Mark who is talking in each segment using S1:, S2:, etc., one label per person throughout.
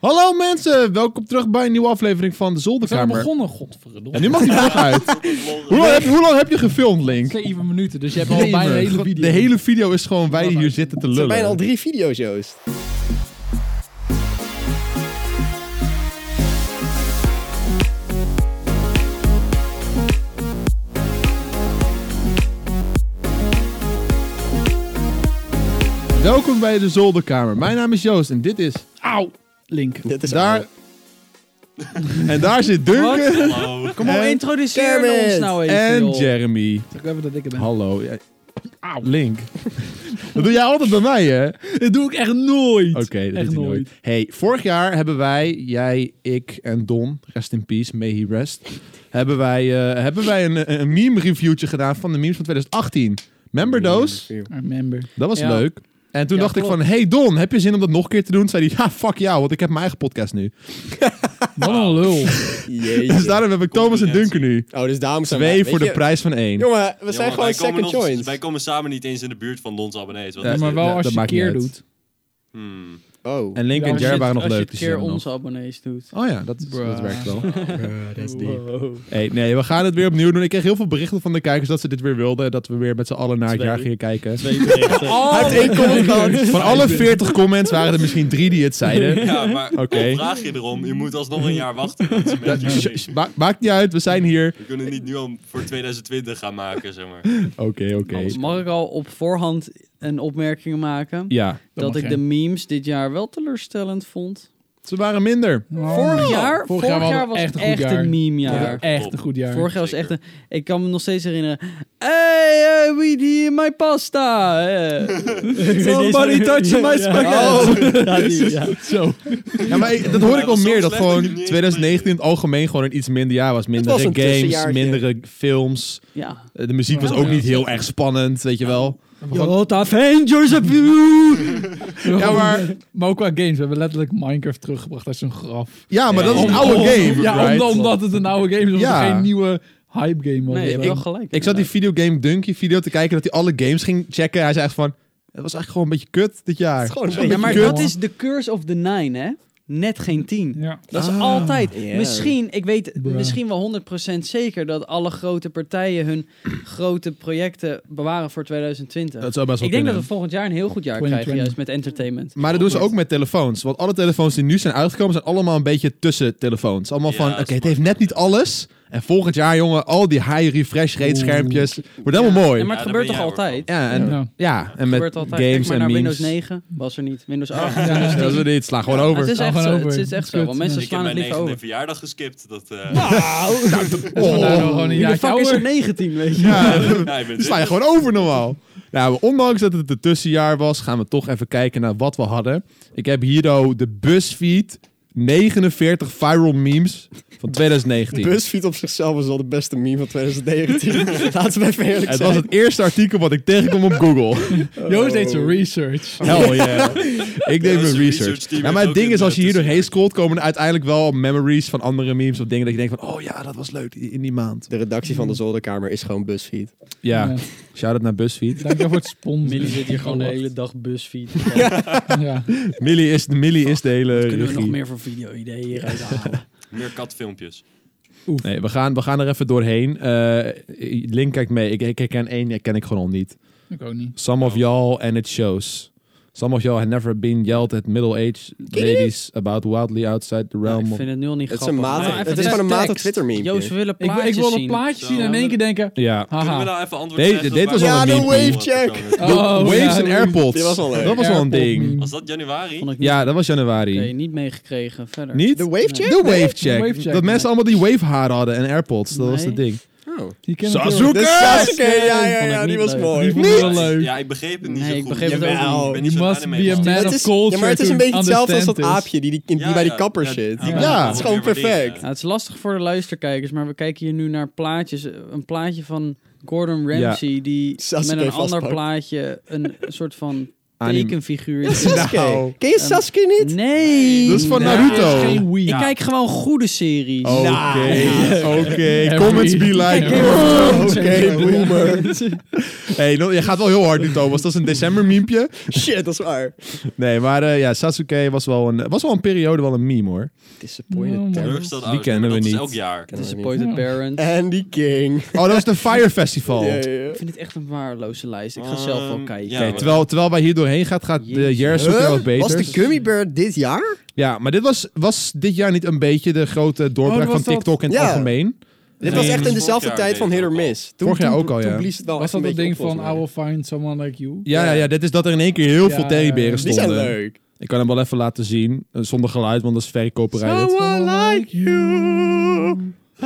S1: Hallo mensen, welkom terug bij een nieuwe aflevering van de
S2: We zijn al
S1: Zolderkamer.
S2: begonnen, godverdomme.
S1: En nu mag die vlog uit. hoe, lang heb, hoe lang heb je gefilmd, Link?
S2: Zeven minuten, dus je hebt al bijna de hele
S1: Jemig.
S2: video.
S1: De hele video is gewoon wij die hier zitten te
S3: Het zijn
S1: lullen.
S3: bijna al drie video's, Joost.
S1: Welkom bij de Zolderkamer. Mijn naam is Joost en dit is
S2: Auw, Link.
S3: Dit is
S1: daar. en daar zit Duncan
S2: Kom op,
S1: En-
S2: introduceer ons
S3: Kermit.
S2: nou even,
S1: en
S2: joh.
S1: Jeremy.
S2: Ik heb dat ik er ben.
S1: Hallo. jij- Auw, Link. Dat doe jij altijd bij mij, hè?
S2: Dat doe ik echt nooit.
S1: Oké, dat
S2: Echt
S1: doet hij nooit.
S2: nooit.
S1: Hey, vorig jaar hebben wij, jij, ik en Don, rest in peace, may he rest, hebben wij, eh, hebben wij een, een meme reviewtje gedaan van de memes van 2018. Member those?
S2: Remember.
S1: Dat was
S2: Ja.
S1: leuk. En toen
S2: Ja,
S1: dacht ik
S2: klopt.
S1: van, hey Don, heb je zin om dat nog een keer te doen? Zei hij, ja, fuck jou, want ik heb mijn eigen podcast nu.
S2: Wat een lul.
S1: Dus
S3: Jeetje.
S1: daarom heb ik Thomas en Duncan nu.
S3: Oh, dus daarom zijn
S1: Twee
S3: wij-
S1: voor
S3: weet
S1: de
S3: je-
S1: prijs van één.
S3: Jongen, we zijn
S4: Jongen,
S3: gewoon
S4: wij komen
S3: second
S4: nog-
S3: joints.
S4: Wij komen samen niet eens in de buurt van Dons abonnees. Wat
S1: Ja,
S4: is
S2: maar
S4: dit?
S2: wel
S1: dat-
S2: als
S1: dat
S2: je
S1: maakt
S2: keer
S1: niet uit.
S2: doet.
S4: Hmm.
S3: Oh.
S1: En Link
S2: Ja,
S1: en
S2: als
S1: Jer
S2: je-
S1: waren nog
S5: Als
S1: leuk.
S5: je
S1: die
S5: het keer
S1: zijn er nog.
S5: onze abonnees doet.
S1: Oh ja, dat, is- dat
S2: Bruh.
S1: werkt wel.
S3: Eh,
S4: Oh.
S5: Wow.
S1: Hey, nee, we gaan het weer opnieuw doen. Ik kreeg heel veel berichten van de kijkers dat ze dit weer wilden. Dat we weer met z'n allen naar het
S5: Twee.
S1: jaar gingen kijken. Oh.
S5: Twee berichten.
S3: Hij heeft één comment gehad.
S1: Van alle 40 comments waren er misschien drie die het zeiden.
S4: Ja, maar
S1: Oké.
S4: al vraag je erom? Je moet alsnog een jaar wachten. met die
S1: Dat-
S4: mensen.
S1: sh- sh- ma- maakt niet uit, we zijn hier.
S4: We kunnen niet nu al voor 2020 gaan maken, zeg maar.
S1: Oké, oké.
S5: Mag ik al op voorhand een opmerking maken?
S1: Ja,
S2: Dat
S5: dat
S2: mag
S5: ik
S2: jij.
S5: de memes dit jaar wel teleurstellend vond.
S1: ze waren minder.
S2: Nou, Oh.
S5: Vorig jaar, vorig jaar,
S2: hadden we
S5: was echt,
S2: een goed jaar.
S5: een
S2: Ja,
S5: meme-jaar.
S2: echt een goed jaar.
S5: Vorig jaar was echt
S4: Zeker.
S5: een... Ik kan me nog steeds herinneren. Hey, hey we die in my pasta. eh.
S1: Somebody touch my spaghetti.
S2: Oh.
S5: Ja, die, ja.
S1: Zo. Ja, maar ik- dat hoor ik
S4: Ja,
S1: al
S4: dat is
S1: meer.
S4: zo
S1: Dat
S4: slecht dat
S1: gewoon
S4: je het niet
S1: 2019 in het algemeen gewoon een iets minder jaar was. Mindere
S3: was een
S1: games,
S3: tussenjaartje.
S1: mindere films.
S5: ja.
S1: Eh, De muziek was ook niet heel erg spannend, weet je wel.
S5: Jota Avengers of you!
S1: Ja, maar,
S2: Maar ook qua games. We hebben letterlijk Minecraft teruggebracht uit zijn graf.
S1: ja, maar
S4: Ja,
S1: dat is een
S2: Om-
S1: oude
S2: om-
S1: game.
S2: Ja,
S1: right?
S2: omdat, omdat het een oude game is. Omdat
S1: Ja.
S2: het geen nieuwe hype game was.
S5: Nee, je hebt wel
S2: ik,
S5: gelijk.
S1: Ik zat die
S5: inderdaad.
S1: videogame Dunky video te kijken dat hij alle games ging checken. Hij zei echt van, het was eigenlijk gewoon een beetje kut dit jaar.
S3: gewoon een
S5: Ja,
S3: beetje
S5: maar
S1: kut.
S5: dat is de curse of the nine, hè? Net geen tien.
S2: ja.
S5: Dat is altijd.
S3: Ja.
S5: Misschien, ik weet
S2: Bruh.
S5: misschien wel 100% zeker dat alle grote partijen hun grote projecten bewaren voor 2020.
S1: Dat zou best wel
S5: ik denk dat
S1: kunnen.
S5: we volgend jaar een heel goed jaar
S2: 2020.
S5: krijgen, juist met entertainment.
S1: Maar dat doen ze ook met telefoons. Want alle telefoons die nu zijn uitgekomen zijn allemaal een beetje tussen telefoons. Allemaal
S4: Ja,
S1: van,
S4: dat
S1: oké,
S4: is
S1: het
S4: waar.
S1: heeft net niet alles. En volgend jaar, jongen, al die high refresh rate schermpjes. Wordt helemaal mooi.
S5: Ja,
S1: Ja,
S5: maar
S4: Ja,
S5: het
S4: daar
S5: gebeurt
S4: ben
S5: toch
S4: jij hoor
S5: altijd?
S1: en, Oh. ja.
S2: Ja.
S1: en
S5: Het
S1: met
S5: gebeurt altijd. Kijk
S1: games
S5: maar
S1: en
S5: naar
S1: memes.
S5: Windows 9 was er niet. Windows 8.
S2: Ja.
S5: Windows 10.
S1: Dat is dit, sla gewoon
S5: Maar
S1: over.
S5: Het is
S2: Sla
S5: echt
S2: gewoon
S5: zo.
S2: over.
S5: Het is echt
S2: Kut,
S5: zo. Want
S4: ik
S5: mensen
S4: heb
S5: slaan het
S4: mijn
S5: niet
S4: 19e
S5: over.
S4: verjaardag geskipt. Dat, eh
S3: Nou,
S2: Dus we
S1: Oh.
S2: daar nog gewoon een
S5: Wie de
S2: jaartje
S5: fuck is er
S2: ouder.
S5: 19, weet je?
S1: Ja,
S4: ja, ik ben
S1: dan sla je gewoon over normaal. Nou, maar ondanks dat het een tussenjaar was, gaan we toch even kijken naar wat we hadden. Ik heb hier oh, de BuzzFeed 49 viral memes van 2019.
S3: Busfeed op zichzelf is al de beste meme van 2019. Laten we even eerlijk
S1: Het
S3: zijn.
S1: was het eerste artikel wat ik tegenkom op Google.
S2: Joost deed zijn research.
S1: Hell yeah. ik deed
S4: Ja,
S1: mijn
S4: zijn research
S1: research.
S4: team
S1: Ja, maar
S4: heeft
S1: het
S4: ook
S1: ding is,
S4: een,
S1: als je
S4: eh,
S1: hier doorheen scrolt, komen er uiteindelijk wel memories van andere memes of dingen dat je denkt van, oh ja, dat was leuk in die maand.
S3: De redactie van de zolderkamer is gewoon Busfeed.
S1: Ja,
S2: Ja.
S1: shout-out naar BuzzFeed.
S2: Dankjewel voor het sponsor.
S5: Millie zit hier gewoon de
S2: Wacht.
S5: hele dag busfiet.
S2: Ja.
S1: Millie is, Millie is de hele
S5: Kunnen we nog
S1: regie.
S5: meer voor video-ideeën hieruit halen?
S4: meer katfilmpjes.
S1: Nee, we gaan, we gaan er even doorheen. Eh, Link kijkt mee. Ik, ik herken één, herken ik gewoon al niet.
S2: Ik ook niet.
S1: Some of y'all and it shows. Some of y'all have never been yelled at middle-aged ladies about wildly outside the
S5: ik
S1: realm of...
S5: vind het nu al niet
S3: Het is,
S5: grappig.
S3: een matig,
S4: Nee,
S3: het is gewoon een matig Twitter meme.
S5: Joost, we willen
S2: Ik, wil-
S5: plaatjes
S2: ik wilde
S5: zien.
S2: plaatjes zien en in
S4: Zo.
S2: één keer denken...
S1: Ja.
S4: Kunnen we
S2: Haha.
S4: nou even antwoord
S1: Deze-
S4: krijgen
S1: dit
S4: op
S1: was
S4: mijn-
S1: al
S3: Ja,
S1: een
S3: de
S1: meme.
S3: wave
S4: Wat er
S3: check.
S4: komen.
S1: De waves en
S2: ja,
S1: airpods.
S3: Die was al leuk.
S1: Dat was wel een
S2: Airpod
S1: ding.
S2: meme.
S4: Was dat januari?
S5: Vond ik niet,
S1: Ja, dat was januari.
S5: oké, niet meegekregen. Verder.
S1: Niet?
S3: De wave check?
S1: De wave check.
S2: De wave check,
S1: Dat
S2: nee.
S1: mensen allemaal die wave haren hadden en airpods. Dat was
S5: Nee.
S1: het ding.
S3: Oh.
S2: Die ken ik
S1: Sasuke!
S2: heel erg.
S3: De Sasuke, ja, ja,
S5: Vond ik
S3: ja, die
S5: niet
S3: was
S5: leuk.
S2: Die
S3: mooi.
S2: vond ik wel leuk.
S4: Ja, ik begreep het niet
S5: Nee,
S4: zo
S5: ik
S4: goed.
S5: begreep het ook
S4: Jawel,
S5: niet.
S4: Ik ben
S2: You
S4: niet zo'n
S2: must
S4: anime
S2: be a
S4: gast.
S2: man.
S3: Het
S2: of
S3: is,
S2: culture
S3: ja, maar het is een
S2: to
S3: beetje hetzelfde als dat
S2: understand this.
S3: aapje die, die, die
S4: Ja,
S3: bij de
S4: ja,
S3: kapper
S4: ja,
S3: zit.
S4: die eh,
S1: Ja.
S4: kan ik wel
S1: Het
S3: is
S4: weer
S3: gewoon
S4: waarderen.
S3: perfect.
S5: Nou, het is lastig voor de luisterkijkers, maar we kijken hier nu naar plaatjes. Een plaatje van Gordon Ramsay die
S3: Sasuke
S5: met een ander
S3: vastpakt.
S5: plaatje een soort van
S1: anime.
S5: tekenfiguur.
S3: Ja, Sasuke.
S1: Nou.
S3: Ken je Sasuke niet?
S5: Nee.
S1: Dat is van
S5: Nee.
S1: Naruto. Oh.
S2: geen Wii.
S5: Ik kijk gewoon goede series. Nou,
S1: Oké, oké. Comments be like.
S5: Kijk,
S1: Oké,
S3: Oké,
S1: boomer. hey, no- je gaat wel heel hard nu, Thomas. Dat is een december miempje.
S3: Shit, dat is waar.
S1: Nee, maar eh, ja, Sasuke was wel, een, was wel een periode wel een meme, hoor.
S2: Ja,
S3: Disappointed parents.
S4: Teleurgesteld
S1: Die
S4: ouders,
S1: kennen
S4: maar
S1: we
S4: dat
S1: niet.
S4: is elk jaar.
S3: Ken-
S5: Disappointed
S2: Ja.
S5: Parents.
S3: Andy King.
S1: Oh, dat was de Fire Festival.
S3: Ja, ja, ja.
S5: Ik vind dit echt een waardeloze lijst. Ik ga zelf wel
S4: Ehm,
S5: kijken.
S4: ja.
S1: Oké, terwijl, terwijl wij hier doorheen gaat, gaat de
S5: Jezus.
S1: Jerso weer wat
S3: Huh? Was
S1: beter.
S3: de Gummy Bear dit jaar?
S1: Ja, maar dit was, was dit jaar niet een beetje de grote doorbraak
S2: Oh,
S1: van
S2: was dat-
S1: TikTok in het
S3: Ja.
S1: algemeen?
S3: Dit
S4: Nee,
S3: was echt
S4: vorig
S3: in dezelfde
S4: jaar
S3: tijd van
S4: deed
S3: Hit
S4: het
S3: or
S4: ook al.
S3: Miss. Toen,
S1: Vorig jaar
S3: toen-
S1: ook al,
S3: toen
S1: ja.
S3: blies het wel
S2: Was
S3: echt
S2: dat
S3: een
S2: dat
S3: beetje
S2: ding
S3: op,
S2: van I
S3: volgens mij.
S2: will find someone like you?
S1: Ja, ja, ja, dit is dat er in één keer heel
S2: Ja,
S1: veel teddyberen
S3: Die
S1: stonden.
S3: zijn leuk.
S1: Ik kan hem wel even laten zien, eh, zonder geluid, want dat is verkoperij. dit.
S2: like you.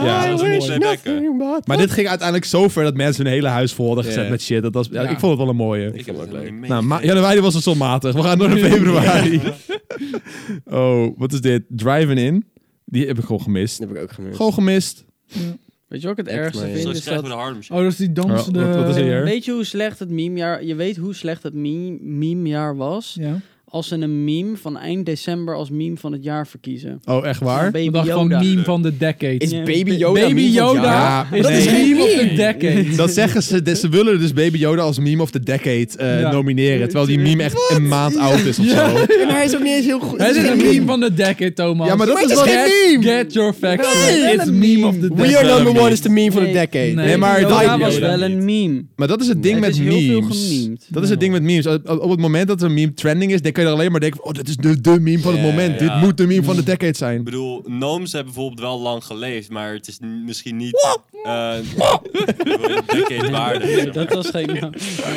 S1: Ja,
S4: dat is
S2: wish
S4: mooi. Playbacken.
S1: Maar dit ging uiteindelijk zo ver dat mensen hun hele huis vol hadden gezet
S3: Ja.
S1: met shit. Dat was, ja,
S2: Ja.
S1: Ik vond het wel een mooie.
S4: Ik heb het
S3: leuk.
S4: leuk.
S1: Nou, ma- januari was het zo matig. We gaan door naar februari. oh, wat is dit? Driving in. Die heb ik gewoon gemist.
S3: Dat heb ik ook gemist.
S1: Gewoon gemist.
S5: Weet je wat ik het
S3: Echt,
S5: ergste
S3: maar ja.
S5: vind?
S4: Straks
S5: Is
S4: krijgen we
S5: dat,
S4: de Harlem
S2: Oh, dat is die dansende...
S1: Oh, wat- wat is hier?
S5: weet je hoe slecht het memejaar... Je weet hoe slecht het meme- memejaar was...
S2: Ja.
S5: als ze een meme van eind december als meme van het jaar verkiezen.
S1: Oh, echt
S5: Van
S1: waar?
S5: Baby
S2: De dag van
S5: Yoda.
S2: meme van de decade.
S3: Is
S5: Ja.
S3: Baby
S2: Ba-
S3: Yoda
S2: Baby
S3: meme van het
S2: Yoda
S3: jaar?
S1: Ja,
S2: is
S3: dat
S2: de
S3: is geen
S2: meme of
S3: meme.
S2: the decade.
S1: Dat zeggen ze. de- Ze willen dus Baby Yoda als meme of the decade eh,
S2: Ja.
S1: nomineren. Terwijl die meme echt een maand oud is of zo.
S3: Ja, maar hij is ook niet eens heel goed.
S2: Het
S3: Het
S2: is een
S3: geen
S2: meme van de decade, Thomas.
S1: Ja, maar dat
S3: Maar
S1: is
S3: het
S1: wel...
S3: is geen
S1: Nee,
S3: meme.
S2: Get your facts
S3: Nee,
S2: straight.
S3: wel
S2: It's
S5: een
S2: meme
S5: meme.
S2: of the decade.
S3: We are
S1: wel
S3: number
S1: een
S3: one is de meme van de
S5: Nee.
S3: decade.
S2: Nee.
S1: maar
S5: Yoda
S1: dat,
S2: Baby
S5: was
S2: Yoda
S5: wel een meme.
S1: maar dat is het ding
S5: Het
S1: met
S5: is heel veel
S1: memes.
S5: gememed.
S1: Dat is het ding met memes. Op, op- op het moment dat er een meme trending is, dan kan je er alleen maar denken... van, Oh, dit is de, de meme van het
S3: Ja,
S1: moment.
S4: ja.
S1: Dit moet de meme van de decade zijn.
S4: Ik bedoel, Nooms hebben bijvoorbeeld wel lang geleefd, maar het is n- misschien niet... eh een decade waarde. zeg maar.
S5: Dat was geen...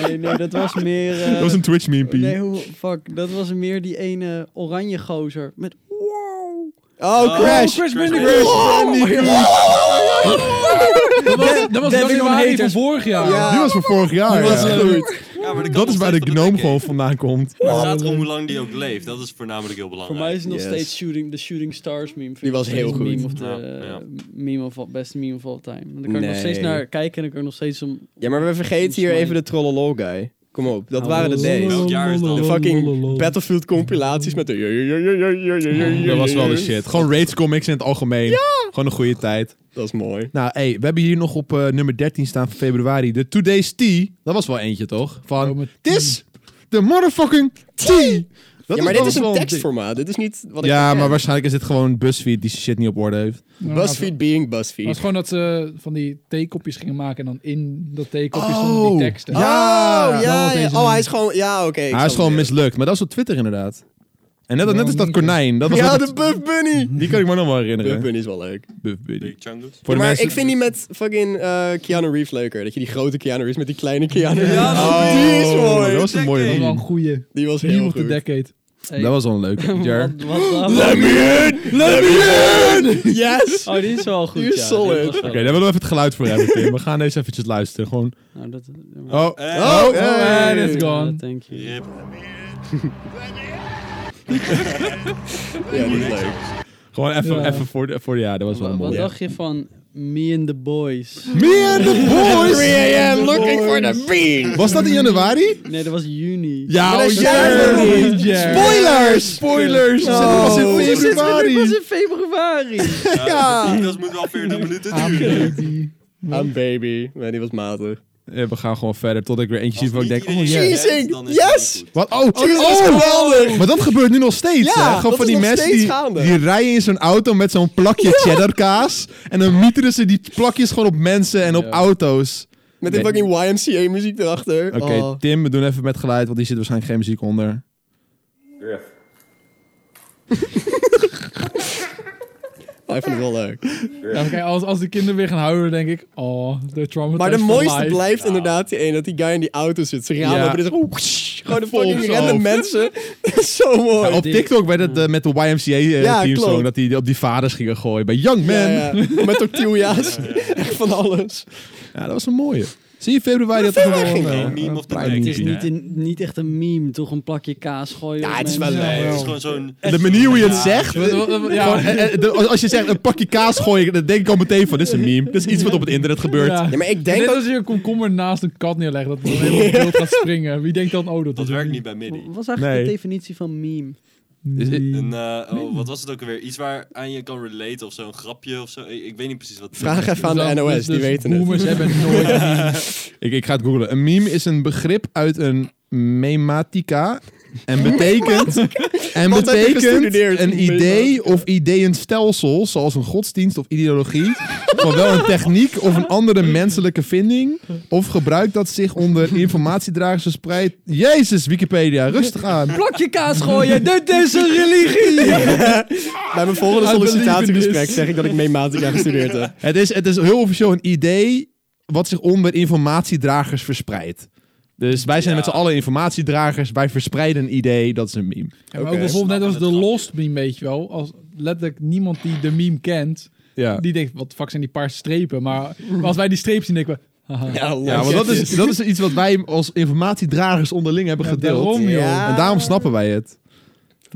S5: Nee, nee, dat was meer... eh,
S1: Dat was een Twitch memepie.
S5: Nee, hoe, fuck. Dat was meer die ene oranje gozer. Met wow.
S3: Oh, Crash.
S2: Crash
S4: Bandicoot.
S1: Oh,
S2: Dat was, dat was
S3: Devil
S2: januari van
S3: haters.
S2: vorig jaar.
S3: Ja.
S1: Die was van vorig jaar.
S3: Dat was
S1: ja.
S3: goed.
S4: Ja, maar
S1: Dat is waar de gnome gewoon vandaan komt.
S4: Maar het gaat erom hoe lang die ook leeft. Dat is voornamelijk heel
S5: Voor
S4: belangrijk.
S5: mij is het nog
S3: Yes.
S5: steeds shooting, de Shooting Stars meme. Vind
S3: Die
S5: ik
S3: was
S5: nog steeds
S3: heel goed.
S5: Meme of the,
S4: Ja, ja.
S5: Meme of, all- best meme of all time. En dan kan ik nog
S3: Nee.
S5: steeds naar kijken en dan kan ik nog steeds om...
S3: Ja, maar we vergeten hier even de trollolol guy. Kom op,
S2: Nou,
S3: dat waren de days.
S4: Welk jaar is dat?
S3: De fucking Battlefield compilaties met de...
S1: Dat was wel de shit. Gewoon Raids Comics in het algemeen. Gewoon een goede tijd.
S3: Dat is mooi.
S1: Nou, hey, we hebben hier nog op eh, nummer 13 staan van februari. De Today's Tea. Dat was wel eentje, toch?
S2: Oh,
S1: Van,
S2: met
S1: this the motherfucking tea. Dat
S3: ja, maar dit
S1: dat
S3: is
S1: wel
S3: een
S1: ding.
S3: tekstformaat. Dit is niet wat ik
S1: Ja,
S3: ken.
S1: maar waarschijnlijk is dit gewoon BuzzFeed die shit niet op orde heeft.
S2: Nou,
S3: BuzzFeed being
S2: Het was
S3: BuzzFeed.
S2: gewoon dat ze van die theekopjes gingen maken en dan in dat theekopje
S1: Oh.
S2: stonden die teksten.
S1: Ja.
S3: oh,
S2: wel op
S3: ja, ja.
S2: deze
S3: Oh, hij
S2: manier.
S3: is gewoon... Ja, oké. ik
S1: Hij is
S3: snap
S1: gewoon
S3: het weer.
S1: mislukt. Maar dat is op Twitter inderdaad. En net, net als dat
S2: niet.
S1: konijn. Dat was
S3: dus. Ja,
S1: ook-
S3: de Buff Bunny.
S1: Die kan ik me nog wel
S3: Buff
S1: herinneren.
S3: Bunny is wel leuk.
S1: Buff Bunny.
S4: Big Chungus.
S1: Voor de
S3: maar
S1: mensen-
S3: ik vind die met fucking eh, Keanu Reeves leuker. Dat je die grote Keanu Reeves met die kleine Keanu Reeves...
S4: Ja,
S1: Oh,
S3: die is mooi.
S1: Dat was een mooie
S2: Dat was wel een
S1: meme.
S2: goeie.
S3: Die was heel
S2: Meme of
S3: goed.
S2: the decade.
S5: Hey,
S1: Dat was wel een leuke. Jar.
S5: wat, wat, wat-
S3: Yes!
S5: Oh, die is wel goed,
S3: Die is
S5: ja.
S3: solid.
S5: Dit was wel-
S1: Oké, daar willen we even het geluid voor hebben, Tim. We gaan deze eventjes luisteren. Gewoon.
S5: Nou, dat... ja,
S1: Oh,
S5: maar-
S1: oh,
S4: Eh,
S2: And
S1: hey.
S2: it's
S5: Ja,
S2: gone.
S5: thank you.
S4: Rip.
S3: Ja, die is leuk.
S1: Gewoon even,
S2: Ja.
S1: even voor de, voor de ja, dat was wel
S5: Wa-
S1: een
S5: Wat
S1: mooi.
S5: dacht je van Me and the Boys?
S1: Me and the boys!
S3: 3 a.m. looking for the bean!
S1: Was dat in januari?
S5: Nee, dat was juni.
S1: Ja,
S3: dat is juist
S2: nog niet.
S1: Spoilers! Spoilers!
S3: Oh.
S1: Dat was
S3: Oh,
S1: in
S5: Precies, maar dit was
S1: februari.
S5: in februari.
S4: Ja, dat eh, moet wel 40 minuten duren.
S3: I'm baby. Nee, die was matig.
S1: Ja, we gaan gewoon verder tot ik weer eentje zie
S4: Als
S1: van ik
S4: niet
S1: denk, oh
S4: iedereen
S1: ja.
S4: het
S3: yes.
S4: kent, dan is
S3: Yes.
S4: het niet goed.
S1: Wat? Oh,
S3: Oh, dit is
S1: oh.
S3: geweldig!
S1: Maar dat gebeurt nu nog steeds,
S3: Ja,
S1: hè? Gewoon
S3: dat
S1: van
S3: is
S1: die
S3: nog
S1: mensen
S3: steeds
S1: die,
S3: gaande.
S1: die rijden in zo'n auto met zo'n plakje cheddarkaas. En dan mieteren ze die plakjes gewoon op mensen en op
S5: Ja.
S1: auto's.
S3: Met die
S1: Nee.
S3: fucking YMCA muziek erachter.
S1: Oké,
S3: Oh.
S1: Tim, we doen even met geluid, want die zit waarschijnlijk geen muziek onder.
S3: Hij vond het wel leuk.
S2: Ja, maar kijk, als, als de kinderen weer gaan huilen, denk ik, oh, de trauma.
S3: Maar de mooiste blijft inderdaad die een dat die guy in die auto zit. Ze gaan
S1: Ja.
S3: open en is gewoon... whoosh, Gewoon de
S1: Vol op
S3: fucking
S1: zijn
S3: random mensen. Zo mooi.
S1: Ja, op
S5: die-
S1: TikTok werd het eh, met de
S3: Ja,
S1: YMCA-team zo,
S3: klopt.
S1: dat die op die vaders gingen gooien. Bij Young Man.
S3: Ja,
S1: Ja,
S3: ja. Met tortilla's. Echt van alles.
S1: dat was een mooie. Zie je, februari had
S3: februari
S1: gewoon,
S3: ging
S1: eh,
S4: geen
S1: een
S4: meme of the
S1: klein
S4: day.
S5: Het is
S1: meme.
S5: niet, een, niet echt een meme, toch een plakje kaas gooien.
S3: Ja,
S5: op
S3: het is
S5: mensen.
S3: wel
S4: Nee,
S3: leuk.
S4: het is gewoon zo'n...
S1: De manier hoe je het
S4: Ja,
S1: zegt.
S2: Ja,
S1: gewoon, eh, eh, de- als- als je zegt een pakje kaas gooien, dan denk ik al meteen van, dit is een meme. Dit is iets wat op het internet gebeurt.
S2: Ja.
S3: Ja, maar ik denk
S2: Net
S3: dat...
S2: als je een komkommer naast een kat neerlegt, dat er helemaal beeld gaat springen. Wie denkt dan, oh, dat,
S4: Dat
S2: is een
S4: werkt
S2: meme.
S4: niet bij Mini.
S5: Wat is eigenlijk
S1: Nee.
S5: de definitie van meme?
S1: Is- is-
S4: Een, eh, oh, wat was het ook alweer? Iets waar aan je kan relaten of zo. Een grapje of zo. Ik, ik weet niet precies wat.
S3: Vraag even aan
S2: Dus
S3: de
S2: dat-
S3: NOS,
S2: dus-
S3: die
S2: dus
S3: weten het.
S2: Boomers hebben nooit...
S1: Ik, ik ga het googlen. Een meme is een begrip uit een mematica. En betekent, en
S3: Wat heb je
S1: betekent
S3: gestudeerd?
S1: een idee of ideeënstelsel, zoals een godsdienst of ideologie, van wel een techniek of een andere menselijke vinding, of gebruik dat zich onder informatiedragers verspreidt. Jezus, Wikipedia, rustig aan.
S5: Plakje kaas gooien, dit is een religie!
S3: Bij mijn volgende
S2: I believe in
S3: sollicitatiegesprek
S2: this.
S3: zeg ik dat ik meematica gestudeerd heb.
S1: Het is, het is heel officieel een idee wat zich onder informatiedragers verspreidt. Dus wij zijn
S4: Ja.
S1: met z'n allen informatiedragers, wij verspreiden een idee, dat is een meme.
S2: Ja, maar
S3: Oké.
S2: ook bijvoorbeeld net als
S4: Snappen
S2: de
S4: het
S2: Lost meme, weet je wel. Als letterlijk niemand die de meme kent,
S1: Ja.
S2: die denkt, wat fuck zijn die paar strepen? Maar als wij die streep zien, denken we, haha.
S3: Ja,
S1: Ja, want dat is, dat is iets wat wij als informatiedragers onderling hebben
S2: Ja,
S1: gedeeld.
S2: daarom, joh.
S1: En daarom snappen wij het.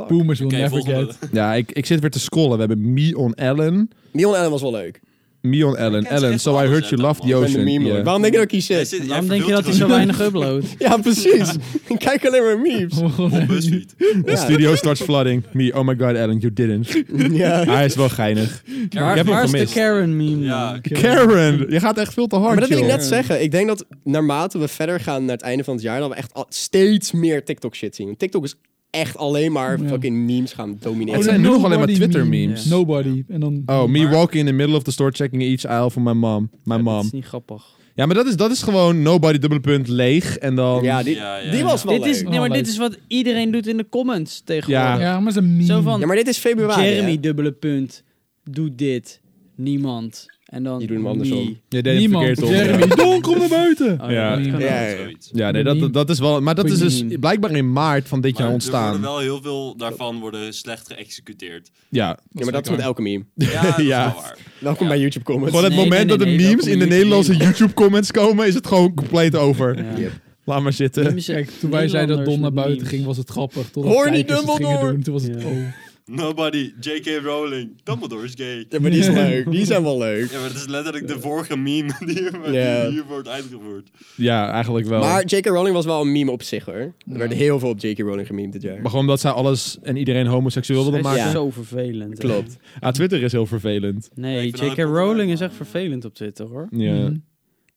S2: Boomers will
S4: Oké,
S2: never
S4: volgende.
S2: get.
S1: Ja, ik, ik zit weer te scrollen. We hebben Me on Ellen.
S3: Neon Allen was wel leuk.
S1: Me on Ellen.
S4: kent echt
S1: Ellen, so I
S4: alles,
S1: heard
S4: hè,
S1: you
S4: dat
S1: love the
S3: Ik
S4: man.
S3: ben de
S1: ocean.
S3: meme. hoor.
S1: Ja.
S3: Waarom denk je dat ik hier
S4: Jij
S3: zit?
S4: zit- jij
S5: Waarom denk je
S4: vervult
S5: dat hij
S4: er
S5: zo
S4: gewoon
S5: weinig uploadt?
S3: Ja, precies. ik kijk alleen maar memes.
S4: op BuzzFeed.
S1: The studio starts flooding. Me, oh my god Ellen, you didn't.
S3: Ja.
S1: Hij is wel geinig.
S5: Waar,
S1: Ik heb hem
S5: waar is de
S1: gemist.
S5: Karen meme?
S4: Ja,
S5: dan?
S4: ik-
S1: Karen, je gaat echt veel te hard,
S3: Maar dat wil ik
S1: joh.
S3: net zeggen. Ik denk dat naarmate we verder gaan naar het einde van het jaar, dat we echt al- steeds meer TikTok shit zien. Want TikTok is echt alleen maar
S2: Ja. Oh,
S3: fucking memes gaan domineren.
S1: Het zijn nu nog alleen maar
S2: Nobody
S1: Twitter
S2: meme.
S1: memes.
S5: Ja.
S2: Nobody. En dan...
S1: Oh, me
S4: Maar-
S1: walking in the middle of the store checking each aisle for my mom. My
S5: Dat
S1: mom.
S5: is niet grappig.
S1: Ja, maar dat is, dat is gewoon nobody dubbele punt leeg en dan...
S3: Ja, die,
S4: Ja, ja,
S3: die
S4: ja.
S3: was wel
S5: Dit is,
S3: leuk.
S5: nee, maar
S2: Wel
S5: dit
S2: leuk.
S5: is wat iedereen doet in de comments tegenwoordig.
S2: Ja, maar ze meme.
S5: Zo van-
S3: Ja, maar dit is februari. hè?
S5: Jeremy, dubbele punt, doe dit, niemand. En dan
S3: Die doen hem
S5: me.
S3: andersom.
S1: Je deed hem
S2: Niemand.
S1: verkeerd om.
S2: Jeremy, Don, kom naar buiten.
S5: Oh,
S1: Ja.
S5: ja, dat kan
S3: Ja,
S5: ook.
S3: ja, ja.
S4: Zoiets.
S1: Ja, nee, dat,
S2: Meme.
S1: dat is wel. Maar dat is dus
S5: Meme.
S1: blijkbaar in maart van dit
S4: Maar
S1: jaar
S4: Er
S1: ontstaan.
S4: worden wel heel veel daarvan worden slecht geëxecuteerd.
S1: Ja.
S3: Ja, maar dat is met elke meme.
S4: Ja, dat is
S1: Ja.
S4: wel waar.
S3: Welkom bij YouTube Comments.
S1: Gewoon het
S5: Nee,
S1: moment
S5: nee, nee,
S1: dat de
S5: nee, dat
S1: memes
S5: kom
S1: in de
S5: je niet
S1: Nederlandse
S5: in.
S1: YouTube-comments komen, is het gewoon compleet over.
S5: Ja.
S3: Yep.
S1: Laat maar zitten.
S5: Memes-
S2: Kijk, toen wij zeiden dat Don naar
S5: Nederlanders met
S2: buiten
S5: memes.
S2: ging, was het grappig. Totdat
S3: Horny
S2: kijkers het gingen
S3: Dumbledore.
S2: doen. Toen was het,
S5: Ja.
S2: oh.
S4: Nobody, J.K. Rowling, Dumbledore is gay.
S3: Ja, maar die is leuk. Die zijn wel leuk.
S4: Ja, maar dat is letterlijk de vorige meme die hier,
S3: Ja.
S4: die hier wordt uitgevoerd.
S1: Ja, eigenlijk wel.
S3: Maar J.K. Rowling was wel een meme op zich hoor. Er
S2: Ja.
S3: werd heel veel op J.K. Rowling gememd dit jaar.
S1: Maar gewoon omdat zij alles en iedereen homoseksueel wilden
S5: Dat
S1: maken.
S5: is
S3: Ja.
S5: zo vervelend. hè.
S3: Klopt.
S1: Ah, Twitter is heel vervelend.
S5: Nee,
S4: Ik vind
S5: J.K.
S4: dat ook
S5: Rowling
S4: wel-
S5: is echt vervelend op Twitter, hoor.
S1: Ja.
S2: Mhm.
S3: Mm,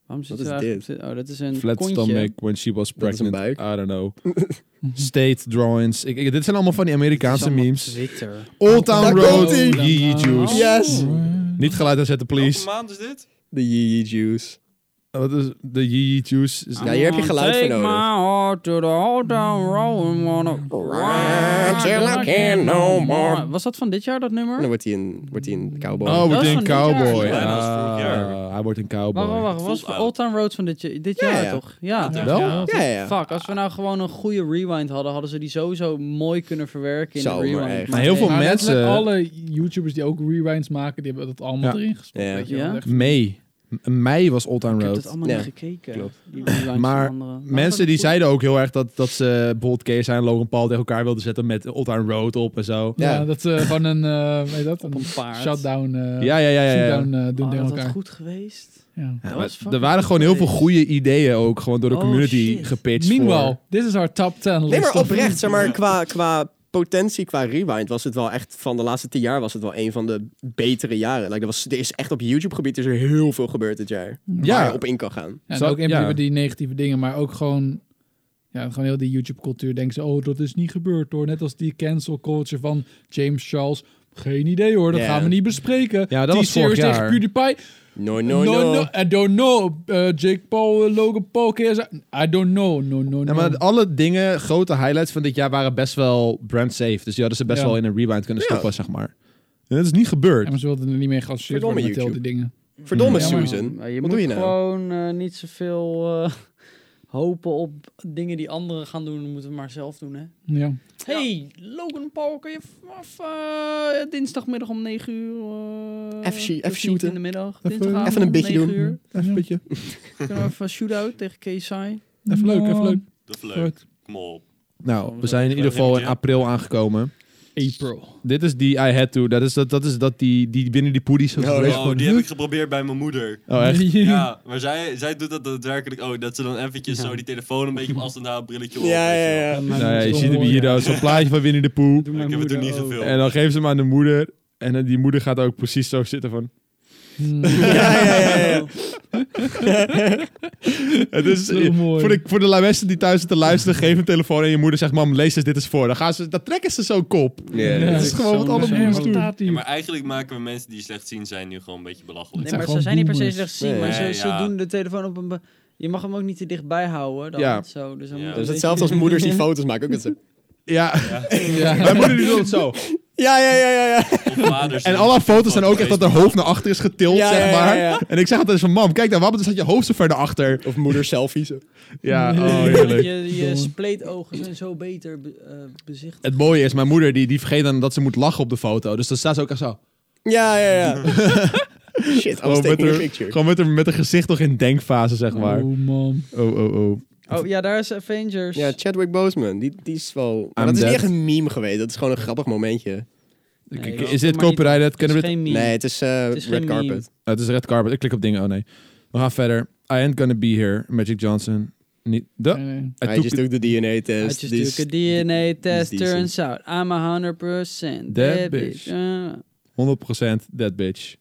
S5: Waarom zit
S3: Wat
S5: er
S3: is
S5: eigenlijk op Twitter? Oh, dat is een
S1: Flat
S5: kontje.
S1: stomach when she was
S3: Dat is een
S1: pregnant. I don't know.
S2: Mm.
S1: State drawings. Ik, ik- dit zijn allemaal van die Amerikaanse
S5: Het is allemaal
S1: memes.
S5: Twitter.
S1: Old Town
S3: Daar
S1: Road.
S3: komt-ie.
S1: Yee juice.
S5: Ja.
S3: Yes!
S1: Niet geluid aanzetten,
S4: Welke
S1: please.
S4: maand is dit?
S3: De Yee Juice.
S1: Wat is de Yee juice? Is-
S3: Ja, hier heb je geluid voor
S5: Take
S3: nodig. Mm.
S5: my heart to the old town road and wanna-
S3: Till I can't no more.
S5: Was dat van dit jaar, dat nummer?
S3: En dan wordt hij een, wordt hij een cowboy.
S1: Oh, wordt hij
S5: is
S1: een
S5: van dit jaar.
S1: cowboy.
S4: Ja, dat is
S1: Ah,
S4: vorig jaar.
S1: hij wordt een
S5: Wacht, wacht,
S1: cowboy.
S5: wacht.
S4: Het
S5: Was
S4: voelt oud.
S5: Old Town Road van dit, jaar- dit
S3: Ja,
S5: jaar
S3: ja.
S5: toch? Ja.
S1: Wel?
S4: Ja.
S3: ja, ja.
S5: Fuck, als we nou gewoon een goede rewind hadden, hadden ze die sowieso mooi kunnen verwerken in
S3: Zo,
S5: de rewind.
S3: maar echt.
S1: Maar heel
S5: nee.
S1: veel
S2: Maar
S1: mensen-
S2: letterlijk alle YouTubers die ook rewinds maken, die hebben dat allemaal
S1: Ja.
S2: erin gestopt.
S3: Ja.
S2: Weet je wel.
S5: Ja.
S2: Echt-
S1: Mei. M- Mei was Old Town
S5: Ik heb
S1: Road.
S5: het allemaal
S3: Ja,
S5: niet gekeken.
S3: klopt.
S5: Die rewinds
S1: Maar
S5: van anderen.
S1: Mensen die zeiden ook heel erg dat, dat ze Bold Case en Logan Paul tegen elkaar wilden zetten met Old Town Road op en zo.
S3: Ja.
S2: Ja, dat ze gewoon een, eh weet je dat, een,
S5: Op een paard.
S2: shutdown, eh
S1: Ja, ja, ja. ja, ja.
S2: shutdown eh, doen tegen
S5: Oh, dat had
S2: elkaar.
S5: goed geweest.
S2: Ja.
S5: Dat
S1: Maar
S5: was fucking
S1: er waren gewoon heel veel goede ideeën ook gewoon door de
S5: Oh,
S1: community
S5: shit.
S1: gepitcht.
S2: Meanwhile, this is our top 10 list.
S3: Nee, maar
S2: of-
S3: oprecht, zeg maar, qua, qua potentie, qua rewind, was het wel echt van de laatste tien jaar was het wel een van de betere jaren. Like, er, was, er is echt op YouTube-gebied is er heel veel gebeurd dit jaar.
S1: Ja.
S3: Waar je op in kan gaan.
S2: Ja, en
S1: Zo-
S2: ook in
S1: ja.
S2: principe die negatieve dingen, maar ook gewoon, ja, gewoon heel die YouTube-cultuur. Denken ze, oh, dat is niet gebeurd hoor. Net als die cancel culture van James Charles. Geen idee hoor, dat
S3: Ja.
S2: gaan we niet bespreken.
S1: Ja, dat was
S2: T-Series
S1: vorig
S2: tegen
S1: jaar.
S2: PewDiePie.
S3: No,
S2: No,
S3: no, no.
S2: no, I don't know. Eh, Jake Paul, eh, Logan Paul, KSI. I don't know. No, no,
S1: Ja,
S2: no.
S1: maar alle dingen, grote highlights van dit jaar waren best wel brand safe. Dus die hadden ze best
S2: Ja.
S1: wel in een rewind kunnen
S3: Ja.
S1: stoppen, zeg maar. En dat is niet gebeurd.
S2: Ja, maar ze wilden er niet meer geassocieerd
S3: Verdomme
S2: worden met al die dingen.
S3: Verdomme,
S2: Ja, maar-
S3: Susan.
S5: Maar je
S3: Wat
S5: moet
S3: doe je nou?
S5: gewoon eh, niet zoveel eh, hopen op dingen die anderen gaan doen. Dat moeten we maar zelf doen, hè?
S2: Ja.
S5: Hey, Logan Paul, kun je vanaf eh, dinsdagmiddag om 9 uur... eh,
S3: Even shoo- even
S5: tot tien
S3: shooten.
S5: in de middag.
S1: Even-
S5: dinsdagavond,
S3: even een beetje
S5: negen
S3: doen.
S5: uur.
S1: Even een beetje.
S5: Kunnen we even een shootout tegen KSI?
S2: Even leuk, even leuk.
S4: Dat is leuk.
S2: Goed.
S4: Kom op.
S1: Nou, we zijn in ieder geval in april aangekomen.
S2: April.
S1: Dit is die I had to. Dat is dat, dat, is dat die, die binnen die poedies.
S3: Oh, ja.
S1: geweest.
S4: Oh, die heb ik geprobeerd bij mijn moeder.
S1: Oh, echt?
S4: Ja, maar zij, zij doet dat daadwerkelijk ook. Dat ze dan eventjes zo die telefoon een beetje op afstand houdt, brilletje op.
S3: Ja,
S4: weet je
S3: ja,
S4: wel.
S3: ja.
S1: Nou ja, je ziet hem hier, eh, zo'n plaatje van Winnie de Pooh.
S2: Doe mijn
S4: Ik heb het er
S2: moeder
S4: niet
S2: ook.
S4: geveel.
S1: En dan geven ze hem aan de moeder. En dan die moeder gaat ook precies zo zitten van...
S2: Hmm.
S3: Ja, ja, ja, ja.
S1: Het is,
S2: Zo mooi.
S1: Voor de, voor de mensen die thuis zitten luisteren, geef een telefoon en je moeder zegt... Mam, lees eens dit eens voor. Dan, gaan ze, dan trekken ze zo'n kop.
S3: Ja,
S2: Ja,
S1: dat is
S2: ik
S1: gewoon
S2: zou
S1: wat alle
S2: zeggen,
S1: moeders
S2: wat
S1: doen.
S2: staat hier?
S4: Ja, maar eigenlijk maken we mensen die slecht zien zijn nu gewoon een beetje belachelijk.
S5: Nee,
S2: zijn
S5: maar
S2: gewoon
S5: ze zijn niet per se
S2: boomers.
S5: slecht
S3: Nee,
S5: zien, maar ze,
S4: ja,
S5: ze
S4: ja.
S5: doen de telefoon op een... be- Je mag hem ook niet te dichtbij houden. Dan,
S1: Ja.
S5: zo, dus
S4: Ja. Dat
S5: dan moet een
S3: Dat is
S5: beetje-
S3: hetzelfde als moeders die foto's maken. Ook dat ze-
S1: Ja,
S2: Ja.
S1: mijn moeder die doet het zo.
S3: Ja, ja, ja, ja. ja.
S4: Of vaders
S1: En
S4: die- oh,
S1: alle foto's zijn ook echt dat haar hoofd naar achter is getild,
S3: Ja, ja,
S1: zeg
S3: ja,
S1: maar.
S3: ja.
S1: En ik zeg altijd van, mam, kijk daar, wat staat je hoofd zo ver naar achter?
S3: Of moeders selfies.
S1: Ja, oh,
S5: Ja,
S1: heerlijk.
S5: Je, je spleetogen zijn zo beter be- eh, bezicht.
S1: Het mooie is, mijn moeder die, die vergeet dan dat ze moet lachen op de foto. Dus dan staat ze ook echt zo.
S3: Ja, ja, ja. Shit, I was
S1: Gewoon met
S3: taking a
S1: haar,
S3: picture.
S1: gewoon met haar, met haar gezicht nog in denkfase, zeg maar.
S2: Oh man.
S1: Oh, oh, oh.
S5: Oh ja, daar is Avengers.
S3: Ja, Chadwick Boseman, die, die is wel... Maar
S1: I'm
S3: dat is niet
S1: dead.
S3: echt een meme geweest, dat is gewoon een grappig momentje.
S5: Nee,
S1: Kijk,
S5: joh,
S1: is dit
S5: maar niet-
S1: copyright? Dat
S5: het
S1: Kunnen
S5: is
S1: we dit-
S5: geen meme.
S3: Nee, het is, eh,
S5: Het is
S3: red
S5: geen meme.
S3: carpet.
S1: Oh, het is red carpet. Ik klik op dingen. Oh nee. We gaan verder. I ain't gonna be here. Magic Johnson. Niet. De.
S2: Nee, nee.
S1: I
S3: Hij
S1: took
S3: just
S1: it-
S3: took the
S5: I
S3: DNA-test.
S5: just took a DNA test,
S3: decent.
S5: turns out I'm a 100%
S1: That
S5: that
S1: bitch.
S5: bitch. Ah.
S1: 100% that bitch.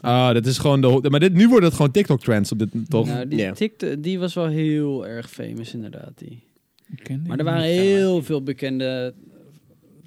S1: Ah, dat is gewoon de. ho- Maar dit, nu worden het gewoon TikTok-trends op dit, toch?
S5: Nou, die
S3: Ja.
S5: TikTok, die was wel heel erg famous inderdaad, die.
S2: Ik ken die
S5: Maar er
S2: niet.
S5: waren heel veel bekende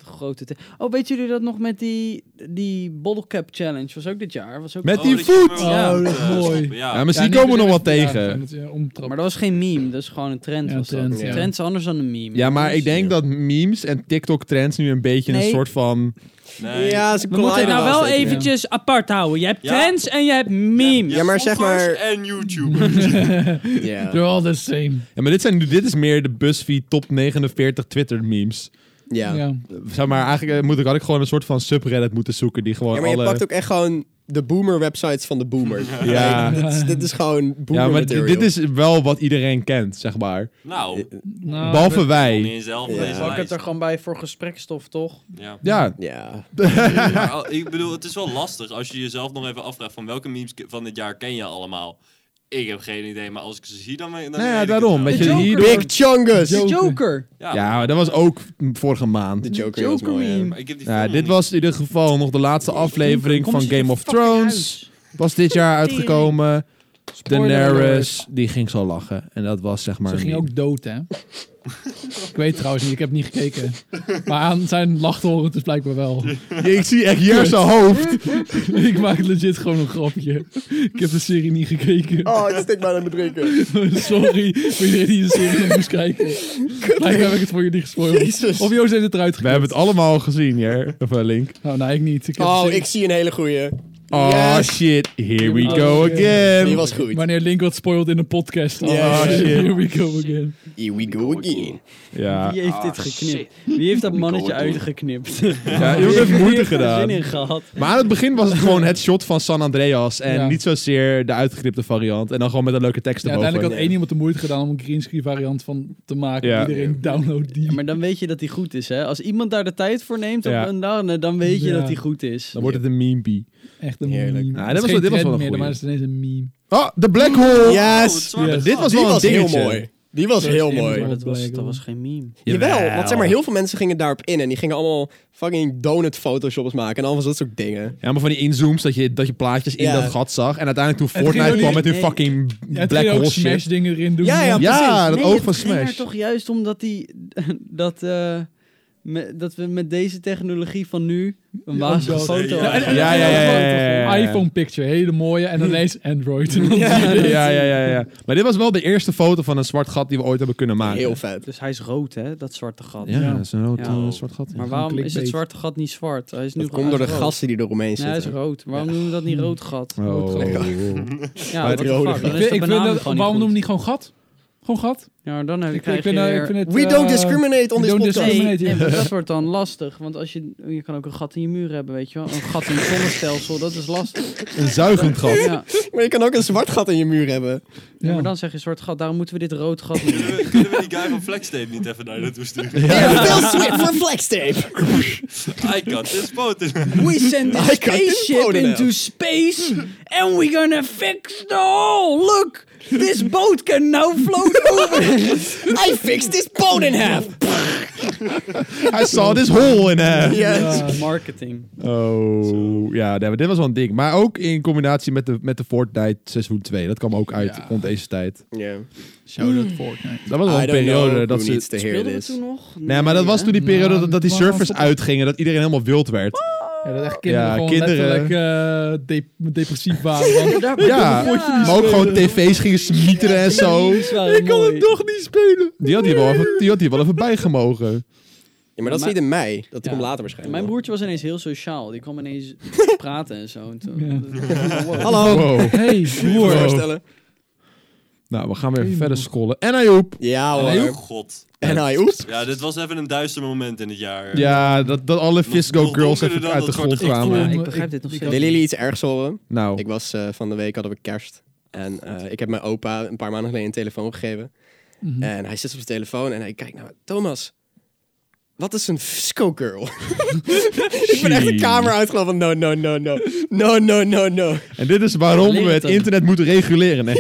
S5: eh, grote... te- Oh, weten jullie dat nog met die, die bottle cap challenge? Was ook dit jaar. Was ook
S1: Met
S4: Oh,
S1: die
S4: dat je maar
S1: voet!
S4: wel
S5: Ja.
S4: moet,
S2: Oh, dat is
S4: eh,
S2: mooi.
S4: stoppen, Ja.
S1: Ja, misschien
S2: Ja,
S1: komen we nog
S2: niet
S1: wat
S2: iedereen-
S1: tegen.
S2: Ja, met, eh, omtrap.
S5: Maar dat was geen meme, dat is gewoon een trend.
S2: Ja,
S5: was dat.
S2: trend,
S3: ja.
S5: Trend is anders dan een meme.
S1: Ja, maar ik denk
S3: Ja.
S1: dat memes en TikTok-trends nu een beetje een
S5: Nee.
S1: soort van...
S4: Nee.
S3: Ja, ze
S5: We moeten het
S3: colliden
S5: nou wel
S3: steeds meer.
S5: eventjes apart houden. Je hebt
S4: Ja.
S5: trends en je hebt memes.
S3: Ja, maar zeg
S4: Bloggers
S3: maar-
S4: En YouTubers.
S3: Ja,
S2: They're all the same.
S1: Ja, maar dit, zijn, dit is meer de BuzzFeed top 49 Twitter-memes.
S2: Ja.
S3: ja. Ja,
S1: Zeg maar, eigenlijk eh, moet ik, had ik gewoon een soort van subreddit moeten zoeken die gewoon
S3: maar je
S1: alle...
S3: pakt ook echt gewoon de boomer-websites van de boomer.
S1: Ja.
S3: Like, dit, is, dit is gewoon boomer
S1: ja, maar dit-
S3: material.
S1: dit is wel wat iedereen kent, zeg maar.
S4: nou, ik
S2: Nou,
S1: Behalve
S4: kon
S1: wij.
S4: niet zelf
S3: Eh, Ja.
S4: op deze
S5: Pak het
S4: lijst.
S5: er gewoon bij voor gesprekstof, toch?
S4: Ja.
S1: Ja,
S3: Ja.
S4: Maar al- ik bedoel, het is wel lastig als je jezelf nog even afvraagt van welke memes ke- van dit jaar ken je allemaal. Ik heb geen idee, maar als ik ze zie, dan, dan
S1: nou ja,
S4: weet ik het
S1: daarom.
S4: wel.
S1: Weet
S5: De
S1: je,
S5: Joker.
S1: hierdoor...
S3: Big Chungus!
S5: De
S2: Joker.
S5: Joker.
S4: Ja,
S1: Ja, maar dat was ook vorige maand.
S3: De Joker, was
S5: Joker
S3: mooi, ja.
S5: meme.
S4: maar ik heb die
S1: Ja,
S4: film
S1: dit
S4: niet.
S1: was in ieder geval nog de laatste aflevering
S5: Kom
S1: van
S5: eens in
S1: Game
S5: je
S1: of
S5: fucking
S1: Thrones.
S5: huis.
S1: Was dit jaar uitgekomen.
S2: Spoiler
S1: Daenerys, die ging zo lachen. En dat was zeg maar...
S2: Ze
S1: een
S2: ging
S1: meme.
S2: ook dood, hè? ik weet trouwens niet, ik heb niet gekeken. Maar aan zijn lachtoren is blijkbaar wel.
S1: Ik zie echt hier zijn hoofd.
S2: ik maak legit gewoon een grapje. Ik heb de serie niet gekeken.
S3: Oh, ik stik maar aan het drinken.
S2: Sorry voor iedereen die de serie nog moest kijken. Blijkbaar heb ik het voor jullie gespoild.
S3: Jezus.
S2: Of Joost heeft het eruit
S1: We
S2: gekeken.
S1: hebben het allemaal gezien, hier. Of eh, Link.
S2: Nou, nee, ik niet. Ik heb de
S3: Oh,
S2: serie-
S3: ik zie een hele goeie.
S1: Oh
S3: Yes.
S1: shit, here we
S2: Oh,
S1: go
S2: shit.
S3: Die
S1: again.
S3: was goed.
S2: Wanneer Link wat spoilt in een podcast. Oh,
S3: Ja,
S2: shit.
S1: shit.
S2: Here we go again.
S3: Here we go again.
S1: Ja,
S5: Wie heeft dit geknipt? Wie heeft dat mannetje uitgeknipt?
S1: ja je hebt moeite
S5: Zin
S1: gedaan.
S5: in gehad.
S1: Maar aan het begin was het gewoon het shot van San Andreas. En
S2: Ja.
S1: niet zozeer de uitgeknipte variant. En dan gewoon met een leuke tekst
S2: Ja,
S1: erboven.
S2: uiteindelijk had
S3: Nee.
S2: één iemand de moeite gedaan om een greenscreen variant van te maken.
S1: Ja.
S2: Iedereen download die.
S5: Maar dan weet je dat hij goed is, hè? Als iemand daar de tijd voor neemt op
S1: Ja.
S5: een dag, dan weet je
S2: Ja.
S5: dat hij goed is.
S1: Dan wordt het een meme
S2: Echt een
S3: Heerlijk.
S2: meme.
S1: Ja, dat
S2: Het is
S1: was-
S2: geen
S1: Nou, dit was wel
S2: trend
S1: een
S2: meer,
S1: goeie.
S2: maar het is ineens een meme.
S1: Oh, de black hole!
S4: Oh, het
S3: Yes!
S4: zwarte
S2: Yes.
S4: gat.
S1: Dit was
S3: Die
S1: wel een
S3: was heel
S1: dingetje.
S3: mooi. Die was
S2: Dat is
S3: heel
S2: echt
S3: mooi.
S2: mooi.
S5: Maar dat was, dat
S2: Jawel.
S5: was geen meme.
S3: Jawel, want zeg maar, heel veel mensen gingen daarop in en die gingen allemaal fucking donut photoshops maken en allemaal dat soort dingen.
S1: Ja, maar van die inzooms, dat je, dat je plaatjes in
S3: Ja.
S1: dat gat zag. En uiteindelijk toen
S2: Het ging
S1: Fortnite
S2: ook
S1: kwam met
S2: niet-
S1: hun
S5: nee.
S1: fucking
S2: Ja, het
S1: black
S2: ging ook
S1: hole
S2: smash
S1: shit.
S2: dingen erin doen.
S3: Ja, ja,
S1: Ja, dat
S5: Nee,
S1: oog van
S5: ging er
S1: Smash.
S5: toch juist omdat die... Dat, eh, me- dat we met deze technologie van nu een
S2: Ja,
S5: wazige
S2: dat-
S5: foto
S4: Ja,
S5: hadden.
S1: Ja, ja, ja, ja, ja, ja.
S2: iPhone picture, hele mooie. En dan ineens Android.
S1: Ja, ja, ja, ja, ja. Maar dit was wel de eerste foto van een zwart gat die we ooit hebben kunnen maken.
S3: Heel vet.
S5: Dus hij is rood, hè? Dat zwarte gat.
S1: Ja,
S2: Ja.
S1: dat is een rood,
S5: Ja.
S1: eh, zwart gat. ja.
S5: Maar waarom is het
S2: Clickbait.
S5: zwarte gat niet zwart? Hij is nu
S3: Dat komt door de
S5: hij is rood.
S3: gasten die eromheen
S5: Nee, hij is
S3: zitten.
S5: rood. Waarom noemen we dat niet rood gat?
S1: Oh.
S5: Rood gat.
S1: Oh.
S5: Ja,
S3: Maar
S5: wat
S3: het
S5: de
S3: rode
S5: fuck?
S2: Ik
S3: gat.
S5: Dan is
S2: vind,
S5: de
S2: ik vind
S5: benaming
S2: dat, waarom
S5: gewoon
S2: noemen we
S5: niet
S2: niet gewoon gat? Gewoon gat.
S5: Ja, dan heb,
S2: Ik,
S5: krijg
S2: ik, ben,
S5: je
S2: eh,
S5: weer-
S2: ik vind het,
S3: We don't
S2: eh,
S3: discriminate on
S2: we
S3: this
S2: don't
S3: podcast.
S2: discriminate.
S5: Nee,
S2: hier.
S5: nee, maar dat wordt dan lastig. Want als je, je kan ook een gat in je muur hebben, weet je wel. Een gat in je zonnestelsel, dat is lastig.
S1: Een zuigend
S5: Ja,
S1: gat.
S5: ja,
S3: Maar je kan ook een zwart gat in je muur hebben.
S2: Ja.
S5: maar dan zeg je een soort gat, daarom moeten we dit rood gat doen.
S4: Kunnen we, kunnen we die guy van Flextape niet even naar naartoe sturen?
S3: Phil Swift voor flextape.
S4: I got this boat.
S5: We send
S3: I
S5: a
S3: got this
S5: spaceship
S3: boat in
S5: into space and we're gonna fix the hole. Look, this boat can now float over.
S3: I fixed this boat in half.
S1: I saw this hole in half.
S3: Yes.
S5: Eh, Marketing.
S1: Oh, ja, nee, maar dit was wel een ding. Maar ook in combinatie met de, met de Fortnite seizoen 2. Dat kwam ook uit
S2: Ja.
S1: rond deze tijd.
S3: Yeah.
S2: Shout-out Fortnite.
S1: Dat was wel een periode dat ze...
S3: te
S5: Speelden we toen nog?
S1: Nee, maar dat was toen die
S2: Nou,
S1: periode dat, dat die
S2: maar als
S1: servers
S2: op-
S1: uitgingen. Dat iedereen helemaal wild werd.
S2: Ja, dat echt kinderen
S1: Ja,
S2: gewoon
S1: kinderen.
S2: letterlijk eh, dep- depressief waren. want-
S5: Daar-
S1: Ja,
S5: Vond je die
S1: maar ook
S2: spelen?
S1: gewoon tv's gingen smieten en zo.
S5: Die is wel mooi.
S1: toch niet spelen. Die had hier wel even, die had hier wel even bij gemogen.
S3: Ja, maar dat is
S5: Maar-
S3: niet in mei. Dat
S5: Ja.
S3: komt later
S5: En
S3: waarschijnlijk.
S5: Mijn
S3: nog.
S5: broertje was ineens heel sociaal. Die kwam ineens praten en zo. En toen,
S3: Hallo.
S1: Wow.
S2: Hey, broer.
S1: Wow.
S3: Voorstellen.
S1: Nou, we gaan weer even verder scrollen. En Ayoub.
S3: Ja hoor.
S4: Oh god.
S3: En hij oeps.
S4: Ja, dit was even een duister moment in het jaar.
S1: Ja, dat, dat alle Fisco
S4: nog
S1: Girls
S4: donkerder
S1: even
S4: dan
S1: uit de
S4: dat
S1: grond
S4: wordt het echt.
S5: Ja,
S1: kwamen.
S5: ik begrijp dit nog steeds.
S3: Willen jullie iets ergs horen?
S1: Nou,
S3: Ik was eh, van de week, hadden we kerst. En eh, ik heb mijn opa een paar maanden geleden een telefoon gegeven.
S2: Mhm.
S3: En hij zit op zijn telefoon en hij kijkt naar me. Thomas, wat is een Fisco Girl? ik ben echt de kamer uitgelopen. No, no, no, no. No, no, no, no.
S1: en dit is waarom we
S5: Leer het
S1: het
S5: dan.
S1: internet moeten reguleren. Nee.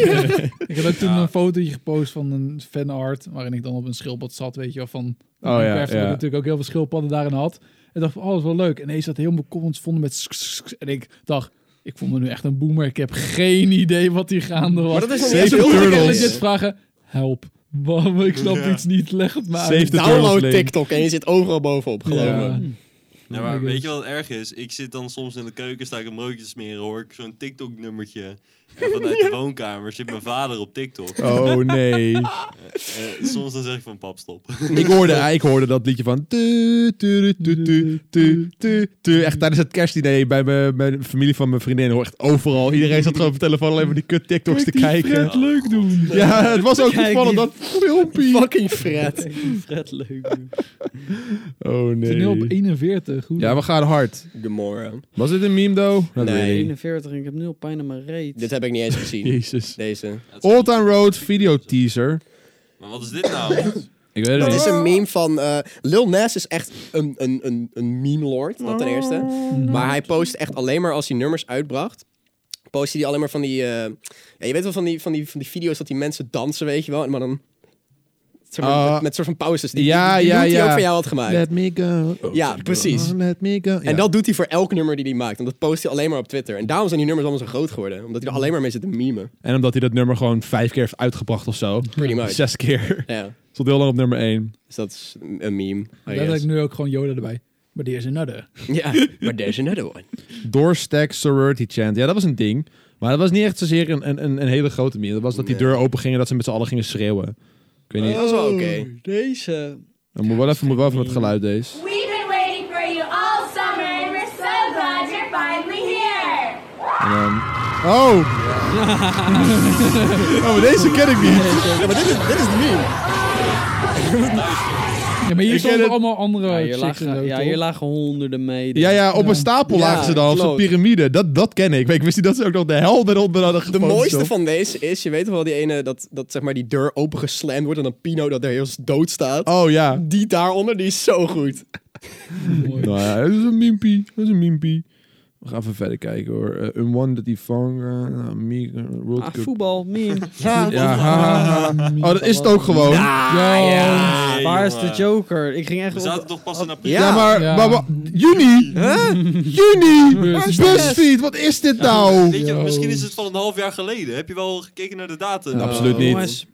S2: Ik heb ook toen een fotootje gepost van een fanart, waarin ik dan op een schildpad zat, weet je wel, van
S1: Oh, ja,
S2: Minecraft, dat
S1: ja.
S2: ik natuurlijk ook heel veel schildpadden daarin had. En dacht van, oh, dat is wel leuk. En ineens dat heel mijn comments vonden met sk- sk- sk- en ik dacht, ik voel me nu echt een boomer, ik heb geen idee wat hier gaande was.
S3: Maar dat is nog niet
S1: Save
S3: eens
S1: the
S2: ik
S3: heel
S1: turtles.
S2: kan
S3: erg.
S2: legit vragen, help, mam, ik snap iets niet, leg het maar
S1: Save
S2: uit.
S1: the turtles
S3: Download
S1: link.
S3: TikTok en je zit overal bovenop, geloof me.
S2: Ja.
S4: Ja, maar
S2: Oh my
S4: weet
S2: God.
S4: je wat het erg is? Ik zit dan soms in de keuken, sta ik een broodje te smeren, hoor ik zo'n TikTok-nummertje. En vanuit de woonkamer zit mijn vader op TikTok.
S1: Oh nee.
S4: Eh, soms dan zeg ik van pap, stop.
S1: ik, hoorde, eh, ik hoorde dat liedje van. tu, tu, tu, tu, tu, tu, tu, tu. Echt tijdens het kerstdiner bij mijn, mijn familie van mijn vriendin. Hoor echt overal. Iedereen zat gewoon op de telefoon alleen maar die kut TikToks te
S2: Kijk die
S1: kijken.
S2: Fred leuk doen.
S1: Ja, het was ook
S5: Kijk
S1: opvallend
S5: die-
S1: dat filmpje.
S3: Fucking Fred.
S5: Fred leuk.
S1: Oh
S2: Toneel op
S1: nee.
S2: 41, hoe
S1: Ja, we gaan hard.
S3: Gamora.
S1: Was dit een meme, though? Not
S3: Nee.
S1: really.
S5: 41 en ik heb nu al pijn aan mijn reet.
S3: Dit heb ik niet eens gezien.
S1: Jezus.
S3: Deze.
S1: Old Town Road video teaser.
S4: Maar wat is dit nou?
S1: Ik weet
S3: Dus Het
S1: het
S3: is
S1: niet.
S3: een meme van... eh, Lil Nas is echt een, een, een, een meme lord, dat ten eerste. Maar hij post echt alleen maar als hij nummers uitbracht. Postte hij alleen maar van die... eh, ja, je weet wel van die, van, die, van die video's dat die mensen dansen, weet je wel. Maar dan... Zeg maar,
S1: Ah.
S3: met, met soort van pauzes. Die,
S1: Ja,
S3: die, die
S1: ja,
S3: doet hij
S1: ja.
S3: ook van jou had gemaakt.
S1: Let me go.
S3: Oh.
S1: Oh,
S3: Ja, precies.
S1: Let me go.
S3: En dat doet hij voor elk nummer die hij maakt. En dat post hij alleen maar op Twitter. En daarom zijn die nummers allemaal zo groot geworden. Omdat hij er alleen maar mee zit te memen.
S1: en omdat hij dat nummer gewoon vijf keer heeft uitgebracht of zo.
S3: Pretty much.
S1: Zes keer.
S3: Ja.
S1: Stond heel lang op nummer één.
S3: Dus dat is een meme. I
S2: Daar heb ik
S3: guess.
S2: nu ook gewoon Yoda erbij. Maar die is another.
S3: Ja, maar there's another one.
S1: Doorstack sorority chant. Ja, dat was een ding. Maar dat was niet echt zozeer een, een, een, een hele grote meme. Dat was dat die
S3: Nee.
S1: deur open ging en dat ze met z'n allen gingen schreeuwen. Ik weet niet.
S3: Dat is wel oké.
S1: Oh.
S5: Deze.
S1: Dan moet wel even, moet wel even met geluid deze.
S6: We've been waiting for you all summer, and we're so glad you're finally here.
S1: En dan... Oh! oh, maar deze ken ik niet.
S3: Ja, maar dit is, dit is de meme.
S2: Ja, maar hier stonden allemaal andere
S5: Ja, hier
S2: chicks en zo,
S5: lagen, ja,
S2: toch?
S5: hier lagen honderden mee.
S1: Ja, ja, op een stapel
S3: Ja,
S1: lagen ze dan, op zo'n
S3: klopt.
S1: piramide. Dat, dat ken ik. Maar ik wist niet dat ze ook nog de helden eronder hadden
S3: De
S1: gevonden.
S3: mooiste van deze is, je weet toch wel die ene dat, dat zeg maar die deur opengeslamd wordt en dan Pino dat er heel dood staat.
S1: Oh ja.
S3: Die daaronder, die is zo goed.
S2: Mooi.
S1: Nou ja, dat is een mimpie. Dat is een mimpie. We gaan even verder kijken hoor. Eh, een one that he found. eh, Amiga, World
S5: Ah,
S1: Cup.
S5: voetbal, meme.
S1: Ja,
S5: Ah,
S1: haha. Oh, dat is het ook gewoon. Ja,
S4: Nee,
S5: Ah, Waar is de
S4: jongen.
S5: Joker? Ik ging echt
S4: We
S5: op-
S4: zaten toch pas in april.
S3: Ja,
S1: maar,
S2: Ja.
S1: maar, maar- juni? Juni?
S2: Busfest.
S1: Busfeed, wat is dit nou?
S4: Weet je,
S2: Yo.
S4: misschien is het van een half jaar geleden. Heb je wel gekeken naar de datum?
S1: Ja, absoluut niet.
S5: Jongens,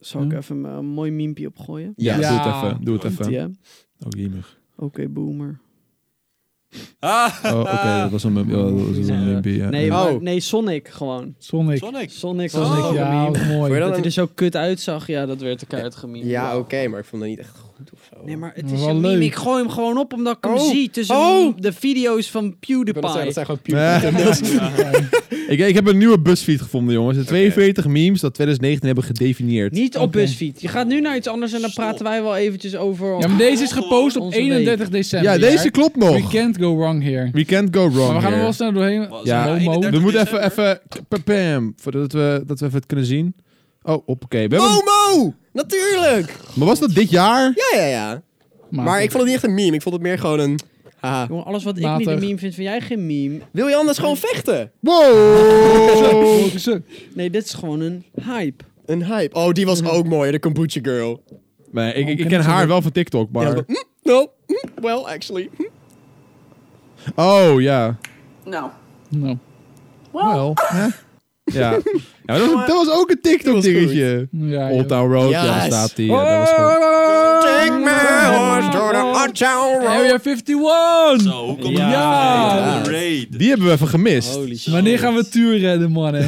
S5: zal ik
S2: Ja.
S5: even een mooi miempje opgooien?
S1: Ja,
S2: Ja.
S1: doe het even. Doe het
S5: Komt-ie,
S1: even.
S5: hè?
S1: Oh, jemig.
S5: Oké, boomer.
S4: Ah,
S1: Oh, oké, dat was een mim- ja, dat was een mimpie. ja.
S5: Nee,
S1: Ja.
S5: maar-
S3: Oh.
S5: nee, Sonic gewoon.
S2: Sonic.
S4: Eh, Sonic.
S5: Sonic was
S2: Sonic,
S5: ook een
S2: ja, Oh.
S5: meme.
S2: wat mooi.
S3: Vond je
S5: Dat
S3: dat
S5: hij
S3: een-
S5: er zo kut uitzag, ja, dat werd de kaart gememe.
S3: Ja, oké, maar ik vond dat niet echt goed.
S5: goed of zo. Nee, maar het
S2: Maar
S5: is
S2: wel
S5: een meme.
S2: leuk.
S5: Ik gooi hem gewoon op omdat ik hem
S3: Oh.
S5: zie tussen
S3: Oh.
S5: de video's van
S3: Ik wil
S5: PewDiePie.
S3: dat zeggen, dat zijn gewoon
S1: Ja.
S3: puur.
S1: Ik, ik heb een nieuwe BuzzFeed gevonden, jongens. De 42 memes dat 2019 hebben gedefinieerd.
S5: Niet op
S2: Oké.
S5: busfiets. Je gaat nu naar iets anders en dan
S4: Stop.
S5: praten wij wel eventjes over...
S2: Ja, maar deze is gepost op
S5: Onze
S2: 31 december.
S1: ja, deze
S2: jaar.
S1: klopt nog.
S2: We can't go wrong here.
S1: We can't go wrong
S2: Maar we gaan er
S1: here.
S2: wel snel doorheen.
S1: Ja.
S2: Homo.
S1: We moeten even, even, pa- pam, voordat we, dat we even het kunnen zien. Oh, op, oké. We hebben-
S3: Momo! Natuurlijk!
S1: Maar was dat dit jaar?
S3: Ja, ja, ja. Maar ik vond het niet echt een meme. Ik vond het meer gewoon een... haha.
S5: Jongen, alles wat ik
S2: Matig.
S5: niet een meme vind, vind jij geen meme.
S3: Wil je anders gewoon vechten?
S1: Wow!
S5: Nee, dit is gewoon een hype.
S3: Een hype. Oh, die
S5: Mhm.
S3: was ook mooi. De kombucha girl.
S1: Nee, ik, ik, ik ken haar wel van TikTok,
S3: Ja,
S1: maar...
S3: maar- No. hm, Well, actually. hm.
S1: Oh, ja.
S6: No.
S2: Nou,
S1: Wel. hè? Ja. ja maar dat, was, dat was ook een TikTok-dingetje.
S2: ja,
S1: Old
S2: joh.
S1: Town Road, ja,
S3: Yes.
S1: staat die. Ja, dat was goed.
S3: Take me horse to the hot town road.
S2: Area 51!
S4: Zo, hoe komt
S5: Ja.
S4: het?
S2: Ja.
S4: Raid, raid.
S1: Die hebben we even gemist.
S5: Holy shit.
S2: Wanneer gaan we Tuur redden, mannen?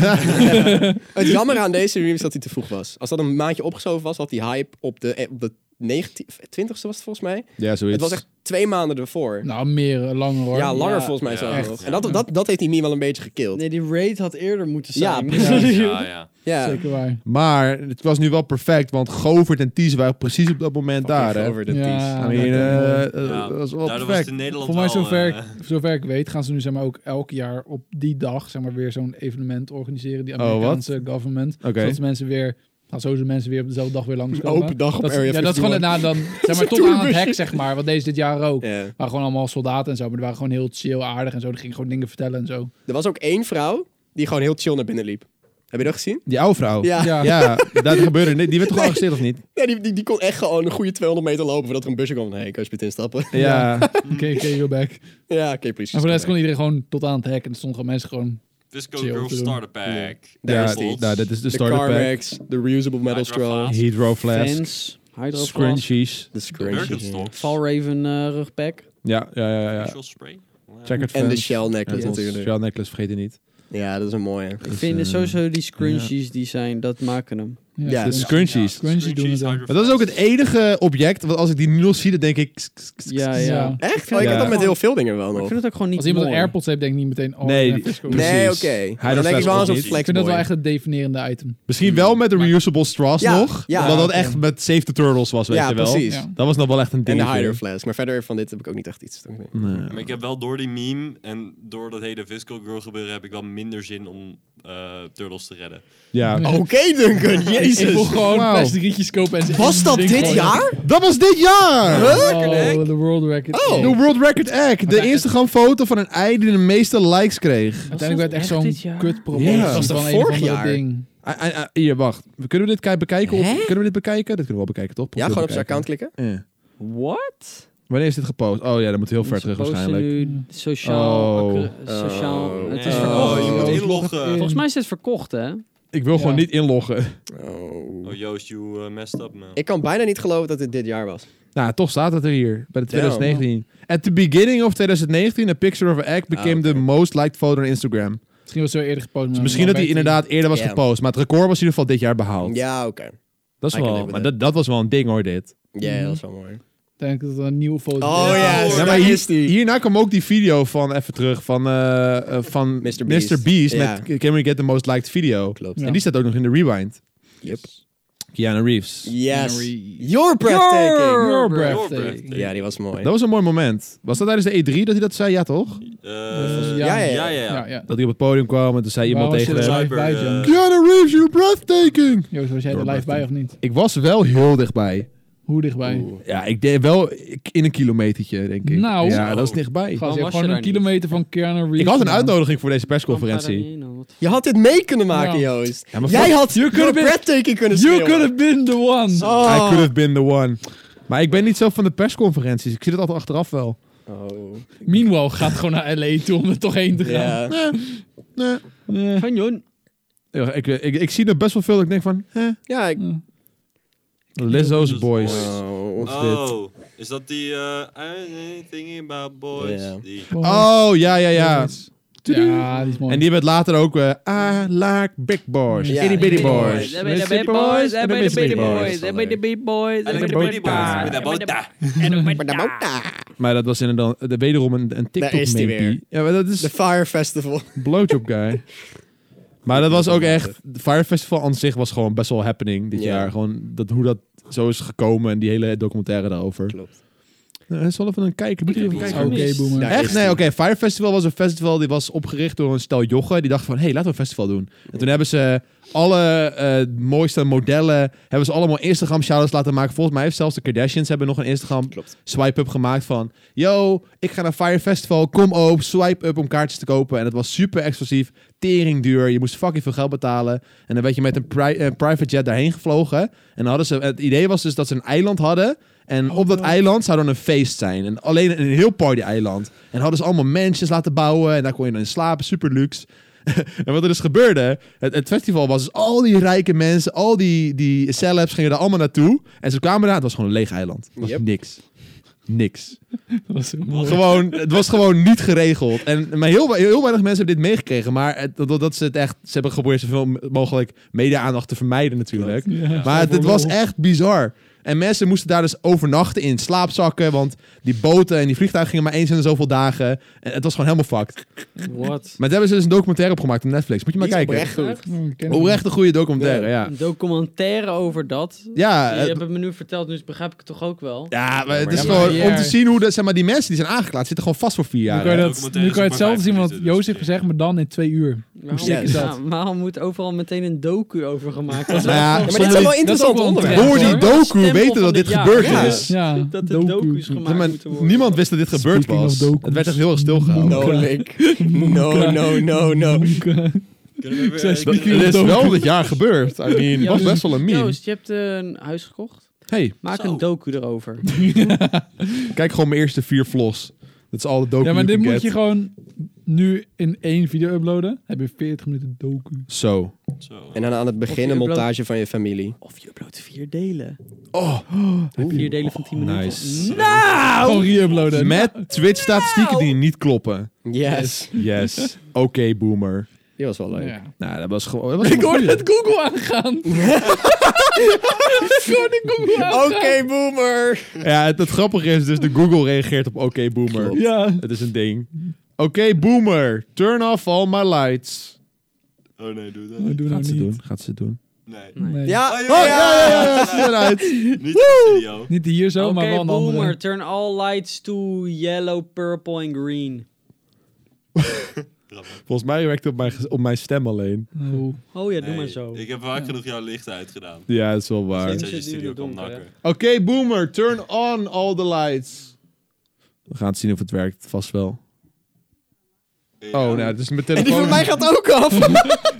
S3: Het jammer aan deze meme is dat hij te vroeg was. Als dat een maandje opgeschoven was, had die hype op de, eh, op de 19, 20ste was het volgens mij.
S1: Ja, zoiets.
S3: Het was echt twee maanden ervoor.
S2: nou, meer, eh, langer hoor.
S3: ja, langer
S5: Ja,
S3: volgens mij
S4: ja,
S3: zo.
S4: echt.
S3: nog. En dat, dat, dat heeft die meme wel een beetje gekild.
S5: Nee, die raid had eerder moeten
S3: Ja,
S5: zijn.
S3: precies.
S4: Ja, ja.
S3: ja.
S2: Zeker waar.
S1: Maar het was nu wel perfect, want Govert en Ties waren precies op dat moment daar, hè.
S3: Over de
S2: Ja.
S3: tees.
S1: I mean, eh, eh,
S4: Ja,
S1: dat was wel
S4: Daardoor was het
S1: perfect.
S4: in Nederland
S2: Voor mij,
S4: wel,
S2: zover,
S4: eh,
S2: ik, zover ik weet, gaan ze nu zeg maar, ook elk jaar op die dag zeg maar, weer zo'n evenement organiseren. Die
S3: Oh,
S1: wat?
S2: Amerikaanse government.
S1: Oké.
S2: Zodat mensen weer, nou, zo zijn mensen weer op dezelfde dag weer langskomen.
S3: open dag op
S2: dat,
S3: Area
S2: Ja, dat is gewoon na
S3: 51.
S2: dan, zeg maar, tot aan het hek, zeg maar. Want deze dit jaar ook.
S3: Ja.
S2: Waren gewoon allemaal soldaten en zo. Maar die waren gewoon heel chill, aardig en zo. Die gingen gewoon dingen vertellen en zo.
S3: Er was ook één vrouw die gewoon heel chill naar binnen liep. Heb je dat gezien?
S1: Die oude vrouw.
S3: Ja.
S2: Ja.
S1: Ja, dat gebeurde. Nee, die werd toch al gearresteerd, of niet?
S3: Nee, die, die, die kon echt gewoon een goede 200 meter lopen voordat er een busje kwam. Hé, hey, kan je alsjeblieft instappen?
S1: Ja.
S2: Oké, oké, go back. En
S3: ja, oké, precies.
S2: voor de rest kon iedereen gewoon tot aan het hek. En er stonden gewoon mensen gewoon...
S4: Disco
S2: Chill
S4: Girl
S2: te doen.
S4: Starter Pack.
S1: Ja,
S3: Daar is
S1: die-
S3: die.
S1: nou, dit is de
S3: De
S1: starter pack.
S3: Carmex, de reusable metal straw,
S4: Hydroflask.
S1: Hydro Flask.
S5: Fans, Hydroflask,
S1: Scrunchies.
S3: de
S4: Birkenstock.
S5: Fallraven eh, rugpack.
S1: Ja, ja, ja. ja.
S4: Facial Spray. Ja.
S1: Checkered
S3: En de
S1: fans.
S3: shell necklace
S1: Ja, dat was-
S3: natuurlijk.
S1: Shell necklace, vergeet je niet.
S3: Ja, dat is een mooie.
S2: Dus,
S5: Ik vind
S1: eh,
S5: sowieso die scrunchies die zijn, dat maken hem.
S3: Ja,
S1: De
S3: dus-
S1: scrunchies.
S2: Scrunchies doen het dan.
S1: Maar dat is ook het e- enige object, want als ik die nu nog zie, dan denk ik... ks, ks, ks,
S5: Ja,
S1: ks.
S5: ja.
S2: Ja.
S3: Echt? Oh, ik
S1: Ja.
S3: heb dat met heel veel dingen wel
S5: Maar ik
S3: nog.
S5: vind het ook gewoon niet
S2: Als iemand
S5: mooi.
S2: een AirPods heeft, denk ik niet meteen... Oh,
S1: Nee,
S2: ik ben
S1: die-
S2: Fisco.
S1: precies.
S3: Nee, oké.
S1: Hij
S3: Dan denk ik
S1: flex
S3: wel aan
S1: ook
S3: zo'n
S1: niet.
S2: Ik
S3: flex
S2: vind dat wel
S3: boy.
S2: echt het definerende item.
S1: Misschien wel met de reusable straws
S3: Ja,
S1: nog,
S3: ja.
S1: omdat dat echt met Save the Turtles was, weet
S3: Ja,
S1: je wel.
S3: precies.
S2: Ja.
S1: Dat was nog wel echt een
S3: En
S1: ding.
S3: de Hydro Flask. Maar verder van dit heb ik ook niet echt iets.
S4: Maar ik heb wel door die meme en door dat hele Visco Girl gebeuren heb ik wel minder zin om eh, Turtles te redden.
S1: Ja. Oh,
S3: Oké, Duncan.
S2: Ik wil
S3: Jezus.
S2: gewoon
S1: Wauw.
S2: plastic rietjes kopen en ze
S3: Was
S2: in
S3: dat
S2: ding
S3: dit
S2: gooien.
S3: jaar?
S1: Dat was dit jaar!
S2: Oh, de world record.
S3: Oh.
S1: De World Record Egg. De
S2: Oké.
S1: Instagram foto van een ei die de meeste likes kreeg.
S2: Uiteindelijk werd echt
S5: echt dit
S2: zo'n
S5: jaar?
S2: kutprobleem
S1: Ja. Dat was
S2: van
S3: toch
S2: een of
S3: vorig
S2: andere
S3: jaar?
S2: ding.
S1: Ah, ah, ah, Hier, wacht. Kunnen we dit kei- bekijken? Of, kunnen we dit bekijken? Dit kunnen we wel bekijken, toch?
S3: Ja, gewoon op zijn account klikken.
S1: account.
S5: What?
S1: Wanneer is dit gepost? Oh ja, dat moet heel ver
S5: Ze
S1: terug
S5: posten
S1: waarschijnlijk.
S5: nu sociaal...
S1: Oh.
S5: accre- sociaal
S3: Oh.
S5: het is
S3: Oh.
S5: verkocht.
S4: je moet
S2: Oh.
S4: inloggen.
S5: Volgens mij is het verkocht, hè?
S1: Ik wil gewoon
S2: Ja.
S1: niet inloggen.
S3: Oh.
S4: Oh Joost, you eh, messed up man.
S3: Ik kan bijna niet geloven dat dit dit jaar was.
S1: Nou, toch staat het er hier. Bij de 2019. At the beginning of 2019, a picture of an egg became
S3: Ah, oké.
S1: the most liked photo on Instagram.
S2: Misschien was het zo eerder gepost. maar
S1: Misschien dat
S2: dan
S1: die
S2: werd
S1: inderdaad eerder was
S3: Ja.
S1: gepost. Maar het record was in ieder geval dit jaar behaald.
S3: Ja, oké.
S1: Dat is
S3: I can
S1: wel...
S3: live with
S1: Maar dat, dat was wel een ding hoor, dit.
S3: Ja, dat is wel mooi.
S2: Ik denk dat het een nieuwe foto
S3: Oh
S2: is.
S3: ja,
S4: Ja,
S1: Ja,
S3: daar
S1: maar
S3: is
S1: hier-
S3: die.
S1: hierna kwam ook die video van, even terug, van, eh, eh, van
S3: Mr. Beast. Ja.
S1: met Can We Get The Most Liked Video.
S3: Klopt.
S2: Ja.
S1: En die staat ook nog in de rewind.
S3: Yep.
S1: Keanu Reeves.
S3: Yes.
S2: Henry.
S3: Your breathtaking.
S2: Your
S4: breathtaking.
S2: breathtaking.
S3: Ja, die was mooi.
S1: Dat was een mooi moment. Was dat tijdens de E3 dat hij dat zei? Ja, toch?
S4: Eh,
S2: Ja,
S4: ja,
S3: ja,
S4: ja, ja.
S2: Ja, ja.
S1: Dat hij op het podium kwam en toen zei iemand
S2: Waarom
S1: tegen
S2: zit
S1: hem...
S2: er
S4: Cyber,
S2: Live bij, Jan.
S4: eh,
S1: Keanu Reeves, you're breathtaking!
S2: Joost, was jij er live bij of niet?
S1: Ik was wel heel dichtbij.
S2: Hoe dichtbij?
S1: Ja, ik deed wel in een kilometertje, denk ik.
S2: Nou.
S1: Ja, dat is dichtbij.
S2: Gast,
S5: was
S2: je hebt
S5: je
S2: gewoon
S5: daar
S2: een
S5: niet?
S2: kilometer van Keanu Reeves.
S1: Ik had een
S2: vandaan.
S1: uitnodiging voor deze persconferentie.
S3: Je had dit mee kunnen maken,
S2: Ja.
S3: Joost.
S1: Ja, maar
S3: Jij
S1: fuck-
S3: had
S2: You
S3: Your
S2: could've been-
S3: breathtaking kunnen
S2: You
S3: spelen.
S2: could have been the one.
S1: I could
S3: Oh.
S1: have been the one. Maar ik ben niet zo van de persconferenties. Ik zie dat altijd achteraf wel.
S3: Oh.
S2: Meanwhile gaat gewoon naar LA toe om er toch heen te gaan.
S3: Ja.
S1: Nee. nee.
S5: Van Jon.
S1: Ik, eh, ik, ik, zie er best wel veel dat ik denk van... Hè?
S3: Ja, ik...
S1: Lizzo's Boys.
S3: Oh.
S4: Oh, is dat die eh I ain't thinking about boys?
S3: Ja.
S4: Die,
S1: Oh, ja, ja, ja.
S2: Ja, die is mooi.
S1: En die werd later ook eh I like big boys,
S3: Ja,
S1: itty bitty
S3: Bitty
S1: boys.
S5: Daar ben je de
S1: Mississippi
S5: big boys,
S1: en
S5: daar ben je de big boys, daar ben je de big boys, daar
S4: En
S5: ben
S4: ik ben
S5: je de big
S4: die
S5: boys.
S4: boys met
S3: Maar de
S4: de bota.
S3: Mota.
S1: Maar dat was inderdaad eh, wederom een, een tiktok
S3: Daar is die weer.
S1: Ja, maar dat is
S3: De Fire Festival.
S1: blowjob guy. Maar dat was ook echt... het Fire Festival aan zich was gewoon best wel happening dit
S3: Ja.
S1: jaar. Gewoon dat, hoe dat zo is gekomen en die hele documentaire daarover.
S3: Klopt.
S1: Nou, dat is wel even een kijken. Moet je even
S4: heb
S1: kijken.
S4: iets
S2: Oké,
S5: Mist.
S2: boomer.
S3: Ja,
S1: Echt?
S3: is
S1: Nee,
S3: die.
S1: oké. Fire Festival was een festival die was opgericht door een stel joggen. Die dachten van, hé, hey, laten we een festival doen. En toen hebben ze alle eh, mooiste modellen... hebben ze allemaal instagram shoutouts laten maken. Volgens mij heeft zelfs de Kardashians hebben nog een Instagram
S3: Klopt.
S1: swipe-up gemaakt van... Yo, ik ga naar Fire Festival. Kom op, swipe-up om kaartjes te kopen. En het was super exclusief. Tering duur. Je moest fucking veel geld betalen. En dan werd je met een pri- eh, private jet daarheen gevlogen. En dan hadden ze, het idee was dus dat ze een eiland hadden... En op dat eiland zou dan een feest zijn. En alleen een heel party-eiland. En hadden ze allemaal mansions laten bouwen. En daar kon je dan in slapen. Super luxe. en wat er dus gebeurde. Het, het festival was dus al die rijke mensen. Al die, die celebs gingen daar allemaal naartoe. En ze kwamen daar. Het was gewoon een leeg eiland. Het was
S3: Yep.
S1: niks. Niks.
S2: Dat was heel mooi.
S1: Gewoon, het was gewoon niet geregeld. En, maar heel, we- heel weinig mensen hebben dit meegekregen. Maar het, dat, dat ze het echt... Ze hebben geprobeerd zoveel mogelijk media-aandacht te vermijden natuurlijk.
S2: Ja.
S1: Maar het, het was echt bizar. En mensen moesten daar dus overnachten in slaapzakken. Want die boten en die vliegtuigen gingen maar eens in de zoveel dagen. En het was gewoon helemaal fucked.
S5: What?
S1: Maar daar hebben ze dus een documentaire op gemaakt op Netflix. Moet je maar
S3: Die is
S1: kijken.
S3: oprecht goed.
S2: Oh, ik ken hem.
S1: Oprecht een goede documentaire, ja.
S5: Een documentaire over dat.
S1: Ja,
S5: Je
S1: Eh, het-
S5: hebt het me nu verteld, dus begrijp ik het toch ook wel.
S1: ja maar het is
S2: Ja, maar
S1: gewoon
S2: ja.
S1: om te zien hoe de, zeg maar, die mensen die zijn aangeklaagd zitten gewoon vast voor vier
S2: Nu
S1: jaar.
S2: kan je,
S1: hè.
S2: dat, nu kan je hetzelfde zien wat
S4: Documentaire is maar
S2: Jozef
S4: vijf minuten, dus-
S2: gezegd, maar dan in twee uur.
S5: Waarom,
S3: sick is
S5: ja,
S2: dat?
S5: waarom moet overal meteen een docu over gemaakt worden?
S1: Nou ja,
S3: Ja, maar dit zijn wel interessante
S2: wel een
S3: onderwerpen.
S2: trend.
S1: Door die
S5: hoor. Stempel
S1: docu weten
S5: van
S1: dat dit
S5: dit jaar.
S1: gebeurd
S3: Ja.
S1: is.
S2: Ja,
S5: Dat er docu's gemaakt
S1: Zeg maar,
S5: moeten worden.
S1: niemand wist dat dit gebeurd
S2: Speaking
S1: was.
S2: of docu's.
S1: Het werd echt heel erg stilgehouden.
S3: No, Nick. No, no, no, no.
S1: Dat- Het is wel dit jaar gebeurd. I mean, het was
S2: dus
S1: best wel een meme.
S5: Joost, je hebt eh, een huis gekocht.
S1: Hey,
S5: Maak
S4: Zo.
S5: een docu erover.
S1: Kijk gewoon mijn eerste vier vlogs. Dat is al de docu
S2: Ja, maar
S1: you
S2: dit
S1: can
S2: moet je
S1: get.
S2: gewoon nu in één video uploaden. Heb je 40 minuten docu.
S1: Zo.
S4: Zo.
S3: En dan aan het
S5: Of je
S3: begin een
S5: upload-
S3: montage van je familie.
S5: Of je uploadt vier delen.
S1: Oh,
S5: Vier delen van 10 minuten. Nou,
S1: nice.
S2: Gewoon re-uploaden.
S1: Met Twitch-statistieken die niet kloppen.
S3: Yes.
S1: Yes. Oké, boomer.
S3: Die was wel leuk.
S2: Ja.
S1: Nou, dat was gewoon... dat was gewoon goed.
S2: Google aangaan.
S3: Oké, boomer.
S1: Ja, het, het grappige is dus, de Google reageert op oké, boomer.
S2: Ja.
S1: Het is een ding. Oké, boomer. Turn off all my lights.
S4: Oh nee, doe dat
S2: We
S4: niet.
S2: doen
S1: Gaat
S2: het
S1: ze
S2: niet.
S1: doen. Gaat ze doen.
S4: Nee.
S2: Nee.
S3: Ja,
S4: Oh,
S1: Oh,
S3: ja, ja, ja.
S1: ja, zie eruit.
S4: Niet in de studio.
S2: Niet die hier zo,
S5: Oké,
S2: maar wel een
S5: boomer,
S2: andere.
S5: turn all lights to yellow, purple en green.
S4: Grappig.
S1: Volgens mij werkt het op mijn, ge- op mijn stem alleen.
S2: Oh.
S5: Oh ja, doe
S4: Nee,
S5: maar zo.
S4: Ik heb vaak genoeg jouw licht uitgedaan. Niet
S1: Ja, dat is wel waar.
S5: Zit
S4: dat
S1: Oké,
S4: je
S5: je nu in
S4: studio
S5: het
S4: kan
S5: donker,
S4: nakken.
S1: boomer. Turn on all the lights. We gaan het zien of het werkt. Vast wel. Oh, nou, het is mijn
S3: En die
S1: telefoon.
S3: van mij gaat ook af.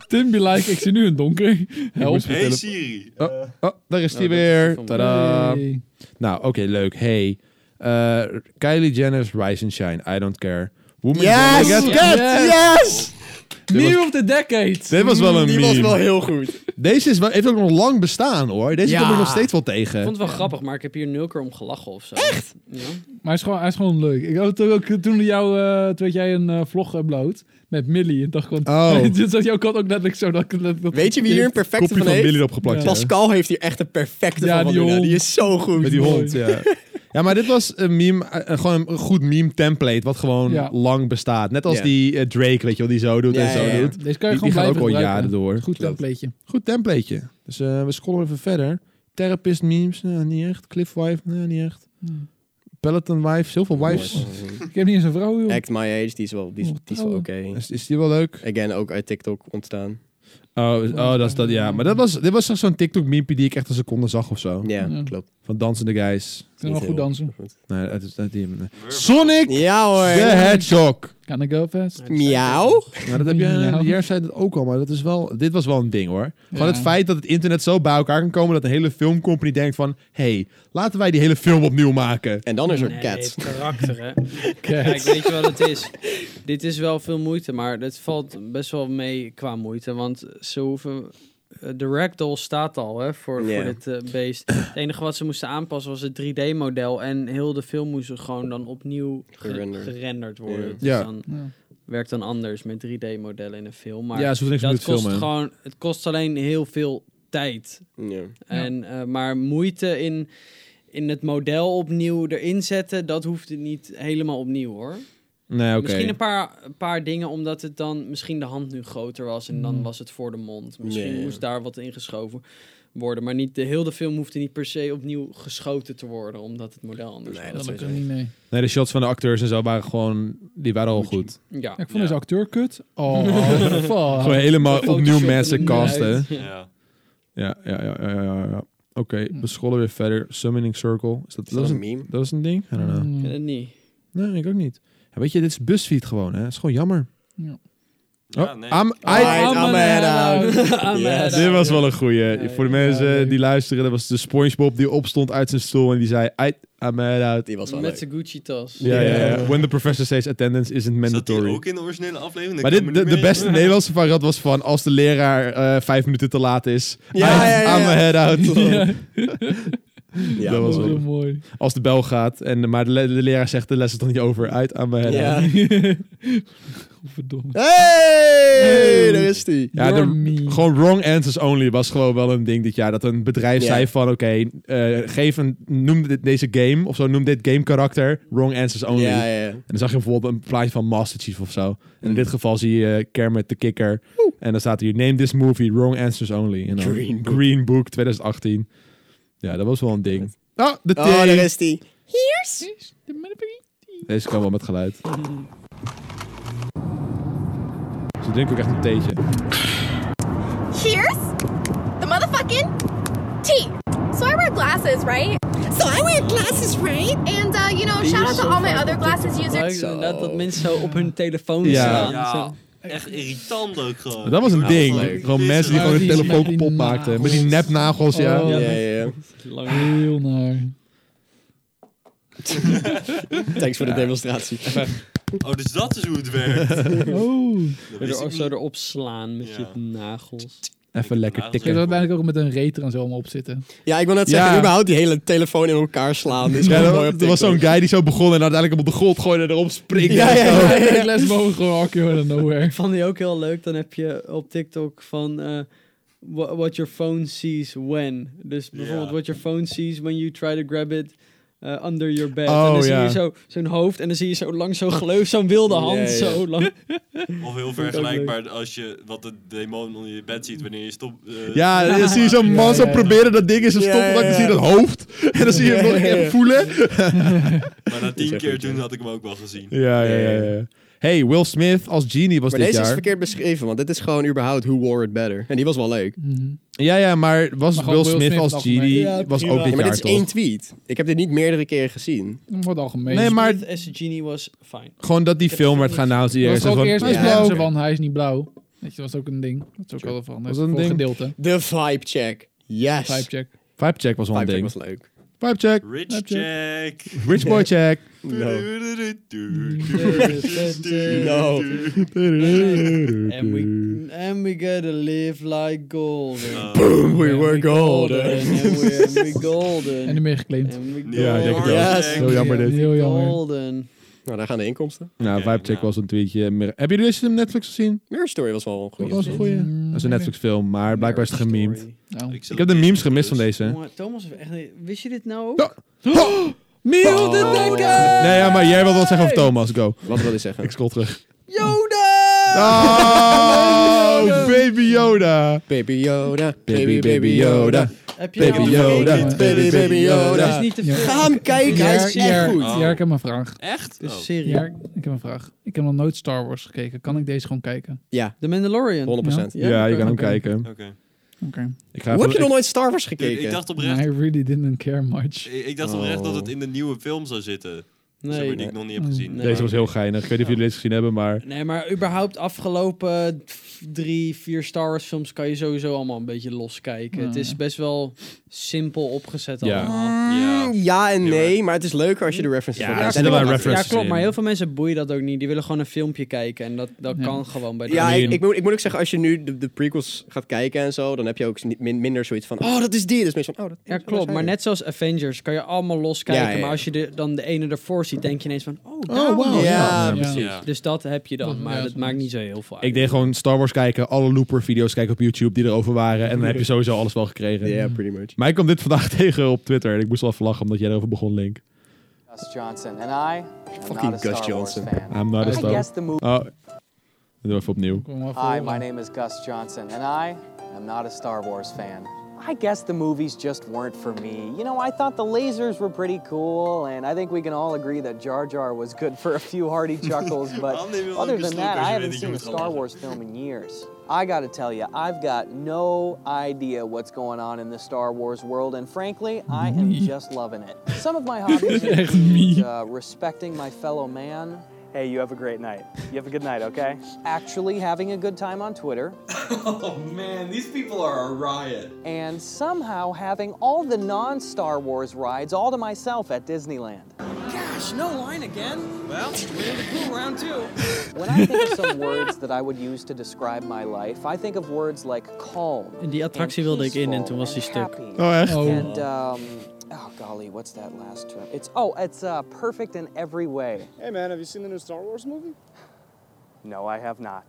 S2: Tim be like, ik zie nu een donker. Help.
S1: moest-
S4: Hey Siri.
S1: Oh.
S4: Eh,
S1: Oh, daar is die
S5: dat is die
S1: weer.
S5: van-
S1: Tada.
S2: Hey.
S1: Nou, oké, leuk. Hey. eh, Kylie Jenner's Rise and Shine. I don't care. Woman
S3: Yes,
S1: Gonna
S3: yes,
S1: Get-
S3: yes.
S1: Dit
S2: Meme of the decade.
S1: Dit was wel een
S3: Mm, Die was wel
S1: meme.
S3: heel goed.
S1: Deze is wel, heeft ook nog lang bestaan, hoor. Deze
S3: Ja.
S1: kom ik nog steeds wel
S5: Ik
S1: tegen.
S5: vond het wel grappig, maar ik heb hier nul keer om gelachen of zo. Echt? Ja.
S2: Maar hij is gewoon, hij is gewoon leuk. Ik had ook toen jou, eh, toen had jij een eh, vlog upload met Millie. En dacht gewoon,
S1: Oh.
S2: dit zat jouw kant ook letterlijk zo. Dat, dat, dat-
S3: Weet je wie hier een perfecte
S1: Kopje
S3: van
S1: van Billy
S3: heeft?
S1: erop geplakt.
S2: Ja.
S1: hè?
S3: Pascal heeft hier echt een perfecte
S2: Ja,
S3: van.
S2: die
S3: Die,
S2: hond.
S3: die is zo goed.
S1: Met die
S2: Mooi.
S1: hond, ja. Ja, maar dit was een meme, eh, eh, gewoon een goed meme template, wat gewoon
S2: Ja.
S1: lang bestaat. Net als
S3: Ja.
S1: die eh, Drake, weet je wel, die zo doet
S3: Ja,
S1: en zo
S3: ja, ja.
S1: doet.
S2: Deze kan je
S1: Die, die
S2: gewoon
S1: gaan ook
S2: blijven
S1: al jaren
S2: gebruiken.
S1: door.
S2: Goed templateje.
S1: Goed templateje. Dus eh, we scrollen even verder. Therapist memes, nou, niet echt. Cliffwife, nou, niet echt.
S2: Hmm.
S1: Peloton wives, heel veel wives.
S3: Mooi.
S2: Ik heb niet eens een vrouw, joh.
S3: Act My Age, die is wel, die is, die is wel oké.
S1: Is, is die wel leuk?
S3: Again, ook uit TikTok ontstaan.
S1: Oh, is- oh, dat is dat, ja. Maar dat was, dit was echt zo'n tiktok meme die ik echt een seconde zag of zo.
S3: Ja,
S2: Ja.
S3: klopt.
S1: Van dansende guys.
S2: Kunnen
S3: Niet
S2: wel goed
S3: heel
S2: dansen.
S3: goed.
S1: Nee, dat is, dat die, nee. Sonic
S3: Ja
S1: the
S3: hoor.
S1: Hedgehog.
S2: Kan ik go fast?
S3: Miauw.
S1: Nou, dat heb je,
S2: Ja.
S1: jij zei dat ook al, maar dat is wel, dit was wel een ding hoor. Gewoon
S2: Ja.
S1: het feit dat het internet zo bij elkaar kan komen dat een hele filmcompany denkt van, hey, laten wij die hele film opnieuw maken.
S3: En dan is er
S5: Nee,
S3: Cats.
S5: het karakter, hè. Kijk,
S2: Kijk.
S5: weet je wat het is? Dit is wel veel moeite, maar het valt best wel mee qua moeite. Want ze hoeven... eh, De ragdoll staat al hè, voor,
S3: Ja.
S5: voor dit eh, beest. Het enige wat ze moesten aanpassen was het 3D-model. En heel de film moest er gewoon dan opnieuw ge-
S3: Gerenderd.
S5: gerenderd worden.
S3: Ja.
S5: Dus
S1: Ja.
S5: dan-
S2: Ja.
S5: werkt dan anders met 3D-modellen in een film. Maar
S2: Ja, ze hoeven niks meer
S5: dat
S2: te
S5: kost
S2: filmen.
S5: gewoon, het kost alleen heel veel tijd.
S3: Ja.
S5: En, eh, maar moeite in, in het model opnieuw erin zetten, dat hoeft het niet helemaal opnieuw hoor.
S1: Nee, oké.
S5: Misschien een paar, een paar dingen, omdat het dan misschien de hand nu groter was en
S1: Hmm.
S5: dan was het voor de mond. Misschien
S3: Ja, ja.
S5: moest daar wat ingeschoven worden. Maar niet de hele film hoefde niet per se opnieuw geschoten te worden, omdat het model anders
S3: Nee,
S5: was.
S2: dat
S3: dat
S2: lukt
S3: sowieso.
S2: niet, nee.
S1: Nee, de shots van de acteurs en zo waren gewoon... Die waren al goed.
S5: Ja.
S2: Ja, ik vond
S4: Ja.
S2: deze acteur kut. Oh, fuck.
S1: Gewoon helemaal opnieuw
S5: Photoshop
S1: mensen
S5: hem eruit.
S1: casten.
S5: Ja.
S4: Ja.
S1: Ja, ja, ja, ja, ja. ja, ja. Oké, we scrollen weer verder. Summoning Circle. Is dat,
S3: Is dat
S1: was
S3: een meme?
S1: Dat is een ding? I don't know.
S5: Ik
S2: Mm.
S5: weet het niet.
S1: Nee, ik ook niet. Ja, weet je, dit is busfeed gewoon, hè. Het is gewoon jammer.
S2: Ja.
S1: Oh,
S4: Ja, nee. Ah,
S1: I'm- I-
S3: Alright, I'm head out.
S5: Ah, maar
S1: Dit
S5: daar-
S1: was wel een goeie.
S5: ja,
S1: Voor de mensen
S2: ja, leuk.
S1: die luisteren, dat was de Spongebob die opstond uit zijn stoel en die zei... I, I'm head out.
S3: Die was wel
S5: Met
S3: leuk.
S5: zijn Gucci-tas.
S1: Ja, ja, ja.
S2: Ja.
S1: When the professor says attendance isn't
S4: Zat die
S1: mandatory.
S4: ook in de originele aflevering?
S1: Maar
S4: Dat kan
S1: dit,
S4: me
S1: de,
S4: niet
S1: de
S4: meer
S1: beste Nederlandse variant was van als de leraar eh, vijf minuten te laat is.
S3: Ja,
S1: I'm-
S3: ja, ja,
S1: I'm
S3: ja.
S1: head out.
S3: Ja,
S1: dat was
S2: Oh,
S1: wel-
S2: mooi.
S1: Als de bel gaat, en, maar de, le- de leraar zegt de les is nog niet over. Uit, I'm head out.
S3: Ja.
S2: Verdomme.
S3: Hey, daar is die.
S1: Ja,
S2: You're
S1: de-
S2: mean.
S1: Gewoon wrong answers only was gewoon wel een ding dit jaar. Dat een bedrijf
S3: Ja.
S1: zei van oké, eh, geef een, noem dit, deze game of zo, noem dit game karakter wrong answers only.
S3: Ja, ja, ja.
S1: En dan zag je bijvoorbeeld een plaatje van Master Chief of zo. En
S3: Mm.
S1: in dit geval zie je eh, Kermit de Kikker. En dan staat hier, name this movie, wrong answers only. En dan
S3: Green Book.
S1: Green Book 2018. Ja, dat was wel een ding. Ah, de thee!
S3: Oh, daar is die.
S1: Deze kan wel met geluid. Ze drinken ook echt een theetje.
S7: Cheers? The motherfucking tea. So I wear glasses, right? So I wear glasses, right?
S6: And, uh, you know,
S5: Die
S6: shout
S5: is
S6: out
S5: zo
S6: to all my
S5: vaak
S6: other
S5: op
S6: glasses users.
S5: Leuk inderdaad dat mensen zo op hun telefoon
S1: Ja.
S5: staan.
S4: Ja,
S5: Zo.
S4: echt irritant ook gewoon.
S1: Dat was een
S4: Ja,
S1: ding.
S4: Nou, leuk.
S1: Gewoon mensen die
S4: Ja,
S1: gewoon hun
S2: die
S1: telefoon
S2: met die
S1: kapot maakten. Met die
S2: nagels.
S1: nepnagels, ja.
S2: Oh.
S3: Ja, ja, ja.
S5: Lang.
S2: Heel naar.
S3: Thanks voor de demonstratie.
S4: Oh, dus dat is hoe het werkt. Dat
S2: Oh.
S5: Zo
S4: wist ik
S5: er-
S4: niet.
S5: Zo erop slaan met
S4: Ja.
S5: je nagels.
S1: Even lekker
S2: Ik heb
S1: tikken.
S2: er uiteindelijk ook met een rater en zo allemaal op zitten.
S3: Ja, ik wil net
S1: Ja.
S3: zeggen, überhaupt die hele telefoon in elkaar slaan. Is
S1: Ja,
S3: gewoon
S1: dat-
S3: mooi op
S1: er was
S3: TikTok.
S1: zo'n guy die zo begon en uiteindelijk hem op de grond gooide en erop springt.
S3: Ja, ja, ja.
S2: Ik les mogen gewoon accu out of nowhere.
S5: Ik vond die ook heel leuk. Dan heb je op TikTok van eh, wha- what your phone sees when. Dus bijvoorbeeld
S4: Ja.
S5: what your phone sees when you try to grab it eh, under your bed.
S1: Oh,
S5: en dan zie
S1: ja.
S5: je zo, zo'n hoofd en dan zie je zo lang zo'n gleuf, zo'n wilde hand.
S3: Ja, ja.
S5: Zo lang.
S4: Of heel vergelijkbaar als je wat de demon onder je bed ziet wanneer je stopt. eh,
S1: Ja, dan zie je zo'n man zo
S2: Ja, ja.
S1: proberen dat ding in zijn
S3: Ja,
S1: stoppen. Dan
S3: ja,
S1: zie je dat hoofd. En dan zie je hem
S3: Ja,
S1: nog een
S3: ja,
S1: keer
S3: ja.
S1: voelen.
S4: Maar na tien
S3: echt
S4: keer
S3: goed,
S4: toen
S3: ja.
S4: had ik hem ook wel gezien.
S1: Ja, ja, ja. ja. Hey, Will Smith als Genie was
S3: Maar
S1: dit
S3: deze is
S1: jaar.
S3: verkeerd beschreven, want dit is gewoon überhaupt Who Wore It Better. En die was wel leuk.
S2: Mhm.
S1: Ja, ja, maar was
S2: Maar
S1: Will,
S2: gewoon Will
S1: Smith
S2: Smith
S1: als
S2: nog
S1: Genie
S2: mee.
S5: Ja,
S1: was ook
S5: prima.
S1: dit
S3: Ja, maar dit
S1: jaar
S3: is
S1: toch?
S3: één tweet. Ik heb dit niet meerdere keren gezien.
S2: Voor het algemeen.
S1: Nee, maar-
S5: Smith As a genie was fijn.
S1: Gewoon dat die
S5: Ik heb
S1: film
S5: het
S1: werd
S5: niet-
S1: geannounced.
S2: Dat was
S1: Iedereen
S2: ook
S1: zei
S2: eerst
S1: van,
S2: met
S1: "Hij
S3: ja.
S1: is
S2: blauw,
S1: blauw."
S2: van hij is niet blauw. Weet je, dat was ook een ding. Dat is ook wel van. Dat
S1: Was
S2: is
S1: dat een
S2: voor een
S1: ding?
S2: gedeelte.
S3: De vibe check. Yes.
S2: Type check.
S1: Vibe check was wel een
S3: Vibe check
S1: ding.
S3: was leuk.
S1: Vibe check.
S4: Rich check.
S1: Rich boy check.
S3: No. No.
S5: And we, and we gotta live like golden.
S3: We
S5: And
S3: were golden.
S5: And we, and we
S2: En
S5: golden.
S2: nu meer geclaimd.
S5: And we golden.
S1: Ja, ik denk het wel.
S3: Yes.
S1: Heel jammer dit.
S2: Heel jammer.
S5: Golden.
S3: Nou, daar gaan de inkomsten.
S1: Nou,
S4: Oké,
S1: Vibe check
S4: nou.
S1: was een tweetje. Meer- Hebben jullie deze op Netflix gezien?
S3: Mirror Story was wel
S1: Dat
S3: goed.
S1: was een goeie.
S2: Mm,
S1: Dat is een
S2: ik
S1: Netflix film, maar blijkbaar is het gememd.
S2: Nou.
S1: Ik heb de memes gemist van deze.
S5: Jongen, Thomas heeft echt... niet- Wist je dit nou ook? Oh.
S1: Ja. Merel de Dekker! Oh. Nee, ja, maar jij wilde wat zeggen over Thomas. Go.
S3: Wat wil je zeggen?
S1: Ik scroll terug.
S5: Yoda!
S1: Oh, baby Yoda.
S3: Baby Yoda.
S1: Baby, baby Yoda.
S5: Heb je
S1: Baby
S5: nou-
S1: Yoda.
S4: Baby,
S3: baby, baby
S5: Dat is
S3: Yoda.
S5: niet te
S2: Ja.
S5: veel.
S3: Ga hem kijken, hij is
S2: Jerk,
S3: echt
S2: Jerk,
S3: goed.
S4: Oh.
S2: Jerk, ik heb een vraag.
S4: Echt?
S5: Dus
S4: Oh.
S5: serie.
S2: Jerk, ik heb een vraag. Ik heb nog nooit Star Wars gekeken. Kan ik deze gewoon kijken?
S3: Ja,
S5: The Mandalorian.
S3: 100%.
S5: Ja,
S1: Ja, je kan hem
S2: oké.
S1: kijken.
S4: Oké.
S2: Oké.
S1: Ik ga
S3: Hoe heb je nog
S1: even-
S3: nooit Star Wars
S4: Dude, Ik
S3: gekeken?
S4: dacht oprecht.
S2: I really didn't care much.
S4: Ik ik dacht oprecht dat het
S3: Oh.
S4: in de nieuwe film zou zitten. Zeg maar, die
S5: Nee.
S4: ik nog niet heb gezien.
S5: Nee.
S1: Deze was heel geinig. Ik weet niet of jullie deze gezien hebben, maar...
S5: Nee, maar überhaupt afgelopen drie, vier Star Wars films kan je sowieso allemaal een beetje loskijken.
S2: Ja.
S5: het is best wel simpel opgezet
S1: Ja.
S5: allemaal.
S4: Ja.
S3: Ja en
S4: Heel
S3: nee,
S4: erg.
S3: maar het is leuker als je de references
S1: Ja,
S3: van
S1: er
S3: hebt.
S1: zitten
S3: En
S1: wel
S3: ik-
S5: Ja,
S1: references
S5: klopt.
S1: in.
S5: Maar heel veel mensen boeien dat ook niet. Die willen gewoon een filmpje kijken. En dat, dat
S2: Ja.
S5: kan gewoon bij de
S3: Ja,
S1: I
S3: ik,
S1: mean-
S3: ik, moet, ik moet ook zeggen, als je nu de, de prequels gaat kijken en zo, dan heb je ook niet- min- minder zoiets van, oh, dat is die. Dus meer van, oh, dat
S5: Ja,
S3: dat is
S5: klopt. Maar
S3: hij.
S5: net zoals Avengers kan je allemaal loskijken.
S3: Ja, ja, ja.
S5: Maar als je de, dan de ene ervoor ziet ziet, denk je ineens van, oh,
S8: Oh, wauw.
S3: Ja,
S8: ja.
S2: precies.
S4: Ja.
S5: Dus dat heb je dan,
S2: Ja,
S5: maar dat
S2: soms.
S5: maakt niet zo heel veel uit.
S1: Ik deed gewoon Star Wars kijken, alle Looper-video's kijken op YouTube die erover waren. En dan heb je sowieso alles wel gekregen.
S3: pretty much.
S1: Maar ik kwam dit vandaag tegen op Twitter en ik moest wel even lachen omdat jij erover begon, Link.
S9: Gus Johnson, and I am
S3: Fucking
S9: not a
S3: Gus
S9: Star
S3: Johnson.
S9: Wars fan.
S1: I'm not a
S2: I
S9: I
S1: star.
S9: guess the movie.
S1: Oh, we doen even opnieuw.
S2: Kom maar voor.
S9: Hi, my name is Gus Johnson, and I am not a Star Wars fan. I guess the movies just weren't for me. You know, I thought the lasers were pretty cool, and I think we can all agree that Jar Jar was good for a few hearty chuckles, but
S4: I'll name it
S9: other
S4: Lucas
S9: than that,
S4: Lucas,
S9: I
S4: you
S9: haven't
S4: think
S9: seen
S4: it
S9: a
S4: was a
S9: Star
S4: lot.
S9: Wars film in years. I gotta tell you, I've got no idea what's going on in the Star Wars world, and frankly, I am just loving it. Some of my hobbies
S2: Echt
S9: include
S2: meme.
S9: uh, respecting my fellow man. Hey, you have a great night. You have a good night, okay? Actually, having a good time on Twitter,
S3: Oh man, these people are a riot.
S9: and somehow having all the non Star Wars rides all to myself at Disneyland. Gosh, no line again. Well, we need a cool round two. When I think of some words that I would use to describe my life, I think of words like calm.
S5: En die attractie
S9: and
S5: wilde ik in en
S9: peaceful
S5: toen was die
S9: and
S5: stuk.
S9: happy.
S8: Oh, echt?
S2: Oh.
S9: And um, oh golly, what's that last term? It's oh, it's uh, perfect in every way.
S10: Hey man, have you seen the new Star Wars movie?
S9: No, I have not.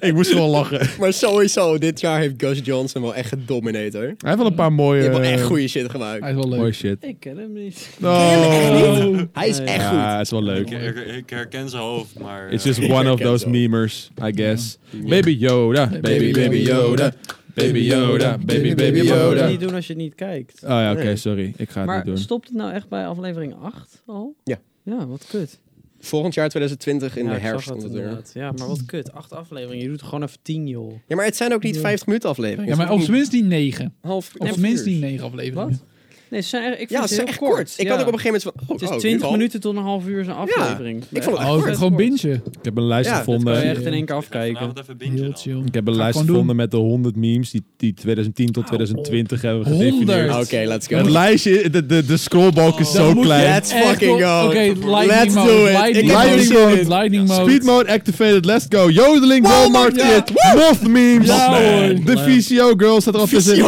S8: Ik moest wel lachen. Hij
S3: Maar sowieso, dit jaar heeft Gus Johnson wel echt gedomineerd hoor. Die
S8: heeft wel een paar mooie...
S3: heeft wel echt
S1: Ehm,
S3: goede shit gemaakt.
S2: Hij is wel leuk.
S1: Mooi shit.
S5: Ik ken hem niet.
S8: Oh.
S3: Hij is echt goed.
S1: Ja, is wel leuk.
S4: Ik, her- ik herken zijn hoofd, maar...
S1: It's
S4: eh,
S1: just one of
S3: herken
S1: those
S3: het
S1: memers, I guess. Baby Yoda, baby, baby Yoda, baby Yoda, baby, baby
S5: Je mag het
S1: Yoda.
S5: niet doen als je het niet kijkt.
S1: Oh ja, oké, sorry. Ik ga het niet
S5: Maar
S1: doen.
S5: stopt het nou echt bij aflevering 8 al?
S3: Ja.
S5: Ja, wat kut.
S3: Volgend jaar 2020 in
S5: ja,
S3: de
S5: ik zag
S3: herfst
S5: dat
S3: komt het weer.
S5: inderdaad. Ja, maar wat kut. Acht afleveringen. Je doet gewoon even tien, joh.
S3: Ja, maar het zijn ook niet 50 minuten afleveringen.
S2: Ja, maar op
S3: Het
S2: zijn minst die negen.
S3: zijn half
S2: Op
S3: half
S2: zijn minst
S3: uur.
S2: die negen afleveringen.
S5: Wat? Nee, ze zijn echt, ik
S3: Ja,
S5: vind
S3: ze
S5: het
S3: zijn
S5: heel
S3: echt kort. Ik
S5: ja.
S3: had ook op een gegeven moment van... Oh,
S5: Het is
S3: oh,
S5: 20
S3: nu al.
S5: minuten tot een half uur is een aflevering.
S3: Ik vond het
S2: Oh, ik
S3: echt
S2: ga
S3: kort.
S2: gewoon bingen.
S1: Ik heb een lijst
S3: Ja,
S5: Kan je
S1: gevonden.
S5: echt in één keer
S4: ik ga
S5: afkijken.
S4: vanavond even bingen
S2: Heel
S4: dan.
S2: chill.
S1: Ik heb een lijst
S2: gewoon doen.
S1: gevonden met de 100 memes die, die 2010 tot 2020 hebben we
S2: 100.
S1: gedefinieerd. Nou,
S3: Oké, let's go.
S1: Het lijstje, de, de, de scrollbalk is zo
S2: Oh. Dan moet je
S1: klein.
S3: Let's
S2: Echt
S3: fucking
S2: wel-
S3: go.
S2: Oké, lightning
S3: Let's
S2: mode.
S3: do it.
S2: Lightning
S3: Ik heb
S2: mode.
S3: er zin in.
S2: Lightning mode.
S1: Speed mode activated, let's go. Jodeling, Walmart,
S3: Walmart, ja.
S1: kit, Moth memes.
S2: Ja, hoor.
S1: De VCO girl staat er al tussen.
S3: Yo,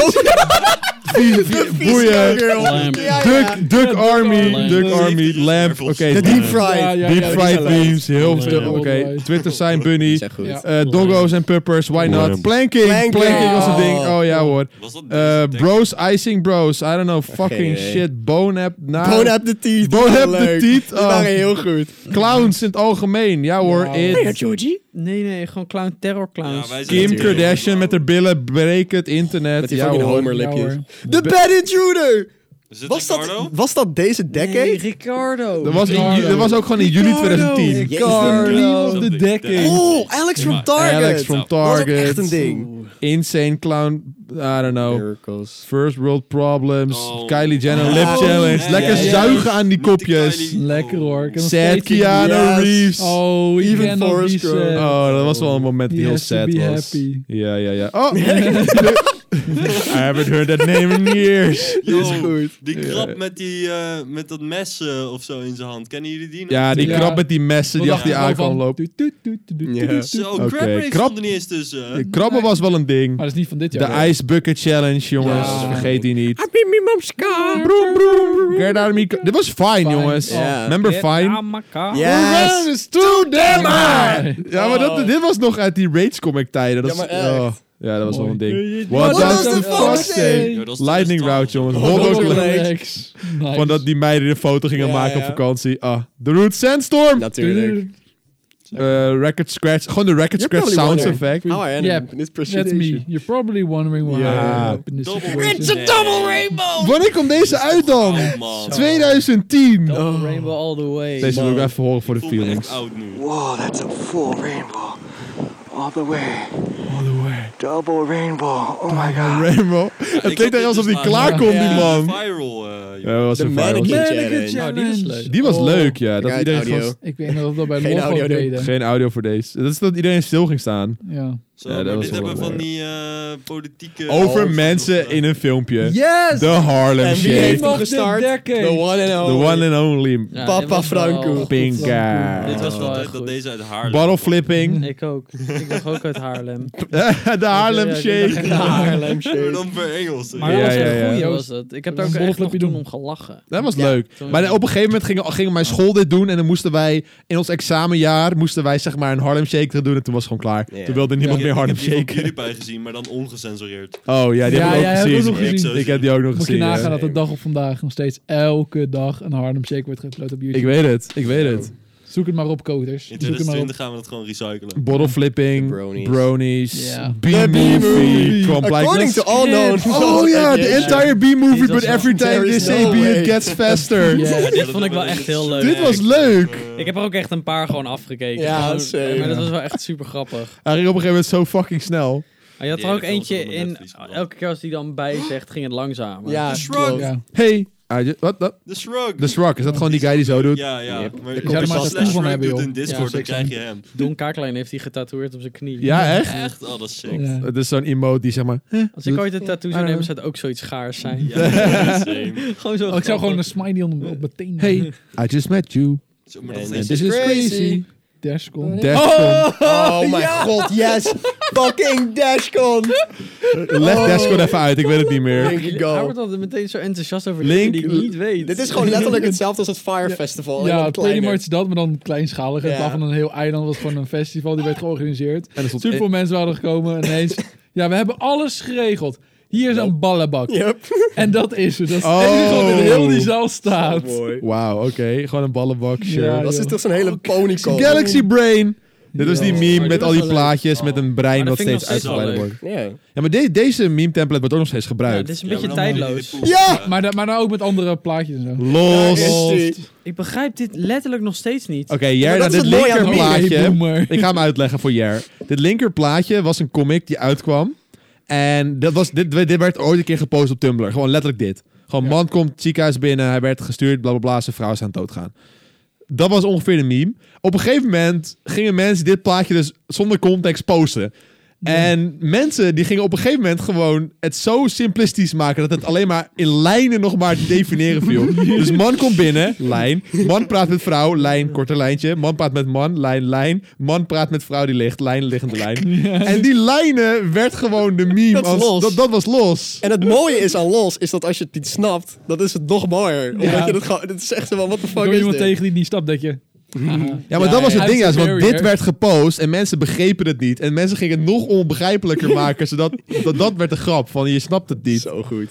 S1: Vi- vi- Boeien.
S5: Lamp.
S3: Ja, ja.
S1: Duck, Duck Army,
S5: Lamp.
S1: Duck
S4: Lamp.
S1: Army, Lamp. Oké,
S3: De deep
S1: Lamp.
S3: fry.
S2: Ja, ja, ja,
S1: Deep
S2: ja,
S1: fried
S2: ja.
S1: memes, heel veel.
S2: Ja.
S1: Oké, Twitter zijn
S3: Die
S1: bunny.
S3: zijn goed.
S2: Ja.
S1: Eh, doggo's en puppers, why not?
S8: Lamp.
S1: Planking, planking,
S3: Planking.
S1: was een ding. Oh ja hoor.
S4: Was dat
S1: Eh,
S4: deze
S1: bros, icing bros. I don't know, fucking
S3: idee.
S1: shit. Bonap, na.
S3: Bonap de Tiet.
S1: Bonap de
S3: Leuk.
S1: Tiet,
S3: Die
S1: oh.
S3: waren heel goed.
S1: Clowns in het algemeen, ja hoor.
S2: Wow.
S1: It.
S3: Georgie.
S5: Nee, nee, gewoon clown terror clowns.
S4: Ja, wij zijn
S1: Kim
S4: natuurlijk-
S1: Kardashian met haar billen breekt het internet.
S3: Met die
S1: ja,
S3: fucking
S1: hoor.
S2: Ja,
S3: homerlipjes.
S2: hoor.
S3: The Bad Intruder.
S4: Is dit
S3: Was dat,
S4: Ricardo?
S3: was dat deze decade?
S5: Nee, Ricardo.
S1: Dat was, in, ju- dat was ook gewoon in juli 2010.
S5: Ricardo.
S1: Of the decade.
S3: Oh, Alex from Target.
S1: Alex from
S3: Dat was ook
S1: Target.
S3: echt een ding.
S1: Insane clown, I don't know.
S3: Miracles.
S1: First world problems.
S4: Oh.
S1: Kylie Jenner lip challenge.
S4: nee,
S1: Lekker
S2: nee, nee.
S1: zuigen aan die
S4: Niet de
S1: kopjes.
S4: Kylie.
S2: Lekker hoor. Ik heb nog
S1: Sad
S2: steeds die-
S1: Keanu
S3: Yes.
S1: Reeves. Oh.
S2: Oh,
S3: Even
S2: even
S3: Forrest
S2: Forrest
S3: Gump.
S1: dat was wel een moment die
S2: He
S1: heel
S2: has to
S1: sad
S2: be
S1: was.
S2: happy.
S1: Ja, ja, ja. Oh! I haven't heard that name in years.
S4: Yo,
S3: is goed.
S4: Die krap met, die, eh, met dat mes eh, of zo in zijn hand. Kennen jullie die nog?
S1: Ja, die
S2: Ja.
S1: krab met die messen die achter die aan kwam lopen.
S3: Ja.
S4: Zo,
S1: Oké,
S4: crap race
S1: krap.
S4: stond er niet eens tussen. hè?
S1: Krabben was wel een ding.
S2: Maar dat is niet van dit
S1: De
S2: jaar.
S1: Ice Bucket Challenge, jongens.
S2: Ja.
S1: Vergeet die niet.
S3: Happy me mom's car.
S1: Broem, broem, broem. Get out of me car. Dit was fine,
S2: Fine.
S1: jongens.
S3: Ja.
S1: Remember fine?
S5: Amaka.
S3: Yes.
S1: It's too damn
S2: high.
S1: Ja, maar dat, dit was nog uit die Rage Comic tijden. Dat
S3: Oh. Ja,
S1: is-
S3: maar echt.
S1: oh. Ja, dat was wel een ding.
S3: What does the fuck say?
S4: Yo, dat is dus
S1: Lightning
S4: 2012.
S1: Route, jongens. Hollow
S2: Holoclex. Nice.
S1: Van dat die meiden een foto gingen
S3: Ja,
S1: maken op
S3: ja.
S1: vakantie. Ah, The Root Sandstorm.
S3: Natuurlijk.
S1: Eh, record Scratch. Gewoon de Record
S3: You're
S1: Scratch
S3: probably
S1: sound
S3: wondering.
S1: effect.
S3: How I end
S2: Yeah,
S3: up Ehm, in this
S2: That's me.
S3: presentation.
S2: You're probably wondering why
S1: Ja.
S2: I'm up in this
S4: Double
S2: situation.
S4: Nee.
S1: Wanneer komt deze uit dan?
S4: Oh, man.
S1: 2010.
S5: Oh. Rainbow all the way.
S1: Deze wil ik even horen voor de
S4: Ik voel me echt
S1: feelings.
S4: oud nu.
S9: Whoa, that's a full rainbow, all the way. All the way. Double rainbow. Oh my god.
S1: Rainbow.
S4: ik
S1: Het
S4: had
S1: klinkt echt
S4: dit
S1: alsof
S4: dus
S1: hij
S4: laatst-
S1: klaar kon, die
S3: Ja.
S1: man.
S4: Viral, eh, joh.
S1: Ja, dat was
S3: De
S1: een viral.
S3: mannequin
S2: Mannequin
S3: challenge.
S2: challenge. Oh, die was leuk.
S1: Die was
S2: Oh.
S1: leuk, ja. Dat
S3: Kijk,
S1: iedereen
S3: audio.
S1: vast-
S2: Ik weet nog dat we bij
S3: Geen
S2: Lofo
S3: audio,
S2: deden.
S1: Geen audio voor deze. Dat is dat iedereen stil ging staan.
S2: Ja.
S4: Zo,
S1: Ja, dat
S4: maar
S1: was
S4: dit
S1: wel
S4: hebben
S1: leuk.
S4: van die eh, eh, politieke...
S11: Over mensen in een filmpje.
S4: Yes!
S11: De Harlem
S4: En wie
S11: Shake.
S4: heeft hem
S11: The
S4: gestart?
S3: The one and only.
S11: one and only.
S5: Ja, Papa dit was Franco. wel-
S11: Pinka.
S4: Dit was wel
S5: Oh,
S4: dat,
S5: goed.
S4: dat deze uit Haarlem.
S11: Bottle flipping.
S5: Ik ook. Ik was ook uit Haarlem.
S11: de Haarlem Shake.
S5: De Haarlem
S4: Maar dan voor Engels.
S5: Maar
S11: Ja,
S5: dat was
S11: ja,
S5: echt
S11: ja.
S5: goed,
S2: Joost.
S5: was dat. Ik heb daar ook
S2: Dat was een
S5: echt nog
S2: bolletje
S5: toen
S2: doen.
S5: om gelachen.
S1: Dat was leuk.
S5: Toen-
S1: Maar op een gegeven moment ging, ging mijn school dit doen. En dan moesten wij in ons examenjaar moesten wij zeg maar een Harlem Shake gaan doen. En toen was het gewoon klaar.
S3: Ja.
S1: Toen wilde niemand meer Harlem
S4: Ik heb
S1: Shake.
S4: die bij gezien, maar dan ongecensureerd.
S1: Oh ja, die
S2: Ja,
S1: heb ik
S2: jij
S1: ook
S2: hebt
S1: gezien.
S2: het nog
S1: Ik-
S2: gezien.
S1: Ik heb die ook nog
S2: Moet je
S1: gezien.
S2: nagaan
S1: ja.
S2: dat de dag op vandaag nog steeds elke dag een Harlem Shake wordt geüpload op YouTube.
S1: Ik weet het. Ik weet het.
S2: Zoek het maar op, coders. Zoek
S4: In
S2: het maar op.
S4: 2020 gaan we dat gewoon recyclen.
S1: Bottle flipping,
S3: De bronies.
S1: bronies,
S2: Ja.
S1: B-movie. kwam
S3: According
S1: blijkbaar-
S3: to all known.
S1: Oh ja, the entire B-movie,
S5: Dit
S1: but
S5: was wel-
S1: every time
S3: There
S1: they
S3: is
S1: say
S3: no
S1: B,
S3: way.
S1: it gets faster.
S2: Ja.
S5: dit vond ik wel echt heel leuk.
S1: Dit was leuk.
S5: Ik heb er ook echt een paar gewoon afgekeken.
S3: Ja,
S5: Gewoon-
S3: same.
S5: Maar dat was wel echt super grappig.
S1: Hij ging op een gegeven moment zo fucking snel.
S5: Maar je had
S4: Ja,
S5: er ook
S4: dat filmpje
S5: eentje
S4: van de
S5: in...
S4: netvlies, man.
S5: Elke keer als die dan bij zegt, ging het langzamer.
S3: Ja,
S4: Shrug.
S3: klopt.
S2: Ja.
S1: Hey, I ju- wat? wat?
S4: The Shrug.
S1: The Shrug, is dat gewoon die guy die zo doet?
S4: Ja, ja. Maar
S2: zou er maar eens een
S4: slash
S2: tattoo van
S4: Shrug
S2: hebben,
S4: doet
S2: joh.
S4: in Discord,
S2: Ja,
S4: dan
S2: zeker.
S4: krijg je hem.
S5: Don Kaaklijn heeft die getatoeëerd op zijn knie.
S1: Ja, echt?
S4: Echt? Oh, dat is sick.
S2: Ja.
S1: Het is zo'n emote die zeg maar... eh,
S5: Als ik
S1: doet.
S5: ooit een tattoo zou nemen, zou het ook zoiets gaars zijn.
S4: Ja, same.
S5: gewoon zo
S2: Oh, ik zou gewoon een
S5: grappig.
S2: smiley onder- op mijn teen.
S1: Hey, I just met you.
S4: Zo, maar dat
S3: En
S4: is-
S1: This is crazy.
S2: Dashcon.
S1: Dashcon.
S3: Oh mijn god, yes! Fucking Dashcon!
S1: Leg Dashcon even uit, ik weet het niet meer.
S3: Link
S5: Hij
S3: it go.
S5: wordt altijd meteen zo enthousiast over
S1: Link-
S5: dingen die ik niet weet.
S3: Dit is gewoon letterlijk hetzelfde als het Fire Festival. alleen
S2: Ja,
S3: wat kleiner.
S2: pretty much dat, maar dan kleinschalig. In
S3: Ja.
S2: plaats van een heel eiland was gewoon een festival die werd georganiseerd.
S1: er stond-
S2: Super veel mensen waren gekomen en ineens... ja, we hebben alles geregeld. Hier is een ballenbak.
S3: Yep.
S2: En dat is het. Dat is
S1: Oh.
S2: het enige wat in heel die zaal staat.
S1: Wauw, oké. Gewoon een ballenbak, sure.
S2: Ja,
S3: Dat is
S2: joh.
S3: toch zo'n hele ponycode.
S1: Galaxy Brain. Dit was die
S2: Ja.
S1: meme
S5: Maar
S1: met
S5: dit
S1: al
S5: was
S1: die
S5: wel leuk.
S1: plaatjes met een brein
S5: Maar dat
S1: wat
S5: vind ik
S1: steeds
S5: nog steeds
S1: uitgebreider
S5: wel
S1: wordt.
S3: Ja.
S1: Ja, maar de- deze meme template wordt ook nog steeds
S5: Ja,
S1: gebruikt.
S5: dit is een
S4: Ja,
S5: beetje
S4: maar dan moet je
S5: tijdloos.
S4: in de pool.
S3: Ja!
S2: Maar, da- maar dan ook met andere plaatjes en zo.
S1: Los.
S3: Daar is die.
S5: Ik begrijp dit letterlijk nog steeds niet.
S1: Oké, Jer,
S3: dat
S1: nou,
S3: is
S1: dit
S3: het mooie aan
S1: linker
S3: de meme.
S1: plaatje.
S2: Hey, boomer.
S1: ik ga hem uitleggen voor Jer. Dit linker plaatje was een comic die uitkwam. En dat was, dit, dit werd ooit een keer gepost op Tumblr. Gewoon letterlijk dit. Gewoon man komt het ziekenhuis binnen, hij werd gestuurd, bla bla bla, zijn vrouw is aan het doodgaan. Dat was ongeveer de meme. Op een gegeven moment gingen mensen dit plaatje dus zonder context posten. En mensen die gingen op een gegeven moment gewoon het zo simplistisch maken dat het alleen maar in lijnen nog maar te definiëren viel. Dus man komt binnen, lijn. Man praat met vrouw, lijn, korte lijntje. Man praat met man, lijn, lijn. Man praat met vrouw die ligt, lijn, liggende lijn. En die lijnen werd gewoon de meme.
S3: Dat is
S1: als-
S3: los.
S1: Dat, dat was los.
S3: En het mooie is aan Los, is dat als je het niet snapt, dan is het nog mooier. Omdat
S2: Ja.
S3: je het gewoon... Het is echt zo van, what the fuck
S2: Kom
S3: is
S2: iemand
S3: dit?
S2: tegen die niet stapt, dat je...
S1: Ja, maar dat was het
S2: ja.
S1: ding juist, want
S2: Superior.
S1: dit werd gepost en mensen begrepen het niet. En mensen gingen het nog onbegrijpelijker maken, zodat dat, dat werd de grap van je snapt het niet.
S3: Zo goed.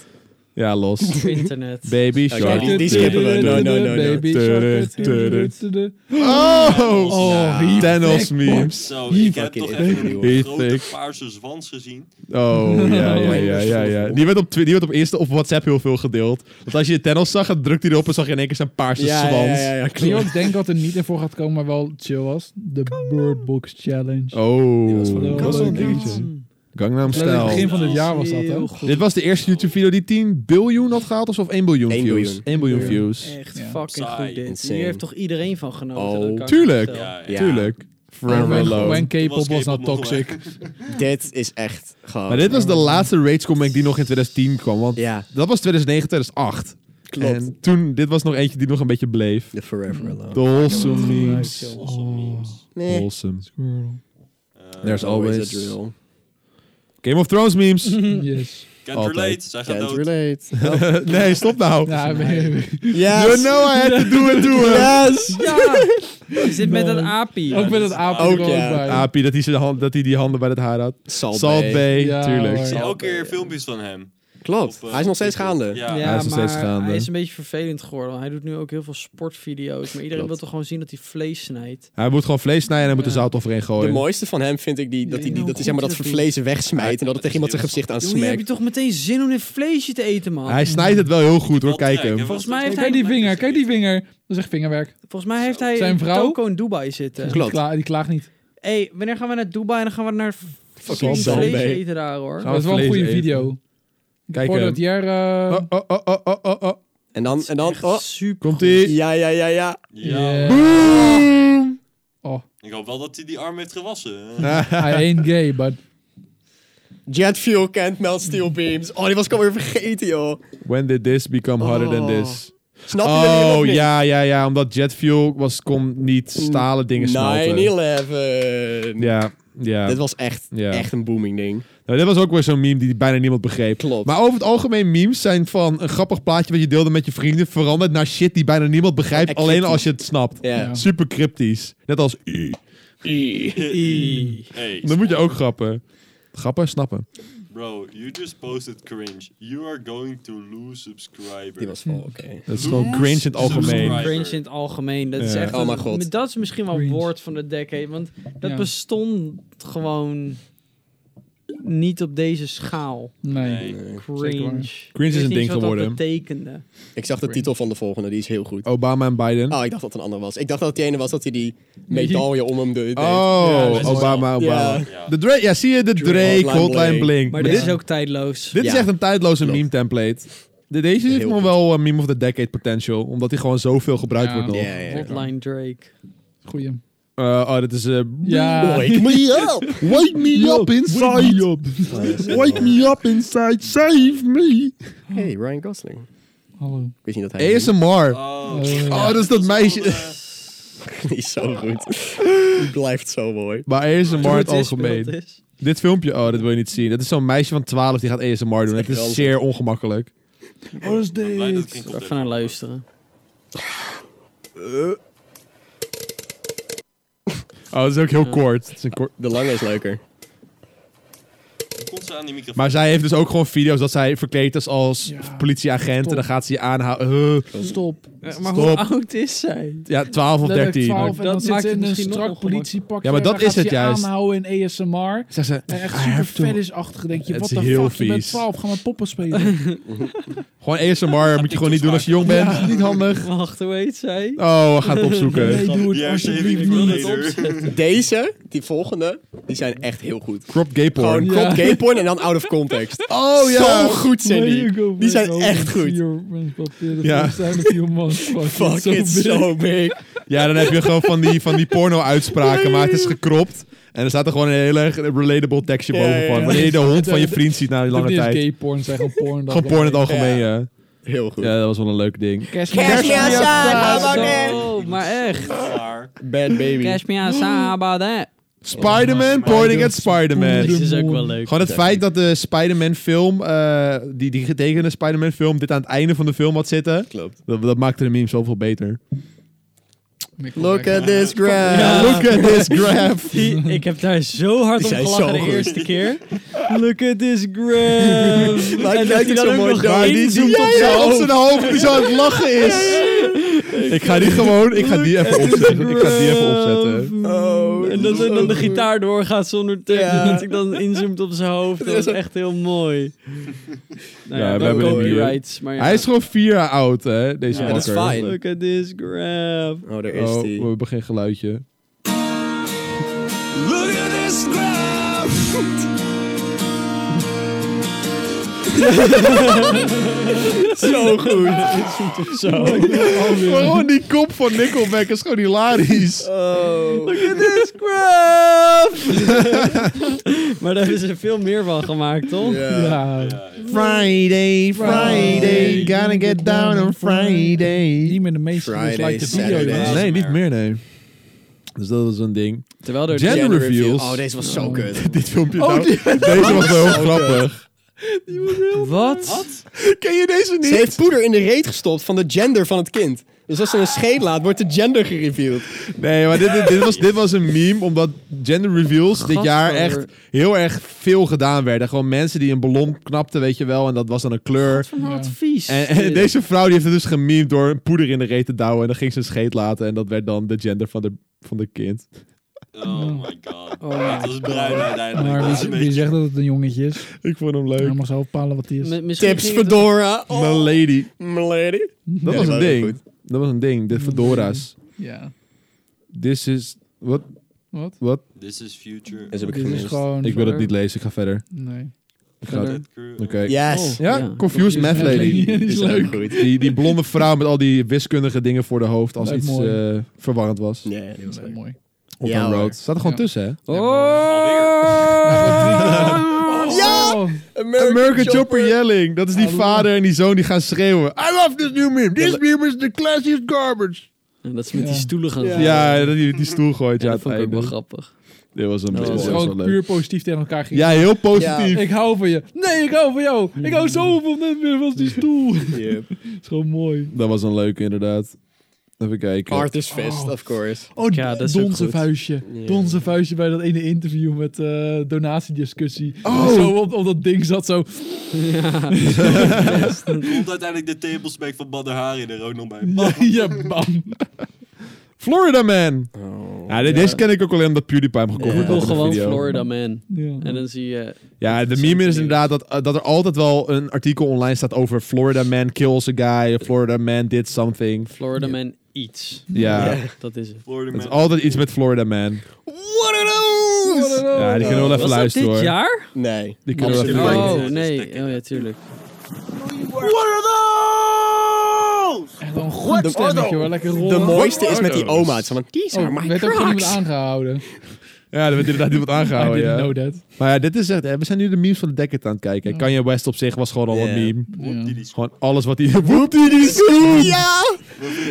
S1: Ja, los.
S5: Op internet.
S1: Baby shark.
S3: die- die skippen we. No, no, no, no.
S2: Baby shark. Tudu.
S1: Oh!
S2: Oh, he
S1: Thanos memes.
S4: Zo, ik heb
S3: fucking
S4: toch even
S1: thick.
S4: een
S1: He
S4: grote
S1: thick.
S4: paarse zwans gezien.
S1: Oh, ja, ja, ja, ja. ja. Die, werd op, Twi- die werd op, eerste, op WhatsApp heel veel gedeeld. Want als je Thanos zag, dan drukte hij erop en zag je in één keer zijn paarse
S3: Ja, ja,
S1: zwans.
S3: ja, ja,
S2: Weet je
S3: klopt.
S2: wat ik denk dat er niet in voor gaat komen, maar wel chill was? De Bird Box Challenge.
S1: Oh,
S2: wel
S1: dat was
S2: leuk.
S1: een dingetje. Gangnam
S2: Dat was in het begin
S1: Style.
S2: van dit jaar was dat,
S5: Heel
S2: hè?
S5: goed.
S1: Dit was de eerste YouTube-video die 10 biljoen had gehaald, of zo, of 1 biljoen
S3: 1
S1: views?
S3: biljoen.
S1: 1 biljoen views.
S5: Echt
S2: Ja.
S5: fucking
S4: Saai.
S5: goed dit.
S3: Insane.
S5: Hier heeft toch iedereen van genoten?
S3: Oh,
S5: dat kan ik me
S1: Tuurlijk.
S5: vertellen.
S4: Ja, ja.
S3: Ja.
S1: Tuurlijk. Forever
S2: When-
S1: alone.
S2: When K-pop
S4: Toen
S2: was
S4: was
S2: not
S4: K-pop nog
S2: nou toxic.
S3: Dit is echt gewoon...
S1: Maar dit was de laatste Rage comic die nog in 2010 kwam, want
S3: Ja,
S1: dat was 2009, 2008.
S3: klopt.
S1: En toen, dit was nog eentje die nog een beetje bleef.
S3: The Forever Alone.
S1: De wholesome memes.
S4: Awesome memes.
S3: Nee.
S1: Wholesome.
S4: Eh,
S1: There's always...
S3: a drill.
S1: Game of Thrones memes.
S2: Yes.
S4: Can't
S1: Altijd.
S4: relate, zij gaat
S3: Can't
S4: dood.
S3: relate.
S1: nee, stop nou.
S2: Ja,
S1: You
S3: Yes!
S1: know I had to do it to him.
S3: Yes!
S5: Je zit met dat
S2: Man.
S5: api.
S2: ook met het aap
S3: Ook,
S2: er wel
S3: ja.
S2: bij.
S1: Apie, dat hij, zijn hand, dat hij die handen bij het haar had.
S3: Salt,
S1: Salt
S3: Bae.
S1: Bay,
S2: Ja,
S1: tuurlijk.
S2: hoor.
S4: Ik zie
S2: Ja.
S4: elke keer filmpjes van hem.
S3: Klopt.
S4: Op, eh,
S3: Hij is nog steeds
S4: TikTok.
S3: gaande.
S4: Ja.
S5: Ja,
S1: Hij is nog
S5: maar
S1: steeds gaande.
S5: hij is een beetje vervelend geworden. Want hij doet nu ook heel veel sportvideo's. Maar iedereen wil toch gewoon zien dat hij vlees snijdt.
S1: Hij moet gewoon vlees snijden en hij moet
S5: Ja.
S1: de zout overheen
S3: De
S1: gooien.
S3: mooiste van hem vind ik die, dat hij die, dat hij zeg maar dat vervlezen wegsmijt en dat het tegen iemand zijn gezicht aan
S5: Jongen, heb je
S3: smekt.
S5: toch meteen zin om dit vleesje te eten, man?
S1: hij snijdt het wel heel goed hoor, kijk hem.
S5: Volgens mij
S2: Kijk,
S5: heeft
S2: Kijk
S5: hij,
S2: die vinger, kijk die vinger. Dat is echt vingerwerk.
S5: volgens mij heeft hij
S2: Zijn
S5: een
S2: vrouw?
S5: toko in Dubai zitten.
S2: Die,
S3: Klopt.
S2: kla die klaagt niet.
S5: Hé, hey, wanneer gaan we naar Dubai en dan gaan we naar fucking
S1: Salt Bae.
S5: vlees eten daar, hoor.
S1: Gaan
S2: dat is wel een
S1: vlees
S2: goede
S1: eten.
S2: video.
S1: Kijk hem.
S2: Voordat Jer... eh,
S1: Oh, oh, oh, oh, oh, oh, oh.
S3: En dan, en dan, oh.
S5: super.
S1: Komt ie.
S3: Ja, ja, ja, ja.
S4: Ja.
S2: yeah.
S1: Boom!
S2: Oh,
S4: Ik hoop wel dat hij die arm heeft gewassen.
S2: I ain't gay, but...
S3: Jet fuel kent melt steel beams. Oh, die was ik alweer vergeten, joh.
S1: When did this become harder than
S3: Oh.
S1: this?
S3: Snap je dat niet of
S1: oh,
S3: niet? Mm.
S1: ja, ja, ja. Omdat jet fuel was, kon niet stalen dingen smelten.
S3: 9-11.
S1: Ja, ja.
S3: Dit was echt,
S1: Ja.
S3: echt een booming ding.
S1: Nou, dit was ook weer zo'n meme die bijna niemand begreep.
S3: Klopt.
S1: Maar over het algemeen, memes zijn van een grappig plaatje wat je deelde met je vrienden veranderd naar shit die bijna niemand begrijpt,
S3: En
S1: alleen
S3: cryptisch.
S1: als je het snapt.
S3: Ja.
S2: Ja.
S1: Super cryptisch. Net als "I."
S4: Hey,
S1: Dan moet je ook grappen. Grappen, snappen.
S4: bro, you just posted cringe. You are going to lose subscriber.
S3: Die was wel oké.
S1: Dat is gewoon cringe in het algemeen.
S4: Subscribe.
S5: Cringe in het algemeen. Dat is
S1: Ja.
S5: echt
S3: Oh
S5: een-
S3: mijn god.
S5: Dat is misschien wel
S2: Cringe.
S5: woord van de decade. Want dat
S2: Ja.
S5: bestond gewoon niet op deze schaal.
S2: Nee.
S4: Nee.
S2: Zeker waar.
S5: Cringe.
S1: Cringe is een ding geworden.
S5: Dat betekende.
S3: Ik zag de titel van de volgende, die is heel goed.
S1: Obama en Biden.
S3: Oh, ik dacht dat het een andere was. Ik dacht dat het die ene was dat hij die medaille om hem de- deed.
S1: Oh,
S4: Ja,
S1: Obama,
S3: dat is wel-
S1: Obama.
S4: Ja.
S1: De Drake, ja, zie je de Drake,
S3: Hotline
S1: Hotline
S3: Bling.
S1: Blink.
S5: Maar
S1: Maar
S5: dit
S1: dit,
S5: is ook tijdloos.
S1: dit is
S3: Ja.
S1: echt een tijdloze
S3: Klopt.
S1: meme template. De- Deze heeft
S3: Heel
S1: gewoon
S3: goed.
S1: wel eh, meme of the decade potential, omdat hij gewoon zoveel gebruikt
S2: Ja.
S1: wordt nog.
S3: Ja, ja, ja.
S5: Hotline Drake.
S2: Goeie.
S1: Eh, oh, dit is... eh,
S2: Ja.
S3: Wake me up!
S12: Wake me up inside.
S1: Oh,
S12: Wake me up inside. Save me.
S3: Hey, Ryan Gosling.
S2: Hallo.
S3: Ik wist niet dat hij...
S12: ASMR.
S4: Oh,
S12: Oh, dat is dat meisje.
S3: Die is zo goed. Die blijft zo mooi.
S1: Maar ASMR in het
S5: Wat
S1: algemeen.
S5: is.
S1: Dit filmpje, oh, dat wil je niet zien. Dat is zo'n meisje van 12 die gaat ASMR doen. Het
S3: echt
S1: is
S3: ranzig.
S1: zeer ongemakkelijk.
S4: blij dat ik geen content
S5: Even naar
S4: heb.
S5: luisteren.
S1: Oh, dat is ook heel kort. Het is een kort.
S3: De lange is leuker.
S4: Komt ze aan die microfoon?
S1: Maar zij heeft dus ook gewoon video's dat zij verkleed is als
S2: Ja.
S1: politieagent. En dan gaat ze je aanhouden. Eh,
S2: Stop.
S5: Eh, Maar hoe
S1: Stop.
S5: oud is zij?
S1: ja, 12 of
S2: Dan heb ik
S1: 13.
S2: 12 en
S5: Dat
S2: dan zit
S5: maakt
S2: ze in
S5: het
S2: een
S5: misschien nog
S2: strak
S5: ongemakkelijk.
S2: politiepakje.
S1: Ja, maar dat
S2: en dan
S1: is
S2: gaat
S1: het
S2: ze je
S1: juist.
S2: aanhouden in ASMR.
S1: Zegt ze,
S2: En echt
S1: I have
S2: super
S1: to-
S2: fetish achtig denk je,
S1: Het
S2: wat
S1: is
S2: de
S1: heel
S2: fuck, je bent
S1: vies.
S2: 12, ga maar poppen spelen.
S1: Gewoon ASMR moet je gewoon niet doen als je jong bent.
S4: Ja.
S1: Niet handig.
S5: Wacht, hoe heet zij?
S1: Oh, we gaan het
S2: Nee,
S1: opzoeken.
S2: doe
S4: Die
S2: het
S4: hersenring
S2: alsjeblieft
S4: van
S2: niet.
S4: later.
S3: Deze, die volgende, die zijn echt heel goed.
S1: Crop gay
S3: Gewoon
S1: porn.
S3: crop gay porn en dan out of context.
S1: Oh
S3: Zo goed zijn die. Die zijn echt goed.
S1: Ja.
S2: Ja.
S3: Fuck, it's so big.
S1: Ja, dan heb je gewoon van die, van die porno-uitspraken, maar het is gekropt. En er staat er gewoon een heel erg relatable tekstje
S3: Ja, ja,
S1: boven van.
S3: ja.
S1: Wanneer je de hond van je vriend ziet na die lange
S2: Dit is
S1: tijd.
S2: gay porn, zijn gewoon porn. dat
S1: Gewoon porn in het
S2: jij-
S1: algemeen, ja. ja.
S3: Heel goed.
S1: dat was wel een leuk ding.
S2: Kerstmis.
S3: Kerstmis.
S2: Kerstmis.
S5: Oh, maar echt.
S4: Klaar.
S3: Bad baby.
S5: Cash me aan Sabada.
S2: Oh,
S1: Spider-Man pointing at
S5: Dit
S1: Spider-Man.
S5: is ook wel leuk.
S1: Gewoon het feit dat de Spider-Man film, eh, die, die getekende Spider-Man film, dit aan het einde van de film had zitten.
S3: Klopt.
S1: Dat, dat maakte de meme zoveel beter.
S3: Look at this graph.
S5: Ja.
S1: Look at this graph.
S5: Die- ik heb daar zo hard
S3: Die
S5: om
S3: zijn
S5: gelachen
S3: zo
S5: de
S3: goed.
S5: eerste keer. Look at this gram.
S3: Maar die lijkt zo mooi daar.
S1: Maar die zoomt op zijn hoofd, zijn hoofd die zo aan het lachen is. Ik ga die gewoon, ik ga die even opzetten. Ik ga die even opzetten.
S3: Oh,
S5: En dat er dan de gitaar doorgaat zonder tekst.
S3: Ja.
S5: Dat ik dan inzoomt op zijn hoofd. Dat is echt heel mooi. Nou
S1: Ja,
S5: ja,
S1: we
S5: we
S1: hebben hem hier.
S5: copyrights. Maar ja.
S1: Hij is gewoon vier jaar oud, hè, deze
S3: Ja, dat is
S1: makker.
S3: fijn.
S5: Look at this grab.
S3: Oh, daar is
S1: Oh,
S3: die.
S1: we hebben geen geluidje.
S3: Look at this graph. Zo goed.
S5: Zo.
S3: Oh,
S1: Gewoon die kop van Nickelback is gewoon hilarisch.
S3: Oh.
S5: Look at this grab. maar daar hebben ze veel meer van gemaakt, toch?
S2: Ja.
S1: Friday,
S2: Friday,
S1: gotta get down on Friday.
S2: Niet meer de meeste
S3: Friday,
S2: disliked
S3: Saturday.
S2: video's.
S1: Nee, niet meer, nee. Dus dat was een ding.
S5: Terwijl er
S1: Gender reveals.
S3: Oh, deze was zo kut.
S1: Dit filmpje nou- Deze was wel heel grappig.
S5: Wat?
S1: Ken je deze
S3: Ze
S1: niet?
S3: heeft poeder in de reet gestopt van de gender van het kind. Dus als ze een scheet laat, wordt de gender gereveeld.
S1: Nee, maar dit, dit, dit was, dit was een meme, omdat gender reveals dit jaar echt
S5: Gadver.
S1: heel erg veel gedaan werden. Gewoon mensen die een ballon knapten, weet je wel, en dat was dan een kleur.
S5: Van advies.
S1: En, en deze vrouw die heeft het dus gememd door een poeder in de reet te douwen. En dan ging ze een scheet laten en dat werd dan de gender van de, van de kind.
S4: Oh my god.
S5: Oh.
S4: Het was bruin uiteindelijk.
S2: Maar
S4: Dat was
S2: wie,
S4: een
S2: wie
S4: beetje...
S2: zegt dat het een jongetje is?
S1: Ik vond hem leuk.
S2: Hij mag zelf bepalen wat hij is.
S5: Mi- misschien
S3: Tips
S5: ging
S3: voor
S5: het-
S3: Dora. Oh,
S1: My lady.
S3: milady.
S1: Dat was een
S3: dat was
S1: ding.
S3: goed.
S1: Dat was een ding. De fedora's.
S2: Ja.
S1: This is... Wat?
S2: Wat?
S1: Wat?
S4: This is future.
S3: Deze heb ik
S2: Dit is
S3: gemist.
S2: gewoon...
S1: Ik wil het
S2: verder-
S1: niet lezen. Ik ga verder.
S2: Nee.
S1: Ik ga... Oké.
S3: Yes.
S1: Ja,
S5: Ja.
S1: Confused Math Lady.
S2: Die is
S3: Dit ook
S2: leuk.
S3: goed.
S1: Die, die blonde vrouw met al die wiskundige dingen voor de hoofd als
S2: Lijkt
S1: iets
S2: mooi.
S1: eh, verwarrend was.
S3: Ja, dit
S2: Dat
S3: was
S2: is
S3: leuk.
S2: mooi.
S1: Op
S3: Ja,
S1: een
S3: hoor.
S1: road. Staat er gewoon
S2: Ja.
S1: tussen, hè?
S5: Oh!
S3: Ja! American,
S1: American Chopper,
S3: Chopper.
S1: Yelling. Dat is die vader en die zoon die gaan schreeuwen. I love this new meme. This meme is the classiest garbage.
S5: En dat ze met die stoelen gaan
S1: Ja,
S5: gooien.
S1: dat die, die stoel gooit. Ja,
S5: dat vond ik ook wel
S1: uiteindelijk.
S5: grappig.
S1: Dit was een
S5: Dat
S1: beetje
S5: is
S2: Het is
S1: was wel
S2: gewoon
S1: leuk.
S2: puur positief tegen elkaar gingen.
S1: Ja, heel positief.
S2: Ik hou van je. Nee, ik hou van jou. Ik hou zoveel net meer van die stoel. Het is gewoon mooi.
S1: Dat was een leuke inderdaad. Even kijken.
S3: Artist Fest, of course.
S2: Oh,
S5: Ja, dat is ook
S2: Donse
S5: goed.
S2: vuistje. Donse vuistje bij dat ene interview met eh donatiediscussie.
S1: Oh.
S2: Zo op, op dat ding zat zo.
S4: Komt uiteindelijk de tablesmack van Badahari er ook nog bij.
S2: Ja, ja, bam.
S1: Florida Man. ja, de- deze ken ik ook alleen omdat PewDiePie hem gekocht
S5: Ik wil
S1: had in de
S5: gewoon
S1: video.
S5: Florida Man.
S2: Ja.
S5: En dan zie je...
S1: Ja, de meme is inderdaad dat, eh, dat er altijd wel een artikel online staat over Florida Man kills a guy, Florida Man did something.
S5: Florida Man iets.
S1: Ja,
S5: Dat is het.
S4: Florida
S1: het is
S4: Man.
S1: altijd iets met Florida Man.
S3: What are those?
S1: Ja, die kunnen we wel even
S5: Was dat
S1: luisteren
S5: dit
S1: hoor.
S5: jaar?
S3: Nee.
S1: Die kunnen we wel even
S4: Amsterdam.
S1: luisteren.
S5: Oh,
S4: is
S5: nee.
S4: lekker.
S5: Oh ja, tuurlijk.
S2: Echt wel een goed stemmetje hoor. Lekker rollen.
S3: De mooiste is met die oma. Het is van, these are
S2: Oh,
S3: my
S2: werd ook gewoon iemand
S3: crocs.
S2: aangehouden.
S5: Oh.
S1: Ja, er werd inderdaad iemand
S2: I
S1: aangehouden.
S2: didn't
S1: Ja.
S2: know that.
S1: Maar ja, dit is echt, we zijn nu de memes van de Dekker aan het kijken. Kanye West op zich was gewoon al
S3: Ja.
S1: een meme.
S2: Ja.
S4: Die- die-
S1: Gewoon alles wat hij. Woept hij die zoen!
S3: Ja!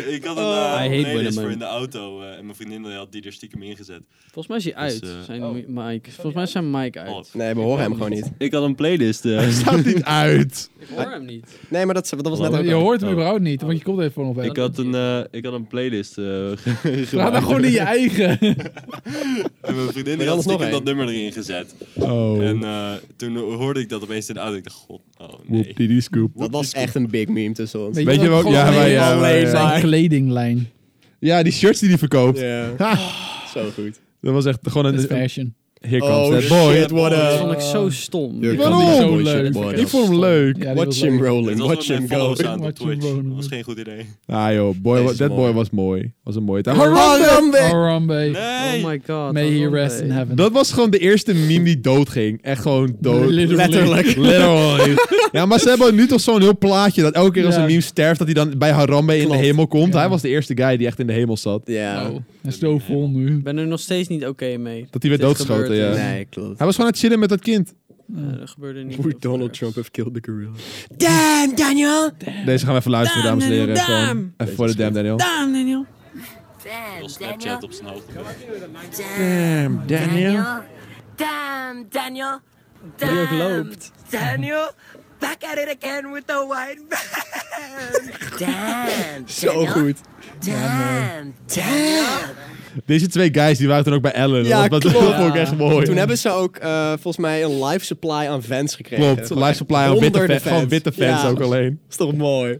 S4: Ik had een eh,
S5: hate
S4: playlist
S5: Badahari.
S4: voor in de auto eh, en mijn vriendin had die er stiekem ingezet.
S5: Volgens mij is hij uit.
S4: eh,
S5: zijn Mike. Volgens mij zijn Mike uit.
S4: Half.
S3: Nee, we horen hem gewoon niet.
S4: Ik had een playlist. eh,
S1: Staat niet uit.
S5: Ik hoor hem niet.
S3: Nee, maar dat, dat was net ook
S2: Je
S3: al.
S2: hoort hem überhaupt niet, want je komt even van op
S4: ik,
S2: weg.
S4: had een, eh, ik had een playlist. eh, gemaakt.
S2: Praat dan gewoon in je eigen.
S4: En mijn vriendin
S3: er
S4: had
S3: is nog
S4: stiekem
S3: één.
S4: dat nummer erin gezet.
S1: Oh.
S4: En eh, toen hoorde ik dat opeens in de auto. Ik dacht, god, oh nee.
S1: Woep die die scoop.
S3: Dat was echt een big meme tussen ons.
S1: Weet je
S2: wat?
S1: wel-
S2: Gewoon
S1: ja,
S2: alleen
S1: maar ja,
S2: al
S1: maar ja.
S2: zijn kledinglijn.
S1: Ja, die shirts die hij verkoopt.
S3: Ja.
S1: Ha,
S3: Zo goed.
S1: dat was echt gewoon
S2: Dat is
S1: een.
S2: fashion.
S1: Here comes
S3: Oh
S1: that boy.
S3: shit, what
S5: Dat
S3: a...
S5: vond ik zo stom.
S3: Here
S5: Ik
S3: comes
S5: vond
S1: Waarom?
S5: die
S2: Zo
S3: boy,
S2: leuk.
S3: shit, what a-
S1: Ik vond hem leuk.
S2: Ja, die was
S3: Watch him
S2: leuk.
S4: Dat
S3: rolling,
S4: was
S3: watch
S4: met
S3: him
S4: mijn
S3: go.
S4: followers aan op
S2: Watch him
S4: Twitch.
S2: go.
S4: Dat was geen goed idee.
S1: Ah joh, boy,
S3: Deze is
S1: that
S3: mooi.
S1: boy was mooi. Was een mooie tijd.
S3: Harambe!
S2: Harambe.
S5: Oh
S4: Nee!
S5: my god.
S2: May he
S5: Harambe.
S2: rest in heaven.
S1: Dat was gewoon de eerste meme die doodging. Echt gewoon dood.
S3: Letterlijk.
S1: Literally. ja, maar ze hebben nu toch zo'n heel plaatje dat elke keer als
S2: Ja.
S1: een meme sterft, dat hij dan bij Harambe in de
S3: Klopt.
S1: hemel komt.
S2: Ja.
S1: Hij was de eerste guy die echt in de hemel zat.
S3: Ja.
S1: Nou.
S2: Oh, hij is zo vol nu.
S5: Ik ben er nog steeds niet oké mee.
S1: Dat hij werd
S5: Dit
S1: doodgeschoten,
S5: gebeurd is.
S1: ja.
S3: Nee, klopt.
S1: Hij was gewoon aan het chillen met dat kind.
S5: Ja, dat gebeurde niet.
S3: Hoe
S5: veel
S3: Donald
S5: verder.
S3: Trump heeft killed the gorilla. Damn, Daniel!
S1: Deze gaan we even luisteren,
S5: Damn,
S1: dames en heren.
S5: Daniel,
S1: Gewoon
S5: damn.
S1: Even voor de damn, Daniel.
S5: Damn, Daniel.
S4: Heel Snapchat op zijn hoofd.
S1: Damn, Daniel.
S7: Damn, Daniel.
S5: Die ook loopt.
S7: Daniel, back at it again with the white man. Damn,
S3: Zo goed.
S7: damn,
S1: Deze twee guys die waren toen ook bij Ellen.
S3: Ja,
S1: dat was-
S3: klopt.
S1: dat vond ik echt mooi.
S3: Toen hebben ze ook eh, volgens mij een live supply aan fans gekregen.
S1: Klopt, live supply aan witte
S3: honderden
S1: fans. Gewoon
S3: fans.
S1: witte fans
S3: Ja.
S1: ook alleen.
S3: is toch mooi?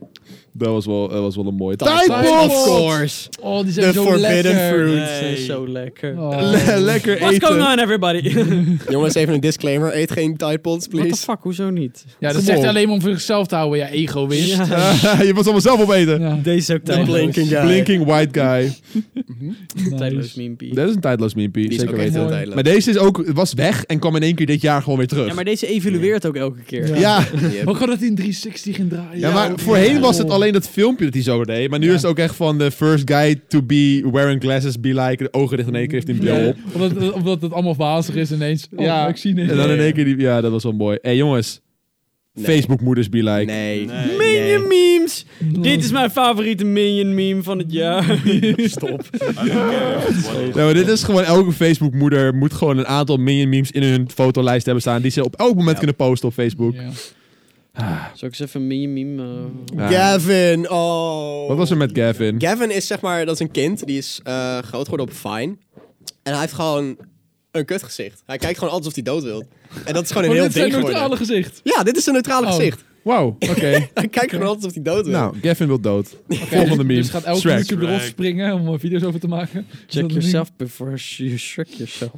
S1: Dat was wel, dat was wel een mooie
S3: Of
S1: Tijdpot!
S3: course.
S2: Oh, die
S3: The
S2: zijn zo
S3: forbidden
S2: lekker.
S3: fruit.
S5: Ze is zo lekker.
S2: Oh.
S1: Lekker
S5: What's going
S1: eten.
S5: on, everybody?
S3: Jongens, even een disclaimer. Eet geen Tide Pods,
S5: What the
S3: please.
S5: fuck, hoezo niet?
S2: Ja, dat
S1: Kom
S2: zegt
S1: op.
S2: hij alleen maar om voor zichzelf te houden. Ja, egoïst. Ja.
S1: Je was allemaal zelf opeten.
S2: Ja.
S5: Deze is ook
S3: The
S5: tijdloos.
S3: blinking guy.
S1: Blinking white guy.
S5: Tijdloos memepiece.
S1: Dat is een tijdloos meme,
S3: Die is
S1: zeker
S3: ook echt
S1: weten.
S3: heel
S2: mooi.
S1: Maar
S3: tijdelijk.
S1: deze is ook, was weg en kwam in één keer dit jaar gewoon weer terug.
S5: Ja, maar deze evolueert ook elke keer.
S2: Ja.
S1: Ja.
S2: Hoe kan dat hij in 360 ging draaien?
S1: Ja, maar voorheen was het alleen dat filmpje dat hij zo deed. Maar nu
S2: Ja.
S1: is het ook echt van de first guy to be wearing glasses, be like. De ogen dicht in één keer heeft hij een bril
S2: Ja,
S1: op.
S2: omdat, omdat het allemaal wazig is ineens. Oh,
S1: Ja.
S2: ja, ik zie niks.
S1: En dan in één keer, die, ja, dat was wel mooi. Hé hey, jongens,
S3: Nee.
S1: Facebook moeders be like.
S3: Nee. nee.
S4: Nee.
S5: Minion memes! Dit is mijn favoriete minion meme van het jaar.
S3: Stop.
S4: I don't care. What
S1: Nee, maar dit is gewoon elke Facebook moeder moet gewoon een aantal minion memes in hun fotolijst hebben staan. Die ze op elk moment kunnen posten op Facebook.
S2: Ja. Oh,
S5: Zal ik eens even een minion meme...
S1: Ja.
S5: eh,
S3: Gavin, oh.
S1: Wat was er met Gavin?
S3: Gavin is zeg maar, dat is een kind, die is eh, groot geworden op Vine. En hij heeft gewoon een kut gezicht. Hij kijkt gewoon alsof hij dood wil. En dat is gewoon een
S2: Oh,
S3: heel
S2: dit zijn
S3: ding
S2: neutrale
S3: geworden.
S2: gezicht.
S3: Ja, dit is een neutrale
S2: Oh.
S3: gezicht.
S1: Wow, oké.
S3: Hij kijkt gewoon alsof hij dood wil.
S1: nou, Gavin wil dood.
S2: Oké,
S1: Volgende
S2: dus-
S1: meme.
S2: Dus gaat elke
S1: Shrek.
S2: YouTube erop
S4: Shrek.
S2: springen om er video's over te maken.
S5: Check yourself before you shrek yourself.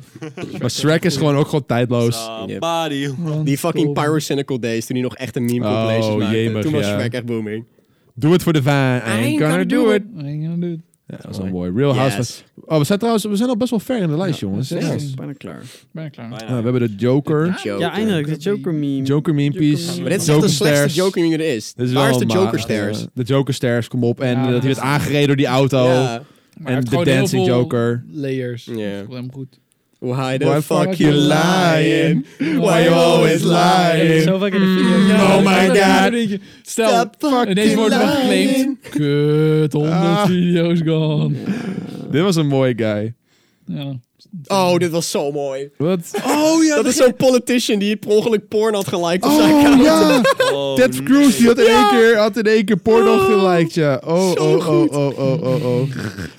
S1: Maar Shrek is gewoon ook gewoon
S4: the-
S1: tijdloos.
S4: Somebody.
S3: Die fucking Pyrocynical Days, toen hij nog echt een meme
S1: Oh,
S3: compilation maakte.
S1: jemig,
S3: toen was
S1: ja.
S3: Shrek echt booming.
S1: Doe het voor de vine. I ain't gonna do it. Ja, dat is wel mooi. Real House.
S3: Yes.
S1: Oh, we zijn trouwens we zijn al best wel ver in de lijst, jongens.
S2: zeker.
S1: Ja.
S2: Ja.
S5: Bijna klaar.
S2: Ben ik
S4: Oh,
S2: klaar.
S1: Nou, we hebben de Joker.
S3: Joker.
S5: Ja, eindelijk. De Joker meme.
S1: Joker meme piece.
S5: meme.
S3: Maar dit is echt
S1: Joker
S3: de slechtste
S1: stairs.
S3: Joker die er is.
S1: Dit is
S3: Waar is
S1: wel
S3: de
S1: een ma-
S3: Joker stairs?
S1: Ja, de Joker stairs, kom op. En
S2: Ja,
S1: dat hij werd aangereden door die auto.
S3: Ja.
S2: Maar hij
S1: En
S2: heeft
S1: de
S2: gewoon heel
S1: Dancing
S2: veel
S1: Joker.
S2: Layers.
S3: Ja.
S2: Dat is wel hem goed.
S3: Why the
S1: Why
S3: fuck,
S1: fuck you
S3: you lying?
S1: lying?
S3: Why
S2: Oh,
S3: you always lying?
S5: Zo vaak in de
S2: Mm.
S5: video.
S3: Oh
S2: Ja,
S3: my
S2: dat is
S3: god.
S2: een ding. Stel, ineens wordt er
S3: lying.
S2: geclaimd. Kut, 100
S1: Ah.
S2: video's gone.
S1: Dit was een mooie guy.
S2: Ja.
S3: Oh, dit was zo mooi.
S1: Wat?
S3: Oh ja, dat is zo'n politician die per ongeluk porn had geliked op zijn
S1: Oh
S3: account.
S1: ja!
S4: Oh,
S1: Ted Cruz die had in één keer, had in één keer porno
S3: Oh,
S1: geliked, ja. Oh,
S3: zo
S1: oh, oh,
S3: goed.
S1: oh, oh, oh, oh.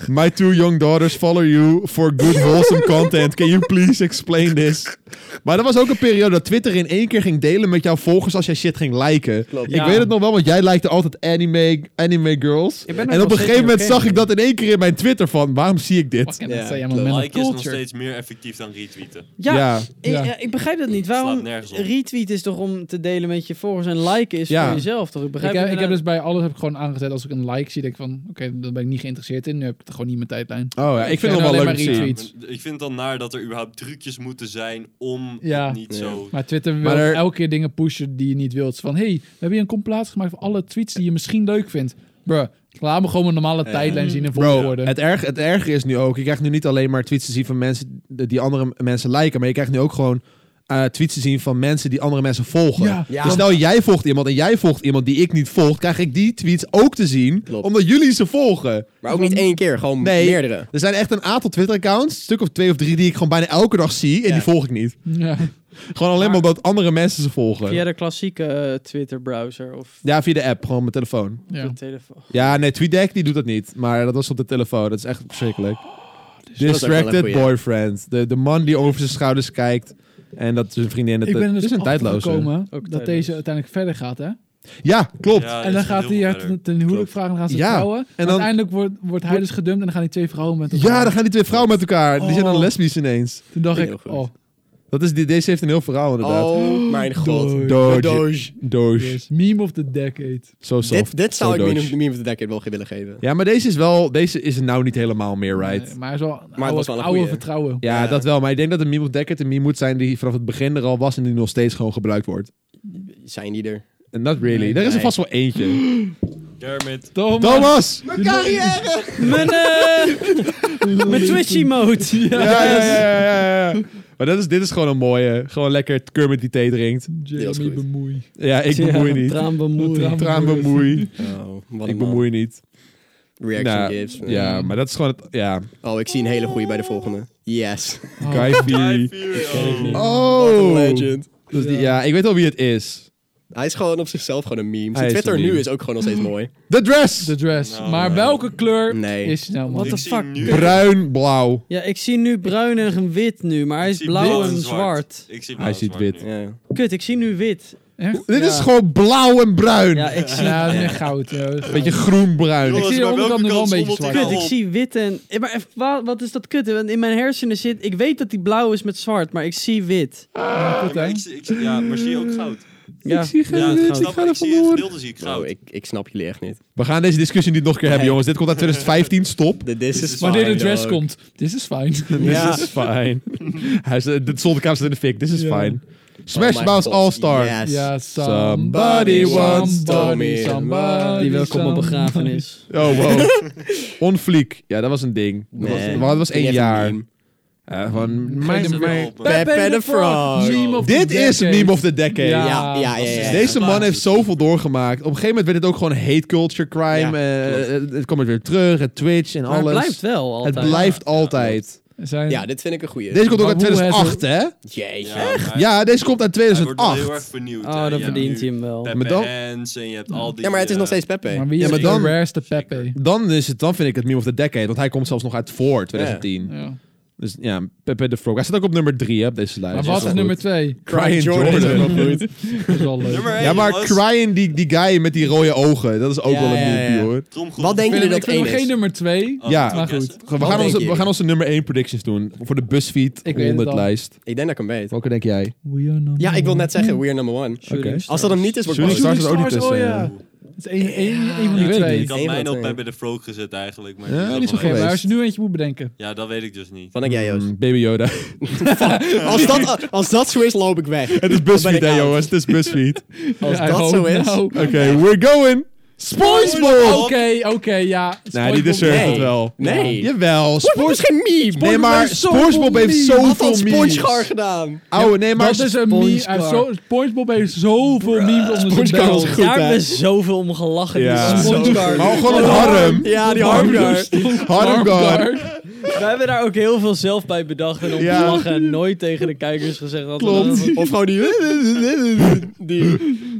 S1: My two young daughters follow you for good wholesome content. Can you please explain this? Maar dat was ook een periode dat Twitter in één keer ging delen met jouw volgers als jij shit ging liken.
S3: Klopt.
S1: Ik
S5: Ja.
S1: weet het nog wel, want jij likte altijd anime, anime girls.
S5: Ik ben er
S1: En
S5: nog
S1: op een
S5: steeds
S1: gegeven
S5: niet
S1: moment
S5: oké
S1: zag ik
S5: mee.
S1: dat in één keer in mijn Twitter van, waarom zie ik dit?
S2: Fucking,
S3: Ja,
S2: dat zijn
S3: klopt.
S2: allemaal
S4: Like
S2: men
S4: is
S2: of
S4: nog
S2: culture.
S4: steeds meer effectief dan retweeten.
S5: Ja,
S1: Ja.
S5: Ik,
S2: Ja.
S5: ja, ik begrijp dat niet. Waarom
S4: Slaat nergens op.
S5: retweet is toch om te delen met je volgers en liken is
S1: Ja.
S5: voor jezelf toch? Ik
S2: Ik
S5: begrijp
S2: heb, ik heb
S5: inderdaad-
S2: dus bij alles heb ik gewoon aangezet. Als ik een like zie, denk ik van... Oké, daar ben ik niet geïnteresseerd in. Nu heb ik het gewoon niet in mijn tijdlijn.
S1: Oh ja, ik vind het
S2: Ja,
S1: wel
S2: alleen
S1: leuk
S2: maar
S1: om te zien.
S2: retweet.
S4: Maar Ik vind het dan naar dat er überhaupt trucjes moeten zijn om
S2: Ja.
S4: het niet
S3: Ja.
S4: zo...
S2: Maar Twitter wil
S1: Maar er-
S2: elke keer dingen pushen die je niet wilt. Van, hey, we hebben hier een compilatie gemaakt van alle tweets die je misschien leuk vindt. Bruh, laat me gewoon mijn normale tijdlijn zien en
S1: Bro,
S2: volgorde.
S1: het, erg, het erge is nu ook, je krijgt nu niet alleen maar tweets te zien van mensen die andere m- mensen liken, maar je krijgt nu ook gewoon eh, tweets te zien van mensen die andere mensen volgen.
S2: Ja.
S3: Ja.
S1: Dus stel jij volgt iemand en jij volgt iemand die ik niet volg, krijg ik die tweets ook te zien,
S3: Klopt.
S1: omdat jullie ze volgen.
S3: Maar ook niet één keer, gewoon
S1: Nee.
S3: meerdere.
S1: Er zijn echt een aantal Twitter-accounts, een stuk of twee of drie, die ik gewoon bijna elke dag zie en
S3: Ja.
S1: die volg ik niet.
S2: Ja.
S1: Gewoon alleen maar omdat andere mensen ze volgen.
S5: Via de klassieke eh, Twitter-browser of
S1: Ja, via de app, gewoon op mijn telefoon.
S2: Ja.
S5: de telefoon.
S1: Ja, nee, TweetDeck die doet dat niet, maar dat was op de telefoon. Dat is echt verschrikkelijk.
S3: Oh, dus dat is ook wel een
S1: Distracted
S3: goeie.
S1: boyfriend. De, de man die over zijn schouders kijkt. En dat zijn vriendin... Dat
S2: Ik ben er
S1: dit
S2: dus
S1: is een tijdloze.
S2: gekomen
S5: Ook
S2: dat
S5: tijdloos.
S2: deze uiteindelijk verder gaat, hè?
S1: Ja, klopt.
S4: Ja,
S2: en
S4: dat
S2: dan
S4: is
S2: gaat
S4: heel
S2: hij
S4: veel
S2: haar
S4: verder.
S2: ten, ten huwelijk vragen en dan gaan ze
S1: Ja.
S2: trouwen. En
S1: dan-
S2: uiteindelijk wordt, wordt hij dus gedumpt en dan gaan die twee vrouwen met elkaar.
S1: Ja, dan gaan die twee vrouwen met elkaar. Die zijn dan
S2: Oh.
S1: lesbisch ineens.
S2: Toen dacht
S3: Vind
S2: ik,
S3: ik heel
S2: oh,
S1: Dat is, die- deze heeft een heel verhaal inderdaad.
S3: Oh mijn god.
S2: Doei.
S1: Doge.
S3: Doge.
S1: Doge.
S2: yes, meme of the decade.
S1: Zo soft.
S3: Dit, dit
S1: Zo
S3: zou ik
S1: doge.
S3: meme of- meme of the Decade wel willen geven.
S1: Ja, maar deze is wel... Deze is nou niet helemaal meer right.
S2: Nee, maar hij is wel een
S3: was
S2: oude,
S3: wel een
S2: oude
S3: goeie.
S2: vertrouwen.
S1: Ja,
S3: Ja.
S1: dat wel. Maar ik denk dat de meme of Deckard een meme moet zijn die vanaf het begin er al was en die nog steeds gewoon gebruikt wordt.
S3: Zijn die er?
S1: And not really.
S2: Nee,
S1: er is er
S3: nee.
S1: vast wel eentje.
S4: Kermit.
S2: Thomas!
S1: Thomas!
S5: Mijn, eh, mijn Twitch-emote. Ja.
S1: Ja, ja, ja, ja, ja, ja. Maar dat is, dit is gewoon een mooie. Gewoon lekker Kermit die thee drinkt.
S3: was
S2: Jeremy
S3: goed.
S2: bemoei.
S1: Ja, ik bemoei niet.
S5: Traan bemoeien.
S2: Traan-
S1: Traan bemoei.
S3: Oh, wat een
S1: Ik
S3: man.
S1: bemoei niet.
S3: Reaction
S1: Nou,
S3: gives.
S1: Ja, maar dat is gewoon het... Ja,
S3: Oh, ik zie een hele goeie bij de volgende. Yes.
S1: Guy
S4: High
S1: Fieri.
S4: five, yo.
S3: What a
S1: Oh!
S3: legend.
S1: Dus die, ja, ik weet al wie het is.
S3: Hij is gewoon op zichzelf gewoon een meme. Zijn
S1: Hij is
S3: Twitter
S1: een meme.
S3: nu is ook gewoon nog steeds mooi.
S1: The Dress!
S2: The dress.
S4: Nou,
S2: maar
S4: nee.
S2: welke kleur
S3: Nee.
S2: is nou, man?
S5: What
S4: Ik
S5: the
S4: zie
S5: fuck?
S4: nu-
S1: Bruin, blauw.
S5: Ja, ik zie nu bruin en wit nu, maar hij
S4: Ik
S5: is
S4: zie
S5: blauw
S4: blauw
S5: en zwart.
S4: Ik
S1: Hij
S4: zie blauw en
S1: ziet
S4: zwart
S1: wit.
S4: nu.
S3: Ja. Oh,
S5: Kut, ik zie nu wit.
S2: Echt?
S1: Dit
S5: Ja.
S1: is gewoon blauw en bruin.
S5: Ja, ik zie...
S2: Ja, dat is meer goud. ja, dat is goud.
S1: Beetje groen-bruin.
S2: Ik zie
S4: Jongens,
S2: de
S4: maar welke
S2: onderkant nu wel een
S4: kant
S2: beetje
S4: stond het
S2: zwart.
S4: in
S5: Kut, ik
S4: al?
S5: zie wit en... eh, Maar even, wa- wat is dat kut? Want in mijn hersenen zit... Ik weet dat die blauw is met zwart, maar ik zie wit.
S4: Ja, maar ik zie- ik zie- Ja, maar zie je ook goud?
S5: Ja.
S4: Ja,
S5: het
S4: ik
S5: goud.
S4: snap, ik zie het gedeelte zie ik
S3: Bro,
S4: goud.
S3: ik, ik snap jullie echt niet.
S1: We gaan deze discussie niet nog een keer hebben,
S3: Nee.
S1: jongens. Dit komt uit 2015. Stop.
S3: De This
S4: is
S3: is
S2: Wanneer de
S3: fine,
S2: dress
S3: dog.
S2: komt. This is dus fine.
S1: This
S3: Ja.
S1: is fine. Hij zei, dit zolderkamer staat in de fik. This is
S2: Ja.
S1: fine.
S3: Oh
S1: Smash
S3: my
S1: Mouth
S3: God,
S1: All-Star.
S3: yes.
S2: Ja,
S1: Somebody
S2: somebody,
S1: once
S3: told me.
S2: somebody, somebody.
S5: Die wil ik op mijn
S2: somebody.
S5: begrafenis.
S1: Oh, wow. Onfliek. Ja, dat was een ding. Dat was,
S3: Nee.
S1: maar dat was
S3: Die
S1: één
S3: heeft
S1: jaar.
S3: een meme.
S1: Ja, van,
S4: Geen
S1: mijn,
S4: zin
S1: mijn-
S4: meer op, hè.
S3: Pepe de Frog.
S2: Meme of the
S1: dit is
S2: decade.
S1: Meme of the Decade.
S2: Ja.
S3: Ja, ja, ja. ja.
S1: Deze man heeft zoveel doorgemaakt. Op een gegeven moment werd het ook gewoon hate culture crime.
S3: Ja,
S1: eh,
S3: klopt.
S1: het, het kwam weer terug, het Twitch en
S5: Maar het
S1: alles.
S5: blijft wel altijd.
S1: Het blijft altijd.
S2: Zijn...
S3: Ja, dit vind ik een goeie.
S1: Deze komt ook uit
S2: Maar hoe
S1: 2008, hè?
S3: Jeetje.
S4: echt?
S1: Ja, deze komt uit
S4: Hij wordt wel heel erg
S1: 2008.
S4: vernieuwd.
S5: Oh, dan verdient hij hem wel.
S1: Maar
S4: Pepe
S1: dan-
S4: Hens en je hebt al die...
S3: Ja, maar het is
S4: eh,
S3: nog steeds Pepe.
S2: Maar wie is
S1: Ja, maar
S2: de
S1: dan-
S2: rareste Pepe?
S1: Dan, is het, dan vind ik het Meme of the Decade, want hij komt zelfs nog uit voor 2010.
S2: Ja.
S1: Dus ja, Pepe de Frog. Hij staat ook op nummer 3 op deze lijst.
S2: Maar wat is nummer twee?
S1: Crying Jordan.
S3: is ook wel goed.
S2: Dat is wel leuk.
S4: Nummer één,
S1: Ja, maar
S4: jongens.
S1: Crying, die, die guy met die rode ogen, dat is ook
S3: Ja,
S1: wel een
S3: ja,
S1: movie,
S3: ja.
S1: hoor.
S4: Tromgeroep.
S3: Wat denken
S2: Ik
S3: jullie
S2: vind
S3: dat
S2: hem
S3: één is?
S2: geen nummer twee.
S4: Oh,
S1: Ja,
S4: dat
S2: maar
S4: is
S2: goed.
S4: Jesse.
S1: We gaan,
S3: Wat denken
S1: onze, we
S3: jullie?
S1: gaan onze nummer 1 predictions doen voor de BuzzFeed
S2: Ik weet het al.
S1: 100 lijst.
S3: Ik denk dat ik hem weet.
S1: Welke denk jij?
S2: We are number
S3: Ja, ik wil net
S2: one.
S3: zeggen, we are number one.
S1: Oké.
S5: Shooting
S3: Als dat hem niet is, word ik
S1: Shooting
S3: boos.
S1: Stars is ook niet
S2: Stars, oh
S1: tussen.
S2: ja. Het is één één- één van
S1: Ik
S2: die
S1: weet
S2: twee.
S1: het
S4: Ik had
S3: Eén van
S4: mijn op
S3: twee.
S4: Pepe de Frog gezet eigenlijk. Maar
S1: Ja,
S4: ik
S1: die
S4: ben
S1: is
S4: wel
S1: wel
S2: Oké,
S4: blij.
S2: maar als je nu eentje moet bedenken.
S4: Ja, dat weet ik dus niet.
S3: Wat denk jij, Joost?
S1: Mm, Baby Yoda.
S3: Als dat, als dat zo is, loop ik weg.
S1: Het is BuzzFeed,
S3: Ben ik
S1: hè
S3: out.
S1: jongens. Het is BuzzFeed.
S3: Als
S2: Ja, I
S3: dat zo
S1: nou.
S2: hope
S3: is...
S2: now.
S1: Oké, we're going. SpongeBob!
S2: Oké, oké, ja.
S1: Nee, die deserves
S3: Nee.
S1: het wel.
S3: Nee.
S1: Ja. Jawel.
S3: SpongeBob is geen meme.
S1: Nee, maar SpongeBob heeft
S3: Wat
S1: zoveel
S3: had SpongeGar
S1: memes.
S3: gedaan?
S1: Ouwe, nee, maar...
S2: dat is een meme. Hij heeft zo- SpongeBob heeft zoveel memes onder zijn
S1: SpongeBob
S2: belt.
S1: is goed,
S5: Daar
S1: hè?
S5: hebben we zoveel om gelachen.
S1: Ja.
S5: Die SpongeGuard.
S1: Maar gewoon een harem.
S5: Ja, die
S1: Harmgar.
S5: Harmgar.
S1: Harmgar.
S5: Wij hebben daar ook heel veel zelf bij bedacht en om
S1: Ja.
S5: gelachen en nooit tegen de kijkers gezegd dat
S1: Klopt.
S3: Of gewoon die... die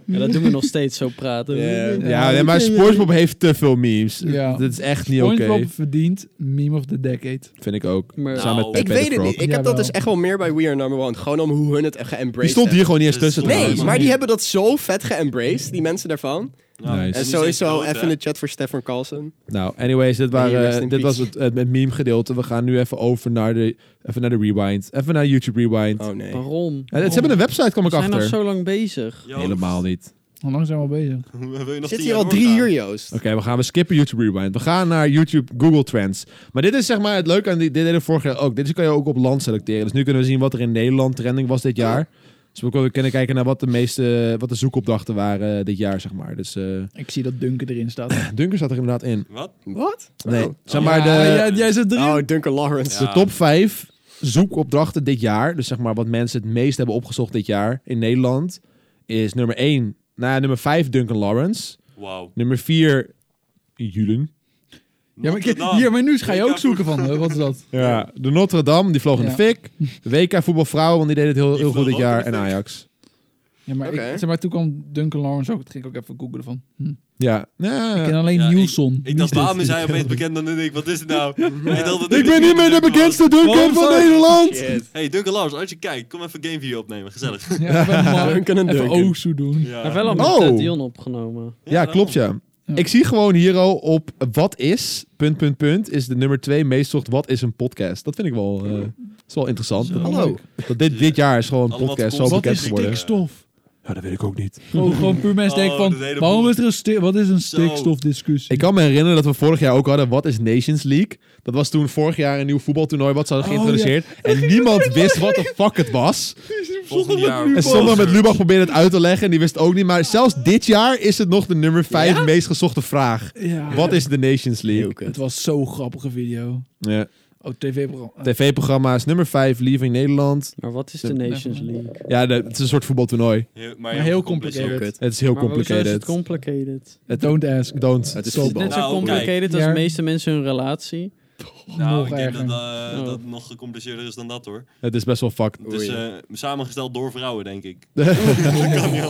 S5: Ja, dat doen we nog steeds zo praten.
S3: Ja.
S1: Ja, nee, maar SpongeBob heeft te veel memes.
S2: Ja.
S1: Dat is echt niet oké.
S2: SpongeBob verdient meme of the decade.
S1: Vind ik ook.
S5: Maar-
S1: Samen
S4: Nou,
S1: met
S3: ik
S1: Pepe
S3: weet
S1: de
S3: het
S1: Frog.
S3: niet. Ik heb dat
S2: Jawel.
S3: dus echt wel meer bij We Are Number One. Gewoon om hoe hun het echt geëmbraced
S1: Die stond hier
S3: hebben.
S1: gewoon niet eens
S4: Dus-
S1: tussen.
S4: Nee,
S1: trouwens.
S3: Nee, maar die hebben dat zo vet geëmbraced, die mensen daarvan.
S4: Ja,
S1: Nice.
S4: het
S3: En
S4: is niet eens
S3: sowieso
S4: groot,
S3: even in
S4: hè.
S3: de chat voor Stefan Carlson.
S1: Nou, anyways, dit,
S3: Nee,
S1: waren,
S3: rest in
S1: dit was
S3: peace.
S1: het, het, meme gedeelte. We gaan nu even over naar de, even naar de rewind. Even naar YouTube rewind.
S3: Oh nee.
S5: Waarom?
S1: Eh, Ze hebben een website, kwam
S5: We
S1: ik
S5: zijn nog
S1: achter.
S5: zo lang bezig.
S4: Joost,
S1: Helemaal niet.
S2: Hoe lang zijn we al bezig?
S4: wil je nog
S3: Zit
S4: tien
S3: hier al
S4: jaar
S3: drie
S4: doorgaan?
S3: uur, Joost.
S1: Oké, we gaan we skippen YouTube Rewind. We gaan naar YouTube Google Trends. Maar dit is zeg maar het leuke aan die, dit deden we vorig jaar ook. Dit is- kan je ook op land selecteren. Dus nu kunnen we zien wat er in Nederland trending was dit jaar. Dus we kunnen kijken naar wat de meeste, wat de zoekopdrachten waren eh, dit jaar, zeg maar. Dus eh
S2: Ik zie dat Duncan erin staat.
S1: Dunker staat er inderdaad in.
S4: Wat?
S3: Wat?
S1: Nee,
S3: Oh.
S1: zeg maar
S2: Ja,
S1: de,
S2: jij, jij zit erin.
S3: Oh, Duncan Lawrence.
S1: de top 5 zoekopdrachten dit jaar. Dus zeg maar wat mensen het meest hebben opgezocht dit jaar in Nederland. Is nummer 1, nou ja, nummer 5 Duncan Lawrence.
S4: Wauw.
S1: Nummer 4 Julen.
S2: ja, maar, ik- hier, maar nu ga je ook zoeken van, eh, wat is dat?
S1: Ja, de Notre Dame, die vloog in de
S2: Ja.
S1: fik. De WK voetbalvrouwen, want die deden het heel,
S4: Die
S1: heel goed
S4: vloog
S1: dit jaar.
S4: ook in
S1: En
S4: de fik.
S1: Ajax.
S2: Ja, maar,
S3: Oké.
S2: ik, zeg maar toen kwam Duncan Lawrence ook. Dat ging ik ook even googlen van. Hm.
S1: Ja. ja.
S2: Ik ken alleen
S4: Ja, ik-
S2: Nielsen.
S4: Ik dacht, waarom is hij opeens bekend dan ik? Wat is het nou? Hij dacht dat
S1: Ik ben niet meer de bekendste dunker
S5: Waarom
S1: van
S5: zou-
S1: Nederland.
S3: Shit.
S4: Hey, Duncan Lawrence, als je kijkt, kom even Gameview opnemen. Gezellig.
S2: Ja, even maar-
S3: Duncan en
S2: even
S3: Duncan.
S2: Ozu doen.
S5: We hebben wel al met
S1: Oh.
S5: Ted Dion opgenomen.
S1: Ja, klopt ja.
S2: Ja.
S1: Ik zie gewoon hier al op wat is, punt, punt, punt, is de nummer twee meest zocht wat is een podcast. Dat vind ik wel, eh, is wel interessant. Dat-
S2: Hallo.
S1: Dat dit, dit jaar is gewoon een
S4: Allemaal
S1: podcast zo
S4: concept-
S2: Wat
S1: bekend
S2: is
S1: geworden.
S2: stikstof?
S1: Ja, dat weet ik ook niet.
S2: Gewoon, gewoon puur mensen denken
S4: Oh,
S2: van,
S4: dat hele
S2: waarom
S4: boel.
S2: is er een stik... Wat is een
S4: Zo.
S2: stikstofdiscussie?
S1: Ik kan me herinneren dat we vorig jaar ook hadden wat is Nations League. Dat was toen vorig jaar een nieuw voetbaltoernooi wat ze hadden
S2: Oh,
S1: geïntroduceerd. En niemand wist wat de fuck het was.
S4: Volgend jaar.
S1: En sommigen met Lubach probeerden het uit te leggen en die wist ook niet. Maar zelfs dit jaar is het nog de nummer 5 meest gezochte vraag.
S2: Ja.
S1: Wat is de Nations League?
S2: Het was zo'n grappige video.
S1: Ja.
S2: Oh, tv-programma.
S1: TV-programma's nummer 5, Leaving Nederland.
S5: Maar wat is de
S2: Nee,
S5: Nations
S2: van-
S5: League? Maar
S1: Ja, de- het is een soort voetbaltoernooi.
S4: Heel-
S2: Maar heel complicated.
S3: kut.
S1: Het is heel
S5: hoezo is het
S1: complicated.
S5: complicated?
S2: Don't ask.
S1: Don't.
S3: Het is
S2: Stop.
S3: voetbal.
S5: Net zo
S4: Nou,
S5: complicated als
S2: Ja.
S5: de meeste mensen hun relatie.
S4: Nou,
S2: nog
S4: ik denk dat
S2: erger.
S4: eh,
S5: Oh.
S4: dat het nog gecompliceerder is dan dat hoor.
S1: Het is best wel fucked.
S4: Het is eh, samengesteld door vrouwen, denk ik.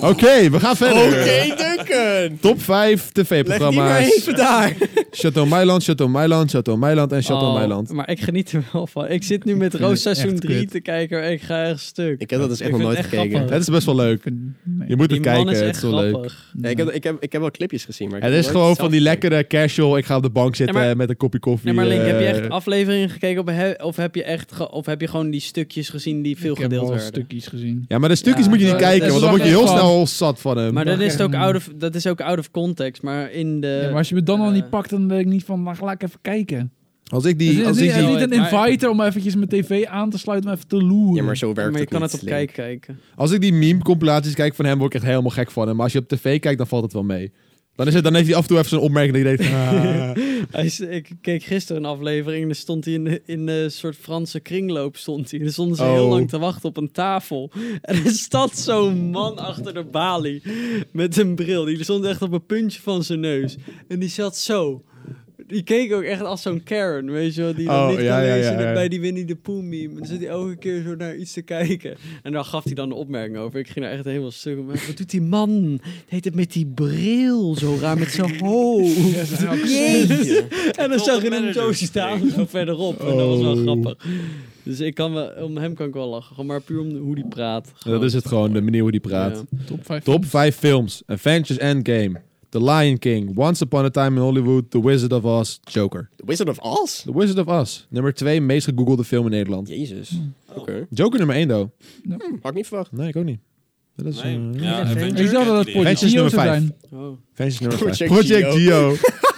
S1: Oké, we gaan verder.
S3: Duncan!
S1: Top 5
S3: Leg die maar
S1: TV-programma's.
S3: even daar.
S1: Chateau Mailand, Chateau Mailand, Chateau Mailand en Chateau
S5: Oh,
S1: Meiland.
S5: Maar ik geniet er wel van. Ik zit nu met
S2: het
S5: Roos seizoen
S2: echt
S5: 3
S2: kut.
S5: te kijken. Ik ga echt stuk.
S3: Ik heb dat dus echt
S5: Ik
S3: nog
S5: vind
S3: nooit
S5: het echt
S3: gekeken.
S5: grappig.
S1: Het is best wel leuk. Je moet
S5: Die
S1: het
S5: man
S1: kijken,
S5: is
S1: het
S5: echt
S1: is wel leuk.
S5: grappig.
S3: Ja, ik, heb, ik, heb, ik heb wel clipjes gezien, maar ik
S1: Het
S3: heb
S1: is
S3: nooit
S1: gewoon
S3: zelf
S1: van die
S3: gekeken.
S1: lekkere casual, ik ga op de bank zitten
S5: maar-
S1: eh, met een kopje koffie.
S5: Nee, maar Link, heb je echt
S1: eh,
S5: afleveringen gekeken of he- of heb je echt ge- of heb je gewoon die stukjes gezien die veel
S2: Ik heb
S5: gedeeld
S2: al
S5: werden?
S2: stukjes gezien.
S1: Ja, maar de stukjes
S5: Ja,
S1: moet je niet
S5: maar
S1: kijken,
S5: dat
S1: want
S5: is
S1: dan word je heel
S2: wel echt
S1: snel zat van hem.
S5: Maar
S2: Dat
S5: dan is
S2: echt
S5: het ook
S2: een-
S5: out of dat is ook out of context, maar in de
S2: Ja, maar als je me dan al niet
S5: eh,
S2: pakt, dan denk ik niet van, nou, laat ik even kijken.
S1: Als ik
S2: Het is,
S5: Dus-
S1: die... Als
S2: het
S1: ik
S2: is
S1: die
S2: niet een
S5: Maar-
S2: inviter om eventjes mijn tv aan te sluiten, om even te loeren.
S3: Ja, maar zo werkt
S5: maar je
S3: het
S5: kan
S3: niet,
S5: het op
S3: Link.
S5: kijk kijken.
S1: Als ik die meme-compilaties kijk van hem, word ik echt helemaal gek van hem. Maar als je op tv kijkt, dan valt het wel mee. Dan, is het, dan heeft hij af en toe even zo'n opmerking dat je denkt... ah.
S5: Hij is- ik keek gisteren een aflevering en dan stond hij in, de- in een soort Franse kringloop. Stond hij. En dan stonden ze heel
S1: Oh.
S5: lang te wachten op een tafel. En er stond zo'n man achter de balie met een bril. Die stond echt op een puntje van zijn neus. En die zat zo. Die keek ook echt als zo'n Karen, weet je wel, die dan
S1: Oh,
S5: niet kan
S1: ja, ja,
S5: lezen
S1: ja, ja.
S5: bij die Winnie de Pooh meme. En dan zit hij elke keer zo naar iets te kijken. En daar gaf hij dan een opmerking over. Ik ging daar echt helemaal stuk om. Wat doet die man? Heet het met die bril zo raar, met zijn hoofd.
S2: Ja, ze zijn ook-
S5: En dan
S4: Tot
S5: zag
S4: de
S5: je hem zo
S4: manager.
S5: staan, zo verderop. En dat was wel
S1: Oh.
S5: grappig. Dus ik kan wel, om hem kan ik wel lachen. Gewoon maar puur om hoe die praat. Gewoon.
S1: dat is het gewoon, de manier hoe die praat.
S5: Ja.
S2: Top 5.
S1: Top 5 films. Avengers Endgame. The Lion King. Once Upon a Time in Hollywood. The Wizard of Oz. Joker.
S3: The Wizard of Oz?
S1: The Wizard of Oz. Nummer 2 meest gegoogelde film in Nederland.
S3: Jezus. Oké.
S1: Joker nummer 1, though.
S3: Had ik niet verwacht.
S1: Nee, ik ook niet. Dat is...
S4: Nee.
S1: eh,
S4: Ja, Avenger
S2: Ik dacht dat het
S4: Academy.
S1: Project
S2: Project
S1: Geo
S2: Gio
S1: nummer
S2: zou
S1: vijf.
S2: zijn.
S5: Oh.
S1: Avengers nummer vijf.
S3: Project
S1: Project Geo.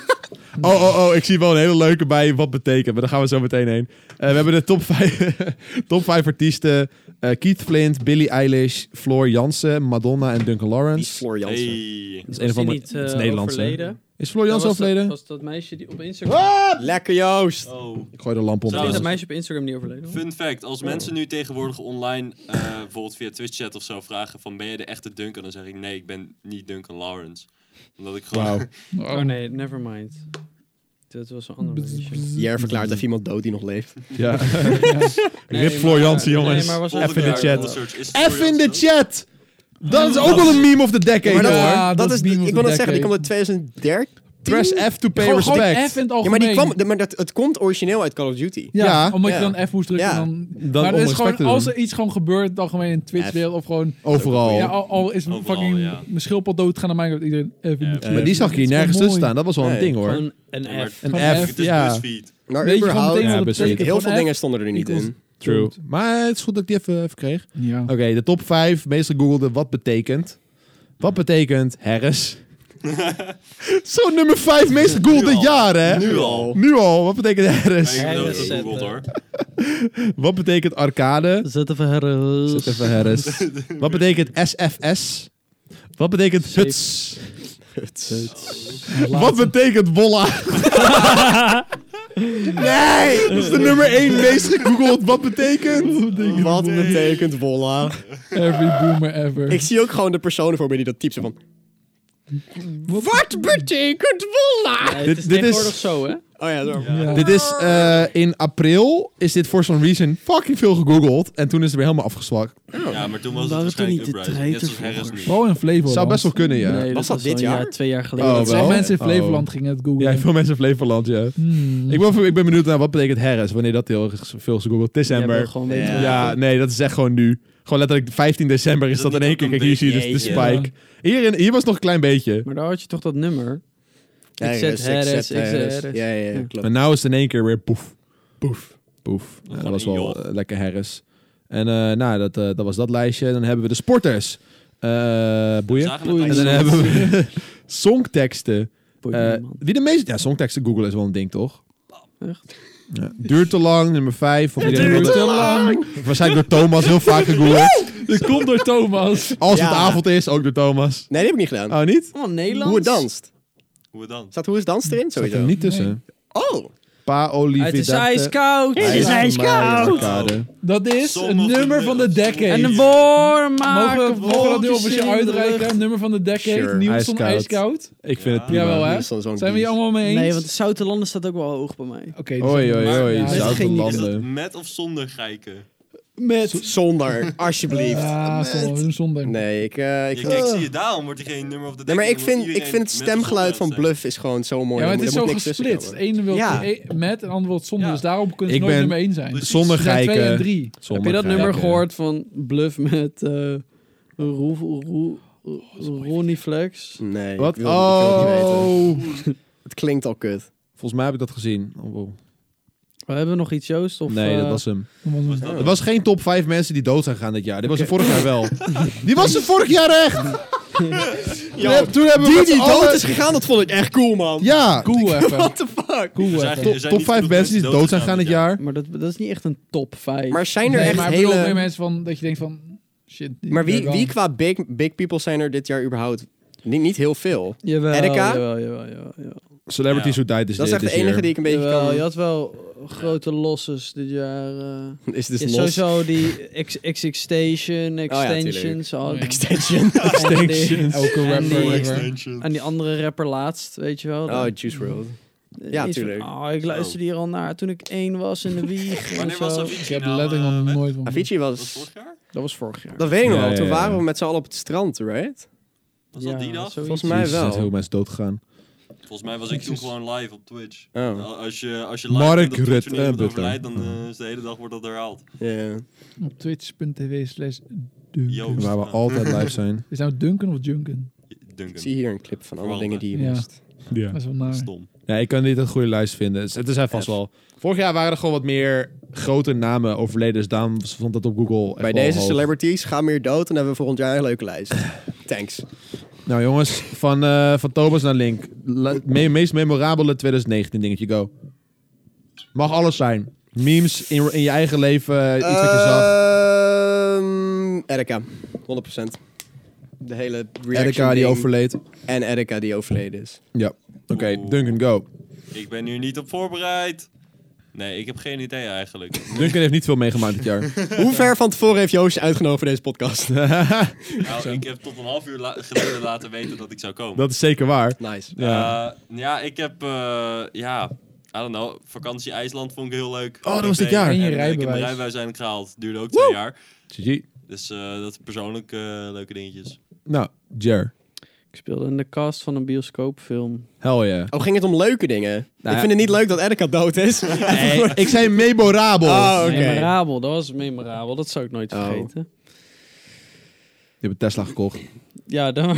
S1: Oh, oh, oh, ik zie wel een hele leuke bij wat betekent, maar daar gaan we zo meteen heen. Eh, we hebben de top 5, top 5 artiesten: Eh, Keith Flint, Billie Eilish, Floor Jansen, Madonna en Duncan
S3: Die
S1: Lawrence.
S3: Floor Jansen.
S4: Hey.
S1: Dat
S5: Was die niet,
S1: het is
S5: eh,
S1: Nederlandse.
S5: overleden?
S1: Is Floor Jans
S5: was dat-
S1: overleden?
S5: Was dat meisje die op Instagram...
S1: Ah!
S3: Ah, Lekker Joost.
S4: Oh.
S1: Ik gooi de lamp om.
S5: Is dat meisje op Instagram niet overleden?
S4: Fun fact, als mensen nu tegenwoordig online, eh, bijvoorbeeld via Twitch chat of zo, vragen van ben je de echte Duncan? Dan zeg ik nee, ik ben niet Duncan Lawrence. Omdat ik gewoon...
S1: Wauw.
S5: Oh nee, never mind. Dat was een ander meisje.
S3: Jer verklaart even iemand dood die nog leeft.
S1: Ja.
S5: Nee,
S1: Rip Floor
S5: maar-
S1: Jansen,
S5: nee,
S1: jongens.
S5: maar was-
S1: Even in de
S4: Volgende jaar
S1: chat.
S4: research, is het
S1: Even
S4: Floor
S1: in de
S4: Jansen?
S1: chat! Dat is ook wel een meme of the decade,
S3: maar dat,
S1: hoor.
S2: Ja,
S3: dat
S2: dat
S3: is
S2: meme
S3: die,
S2: of
S3: ik
S2: the
S3: wil net zeggen, die kwam
S2: decade.
S3: uit 2013.
S1: Press F to pay
S3: Gewoon- gewoon
S1: respect.
S2: F in het
S3: Ja,
S2: algemeen.
S3: maar, die kwam, maar dat, het komt origineel uit Call of Duty.
S2: Ja,
S1: Ja.
S2: omdat
S3: Ja.
S2: je dan F moest drukken.
S3: Ja.
S2: Dan,
S1: Dan
S2: maar
S1: om
S2: er is
S1: respect
S2: gewoon,
S1: te doen. Oh.
S2: als er iets gewoon gebeurt, dan gewoon in Twitch
S3: F.
S2: deel of gewoon...
S1: Overal.
S2: Ja, al, al is mijn
S4: Overal,
S2: fucking
S4: ja.
S2: mijn schildpad doodgaan, dan maak ik dat iedereen F in de
S4: Ja.
S2: chat.
S1: Maar die zag ik hier
S2: Dat is
S1: nergens tussen
S2: wel mooi.
S1: staan. Dat was Eh, wel een
S3: Nee,
S1: ding, hoor.
S5: Gewoon een
S4: maar-
S5: F.
S1: Een
S4: Het
S1: F,
S4: is
S1: ja.
S4: BuzzFeed.
S3: Maar
S2: Weet je gewoon
S3: überhaupt,
S2: meteen
S1: Ja,
S2: wat dat
S1: best wel.
S2: betekent?
S3: heel
S2: Gewoon
S3: veel
S2: F
S3: dingen stonden er niet
S2: equals-
S3: in.
S1: True. Maar het is goed dat ik die even, even kreeg.
S2: Ja.
S1: Oké, de top 5 meest gegoogelde wat betekent. Wat betekent Harris? Zo nummer 5 meest gegoogelde
S4: Nu al.
S1: jaar, hè?
S4: Nu al.
S1: Nu al, wat betekent
S4: Nee,
S1: Harris?
S4: ik ben ook
S5: Harris.
S4: gegoogeld hoor.
S1: Wat betekent arcade?
S5: Zet even her.
S1: Zet even Harris. Wat betekent SFS? Wat betekent huts? Wat betekent Wolla? nee! Dat is de nummer 1 meest gegoogeld. Wat betekent?
S3: Wat betekent Wolla?
S2: Every boomer ever.
S3: Ik zie ook gewoon de personen voor me die dat typen van... Wat betekent Wolla?
S5: Het
S1: Dit-
S5: is
S1: dit is-
S5: tegenwoordig zo, hè?
S3: Oh ja, daarom.
S2: Ja.
S1: Dit is
S4: Oh.
S1: eh, in april is dit voor some reason fucking veel gegoogeld. En toen is het weer helemaal afgezwakt.
S4: Ja, maar toen was het
S5: Waren toen
S4: waarschijnlijk
S5: niet de
S4: Uprising. Net zoals
S5: treiters
S4: Harris nu.
S2: Vooral in Flevoland.
S1: Zou best wel kunnen, ja.
S5: Nee,
S3: dat dit
S5: wel een
S3: jaar?
S5: twee jaar geleden.
S1: Oh,
S5: Dat
S1: wel.
S2: Veel mensen in
S1: Oh.
S2: Flevoland gingen het googlen.
S1: Ja, veel mensen in Flevoland, ja. Ik, ben, ik ben benieuwd naar wat betekent Harris, wanneer dat heel erg veel is gegoogeld.
S5: Jij wil
S1: December.
S5: gewoon weten
S1: Ja.
S5: hoe-
S1: nee, dat is echt gewoon nu. Gewoon letterlijk 15 december is
S4: Is
S1: dat,
S4: dat
S1: in één
S4: niet
S1: keer.
S4: ook
S1: Kijk, hier
S4: een
S1: zie je dus
S4: beetje-
S1: de spike. Hierin, hier was het nog een klein beetje.
S5: Maar daar had je toch dat nummer?
S3: Ja,
S5: Ik zet
S3: Harris,
S5: Harris,
S3: zet
S5: ik zet
S3: Harris.
S5: Harris.
S3: Ja, ja, ja, klopt.
S1: Maar nou is het in één keer weer poef. Poef. Poef. Ja, dat
S4: Gewoon
S1: was
S4: een
S1: wel
S4: joch.
S1: eh, lekker Harris. En eh, nou, dat, eh, dat was dat lijstje. Dan hebben we de sporters. Eh boeien.
S4: Zagen het
S5: Boeien.
S1: En dan
S4: lijstje?
S1: hebben we songteksten.
S5: Boeit
S1: Eh,
S5: niemand.
S1: wie de meeste... Ja, songteksten Google is wel een ding, toch?
S5: Echt?
S1: Ja. Duurt te lang, nummer 5.
S2: Duurt te lang.
S1: Waarschijnlijk door Thomas heel vaak gegoogeld.
S2: Dit komt door Thomas.
S1: Als het
S3: Ja.
S1: avond is, ook door Thomas.
S3: Nee, die heb ik niet gedaan.
S1: Oh, niet?
S5: Oh, Nederlands?
S3: Hoe het danst.
S4: Hoe het dan?
S3: Staat Hoe is danst erin?
S1: Zat er
S3: Sowieso.
S1: niet tussen.
S3: Oh!
S1: Pa Olivier.
S5: Het is
S1: eh?
S5: ijskoud.
S1: Het is ijskoud.
S2: Dat is het
S4: Sommige
S2: nummer van de
S4: nummers.
S2: decade.
S5: En een
S3: Ah,
S5: woorden maken.
S2: Mogen we, mogen we dat nu
S5: wolkjes
S2: officieel
S5: in de
S2: uitreiken?
S5: lucht.
S2: Het nummer van de decade.
S3: Sure,
S2: Nielsen
S1: ijskoud.
S2: ijskoud.
S1: Ik vind het prima.
S2: Jawel hè?
S3: Nielsen is zo'n
S2: Zijn we hier
S3: beest.
S2: allemaal mee eens?
S5: Nee, want de Zoute Landen staat ook wel hoog bij mij.
S2: Oké, dus-
S1: Oei, oei,
S2: Maar-
S1: oei.
S2: ja,
S1: Ja,
S5: dat ging niet.
S4: Is dat
S1: landen.
S4: met of zonder geiken?
S5: Met.
S3: Zonder, alsjeblieft.
S2: Ja, soms een zondag.
S3: Nee, ik... eh, ik
S4: Ja, kijk, zie je, daarom wordt hij geen nummer op de
S3: Nee, maar ik
S4: decade,
S3: vind,
S4: omdat
S3: ik vind het
S4: iedereen met of
S3: stemgeluid van
S4: zonder
S3: Bluff is gewoon zo mooi.
S2: Ja, maar
S3: Er
S2: het is
S3: moet
S2: zo
S3: niks tussen
S2: gesplitst.
S3: komen.
S2: Eén wil
S3: Ja.
S2: e- met en ander wil het zonder.
S4: Ja.
S2: Dus daarom kunnen
S1: Ik
S2: ze nooit
S1: ben-
S2: meer mee eens zijn.
S4: Precies.
S1: Zonder
S2: Er zijn twee en
S3: eh,
S1: geiken.
S2: drie.
S5: Heb je
S1: Zonder
S5: dat nummer
S1: geiken.
S5: gehoord van Bluff met eh Roef- Roe- Ronnie Flex?
S3: Nee,
S1: Wat?
S3: Ik wil, ik wil het niet weten.
S1: Oh.
S3: Het klinkt al kut.
S1: Volgens mij heb ik dat gezien. Oh, wow.
S5: We hebben we nog iets, Joost? Of,
S1: Nee, dat
S5: eh,
S1: was hem.
S4: Was dat
S1: Er was geen top 5 mensen die dood zijn gegaan dit jaar. Dit was er vorig jaar wel. Die was er vorig jaar echt. Toen heb- toen hebben we
S3: Die
S1: met
S3: die
S1: z'n allen-
S3: dood is gegaan, dat vond ik echt cool, man.
S1: Ja.
S2: Cool even.
S3: What the fuck?
S2: Cool
S4: zijn
S2: even.
S4: geen-
S1: Top, top
S4: niet
S1: 5
S4: genoeg
S1: mensen die dood zijn gegaan dit jaar.
S5: Maar dat, dat is niet echt een top 5.
S3: Maar zijn er
S2: Nee,
S3: echt
S2: maar ik bedoel meer
S3: hele...
S2: mensen van dat je denkt van shit. die
S3: Maar wie,
S2: ben ik
S3: wie
S2: wel.
S3: qua big, big people zijn er dit jaar überhaupt? Niet, niet heel veel.
S5: jawel,
S3: Erika?
S5: Jawel, jawel, jawel, jawel.
S1: Celebrities Who Died is
S3: Dat is
S1: dit-
S3: echt de
S1: dit
S3: enige
S1: year.
S3: die ik een beetje
S5: Jawel, je
S3: kan...
S5: had wel grote losses dit jaar. eh.
S3: Is
S5: Ja,
S3: dit los? Oh
S5: sowieso die X, XX Station, Extensions. al-
S2: Oh ja.
S3: Extension.
S5: en die-
S2: Elke
S5: en
S2: rapper.
S5: die-
S2: whatever.
S4: Extension.
S5: En die andere rapper laatst, weet je wel.
S3: Oh, Juice WRLD.
S2: Mm.
S3: ja,
S5: Iets van,
S3: tuurlijk.
S5: Oh, ik luisterde hier al naar toen ik één was in de wieg.
S4: Wanneer
S5: of zo.
S4: was
S5: dat?
S4: Avicii
S2: Ik heb
S4: nou,
S2: letterlijk
S4: eh,
S2: nog
S4: weg?
S2: nooit van.
S3: Avicii
S4: Was dat
S3: was...
S4: vorig jaar?
S5: was vorig jaar.
S3: Dat weet ik nog
S1: Ja,
S3: wel. Toen
S1: ja, ja.
S3: waren we met z'n allen op het strand, right?
S4: Was dat die dag?
S5: zoiets.
S3: Volgens mij
S1: Jezus, Er zijn
S3: wel.
S1: zoveel mensen dood gegaan.
S4: Volgens mij was ik toen gewoon live op Twitch.
S3: Oh,
S4: Nou, Als je, als je live
S1: Mark
S4: bent op Twitch
S1: Rutte,
S4: wanneer iemand
S1: eh,
S4: overlijdt, dan eh, is de hele dag wordt dat herhaald.
S3: ja.
S2: Op twitch.tv slash
S4: Yo.
S2: Duncan.
S1: Waar we
S4: Ja.
S1: altijd live zijn.
S2: Is nou Duncan of Junken?
S4: eh, Duncan.
S3: Ik zie hier een clip van alle
S4: Vooral,
S3: dingen die je
S2: ja.
S3: mist.
S1: Ja.
S2: Dat is wel naar.
S4: Stom.
S1: Ja, ik kan niet een goede lijst vinden. Het is- Het zijn vast
S3: F.
S1: wel. Vorig jaar waren er gewoon wat meer grote namen overleden. Dus daarom stond dat op Google. echt
S3: Bij
S1: wel
S3: deze
S1: hoog.
S3: celebrities gaan meer dood en hebben we volgend jaar een leuke lijst. Thanks.
S1: Nou jongens, van, eh, van Thomas naar Link. La- me- meest memorabele 2019 dingetje, go. Mag alles zijn. Memes in, in je eigen eh, leven, iets wat je zag.
S3: Ehm, Erika, 100%. de hele reaction
S1: Erika die
S3: ding.
S1: overleed.
S3: En Erika die overleden is.
S1: Ja. Oké, Duncan, go.
S4: Ik ben hier niet op voorbereid. Nee, ik heb geen idee eigenlijk.
S1: Duncan heeft niet veel meegemaakt dit jaar.
S3: Hoe ver van tevoren heeft Joost je uitgenodigd voor deze podcast?
S4: Nou, ik heb tot een half uur la- geleden laten weten dat ik zou komen.
S1: Dat is zeker waar.
S3: nice.
S4: Ja, ja ik heb, eh, ja, I don't know, vakantie IJsland vond ik heel leuk.
S1: Oh, dat was dit jaar.
S2: En je
S4: ik heb mijn
S2: rijbewijs.
S4: rijbewijs eindelijk gehaald. Duurde ook twee jaar.
S1: GG.
S4: Dus eh, dat zijn persoonlijk eh, leuke dingetjes.
S1: Nou, Jer.
S5: Ik speelde in de cast van een bioscoopfilm.
S1: Hell yeah.
S3: Oh, ging het om leuke dingen?
S1: Nou
S3: ik
S1: ja.
S3: vind het niet leuk dat Erika dood is.
S1: ik zei memorabel.
S3: Oh, oké.
S5: Memorabel, dat was memorabel. Dat zou ik nooit
S3: Oh.
S5: vergeten.
S1: Je hebt een Tesla gekocht.
S5: Ja, daar...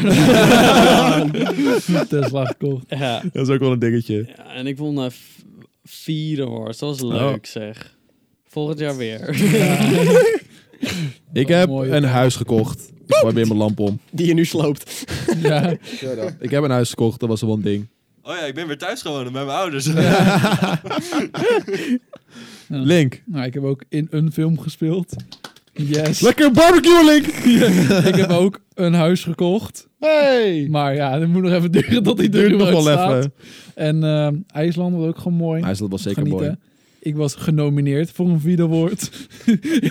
S2: Tesla gekocht.
S5: ja.
S1: Dat is ook wel een dingetje.
S5: ja, en ik won eh, v- vierde horse. Dat
S3: Oh.
S5: was leuk, zeg. Volgend jaar weer.
S1: Ik
S2: Wat
S1: heb
S2: mooi.
S1: een huis gekocht. Ik gooi weer mijn lamp om.
S3: Die je nu sloopt.
S2: ja.
S1: Ik heb een huis gekocht, dat was wel een ding.
S4: Oh ja, ik ben weer thuis gewoond bij mijn ouders.
S1: Link.
S2: Nou, ik heb ook in een film gespeeld. Yes.
S1: Lekker barbecue, Link!
S2: ik heb ook een huis gekocht.
S1: Hey!
S2: Maar ja, het moet nog even duren tot die deur
S1: Duurt nog
S2: eruit
S1: wel
S2: staat.
S1: even.
S2: En ehm, IJsland was ook gewoon mooi.
S1: Hij is dat wel zeker mooi.
S2: Genieten. Ik was genomineerd voor een videowoord.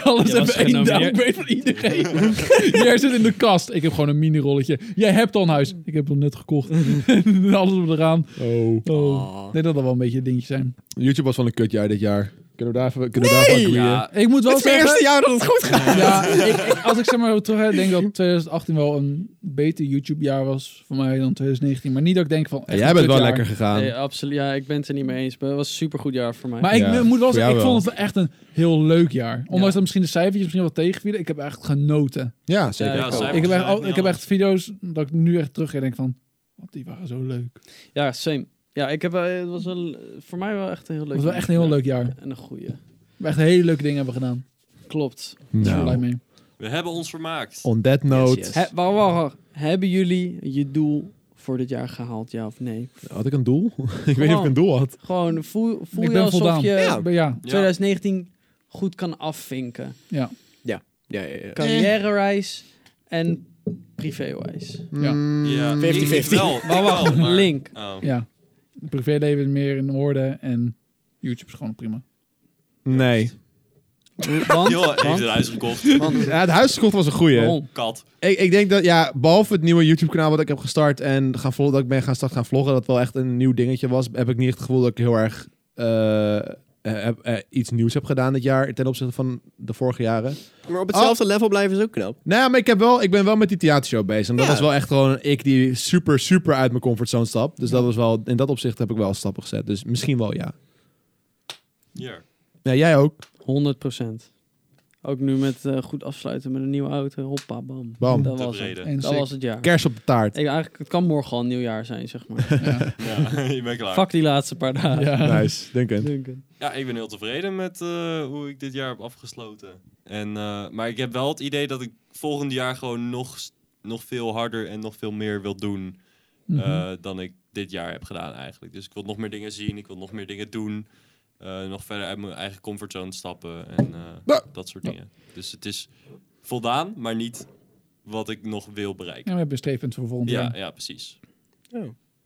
S2: Alles
S5: was
S2: even één
S5: genomineerd.
S2: downgrade van iedereen. Jij zit in de kast. Ik heb gewoon een mini-rolletje. Jij hebt al een huis. Ik heb hem net gekocht. Alles op eraan.
S1: Oh.
S2: Oh. Ik denk dat dat wel een beetje dingetjes zijn.
S1: YouTube was wel een kutjaar dit jaar. Kunnen we daar even kunnen we daarvan agreeën?
S4: ja,
S2: Ik moet wel
S3: Het is mijn
S2: zeggen...
S3: eerste jaar dat het goed gaat.
S2: Ja, ik, ik- als ik zeg maar terug hè, denk dat 2018 wel een beter YouTube-jaar was voor mij dan 2019. Maar niet dat ik denk van. echt
S1: Jij
S2: een
S1: bent wel
S2: kutjaar.
S1: lekker gegaan.
S5: Nee, absoluut. Ja, ik ben het er niet mee eens. Maar het was een supergoed jaar voor mij.
S2: Maar ik
S1: Ja,
S2: moet wel
S1: voor
S2: zeggen, ik
S1: jou
S2: vond het echt een heel leuk jaar. Ondanks
S5: Ja.
S2: dat misschien de cijfertjes misschien wel tegenvielen, ik heb echt genoten.
S1: Ja, zeker.
S5: Oh, Ja,
S4: cijfers
S2: Ik heb
S4: zijn
S2: echt, al-
S4: niet
S2: ik heb
S4: anders.
S2: echt video's dat ik nu echt terug denk van. Wat die waren zo leuk.
S5: Ja, same. Ja, ik heb, wel- het was wel, voor mij wel echt een heel leuk
S2: Het was wel echt een heel
S5: Ja.
S2: leuk jaar. We
S5: En een goede.
S2: hebben echt hele leuke dingen hebben gedaan.
S5: Klopt.
S2: Daar ben ik blij
S1: Nou,
S2: mee.
S4: We hebben ons vermaakt.
S1: on that note.
S3: Yes, yes.
S5: He, wacht, wacht, wacht. Hebben jullie je doel voor dit jaar gehaald, ja of nee?
S1: Had ik een doel? ik weet niet of ik een doel had.
S5: Gewoon voel, voel
S2: Ik
S5: je
S2: ben
S5: alsof
S2: voldaan.
S5: je
S2: Ja, maar ja.
S4: Ja.
S5: 2019 goed kan
S2: Eh.
S5: afvinken.
S3: Ja, ja, ja.
S5: Carrière-wijs en privé-wijs.
S2: Ja.
S1: Mm.
S4: Ja,
S3: 50-50.
S4: ik wel, ik
S5: Maar wacht,
S4: wel, maar-
S5: Link.
S4: Oh.
S2: ja. Het Privéleven is meer in orde en YouTube is gewoon prima.
S1: Nee.
S5: Want,
S4: Joh, hij heeft
S5: want,
S4: een huis gekocht.
S5: want-
S1: Ja, het huis gekocht was een goeie.
S5: waarom?
S4: Kat.
S1: Ik, ik denk dat, ja, behalve het nieuwe YouTube-kanaal wat ik heb gestart en gaan vlog- dat ik ben gaan start gaan vloggen, dat wel echt een nieuw dingetje was, heb ik niet het gevoel dat ik heel erg eh, heb- eh, iets nieuws heb gedaan dit jaar ten opzichte van de vorige jaren.
S3: Maar op hetzelfde
S1: Oh.
S3: level blijven is ook knap.
S1: Nou ja, maar ik, heb wel, ik ben wel met die theatershow bezig. En dat
S3: Ja.
S1: was wel echt gewoon ik die super, super uit mijn comfortzone stap. Dus dat was wel, in dat opzicht heb ik wel stappen gezet. Dus misschien wel ja.
S4: Hier.
S1: Ja, jij ook.
S5: 100%. Ook nu met eh, goed afsluiten met een nieuwe auto. Hoppa, bam.
S1: Bam.
S5: Dat was het.
S4: Tevreden.
S2: En
S5: Dat
S2: sick.
S5: was het jaar.
S1: Kers op de taart.
S5: Ik, eigenlijk, het kan morgen al een nieuw jaar zijn, zeg maar.
S4: Ja, ik ben klaar.
S5: Fuck die laatste paar dagen.
S2: Ja.
S1: Nice, Duncan.
S5: Duncan.
S4: Ja, ik ben heel tevreden met eh, hoe ik dit jaar heb afgesloten. En, eh, maar ik heb wel het idee dat ik volgend jaar gewoon nog, s- nog veel harder en nog veel meer wil doen eh, dan ik dit jaar heb gedaan eigenlijk. Dus ik wil nog meer dingen zien, ik wil nog meer dingen doen. eh, nog verder uit mijn eigen comfortzone stappen en eh,
S1: Nou.
S4: dat soort dingen. Dus het is voldaan, maar niet wat ik nog wil bereiken.
S2: Ja, we hebben een streefpunt voor volgend
S4: Ja,
S2: jaar.
S4: ja, precies.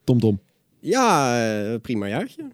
S1: Tom Tom.
S3: Ja, eh, prima jaartje.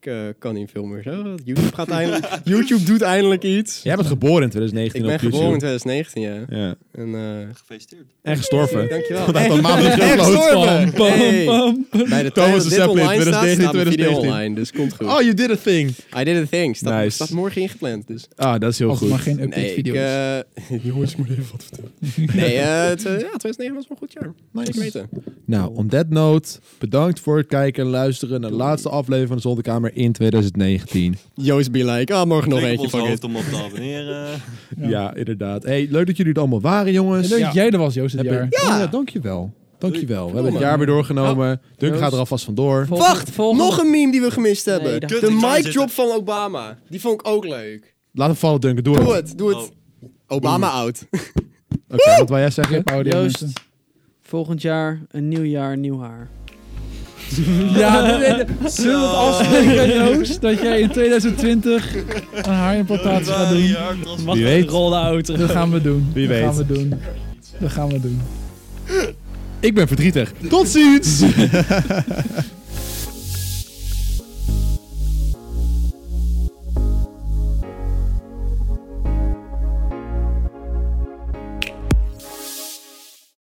S3: Ik eh, kan niet veel meer zeggen. YouTube, gaat eindelijk, YouTube doet eindelijk iets.
S1: Jij bent geboren in 2019
S3: Ik ben
S1: op
S3: geboren in
S1: YouTube.
S3: 2019, ja.
S1: Ja.
S3: En, eh,
S4: Gefeliciteerd.
S1: En gestorven.
S3: dankjewel.
S1: Dat een maand
S3: Hey,
S1: geleden.
S3: gestorven! Hey. Bij de tijd
S1: Thomas
S3: dat
S1: de
S3: dit
S1: Zeppelin,
S3: online staat,
S1: 2019,
S3: staat mijn video
S1: 2019.
S3: online. Dus komt goed.
S1: Oh, you did a thing.
S3: I did a thing. Staat,
S1: Nice.
S3: staat morgen ingepland, dus...
S1: Ah, dat is heel
S2: Als het maar
S1: goed.
S2: geen update
S3: Nee, ik,
S2: video is.
S3: eh, jongens, ik moet even wat vertellen. Nee, eh, het, eh, ja, 2009 was wel een goed jaar. Zeker weten.
S1: Nou, on that note, bedankt voor het kijken en luisteren naar de laatste aflevering van de Zolderkamer in 2019.
S3: Joost be like, ah, morgen nog
S4: Klik op
S3: eentje.
S4: ons
S3: Fuck it.
S4: hoofd om op te abonneren.
S1: Ja, inderdaad. Hey, leuk dat jullie het allemaal waren, jongens.
S2: En dat jij er was, Joost, dit
S1: Heb
S2: jaar.
S1: ik- Ja. dankjewel. Dankjewel. We hebben het
S3: Verdomme.
S1: jaar weer doorgenomen. Dunk
S5: Joost.
S1: gaat er alvast vandoor.
S5: Volgende-
S3: Wacht,
S5: volgende-
S3: nog een meme die we gemist hebben.
S5: Nee, dat-
S3: de
S4: Kut, ik zou
S3: mic
S4: zitten.
S3: drop van Obama. Die vond ik ook leuk.
S1: Laat hem vallen, Dunk. Doe,
S3: Doe
S1: het.
S3: het, doe het.
S4: Oh.
S3: Obama out.
S1: Oké, wat wil jij zeggen?
S2: Clip audio, mensen.
S5: Joost, volgend jaar een nieuw jaar, nieuw haar.
S2: Ja, nee, nee, nee. zullen we het afspreken, Joost, dat jij in 2020 een haarimplantatie gaat doen?
S4: Ja, dat was
S1: Wie weet.
S5: Rol de auto.
S2: Dat gaan we doen.
S1: Wie
S2: dat
S1: weet.
S2: gaan we doen. Dat gaan we doen.
S1: Ik ben verdrietig. Tot ziens!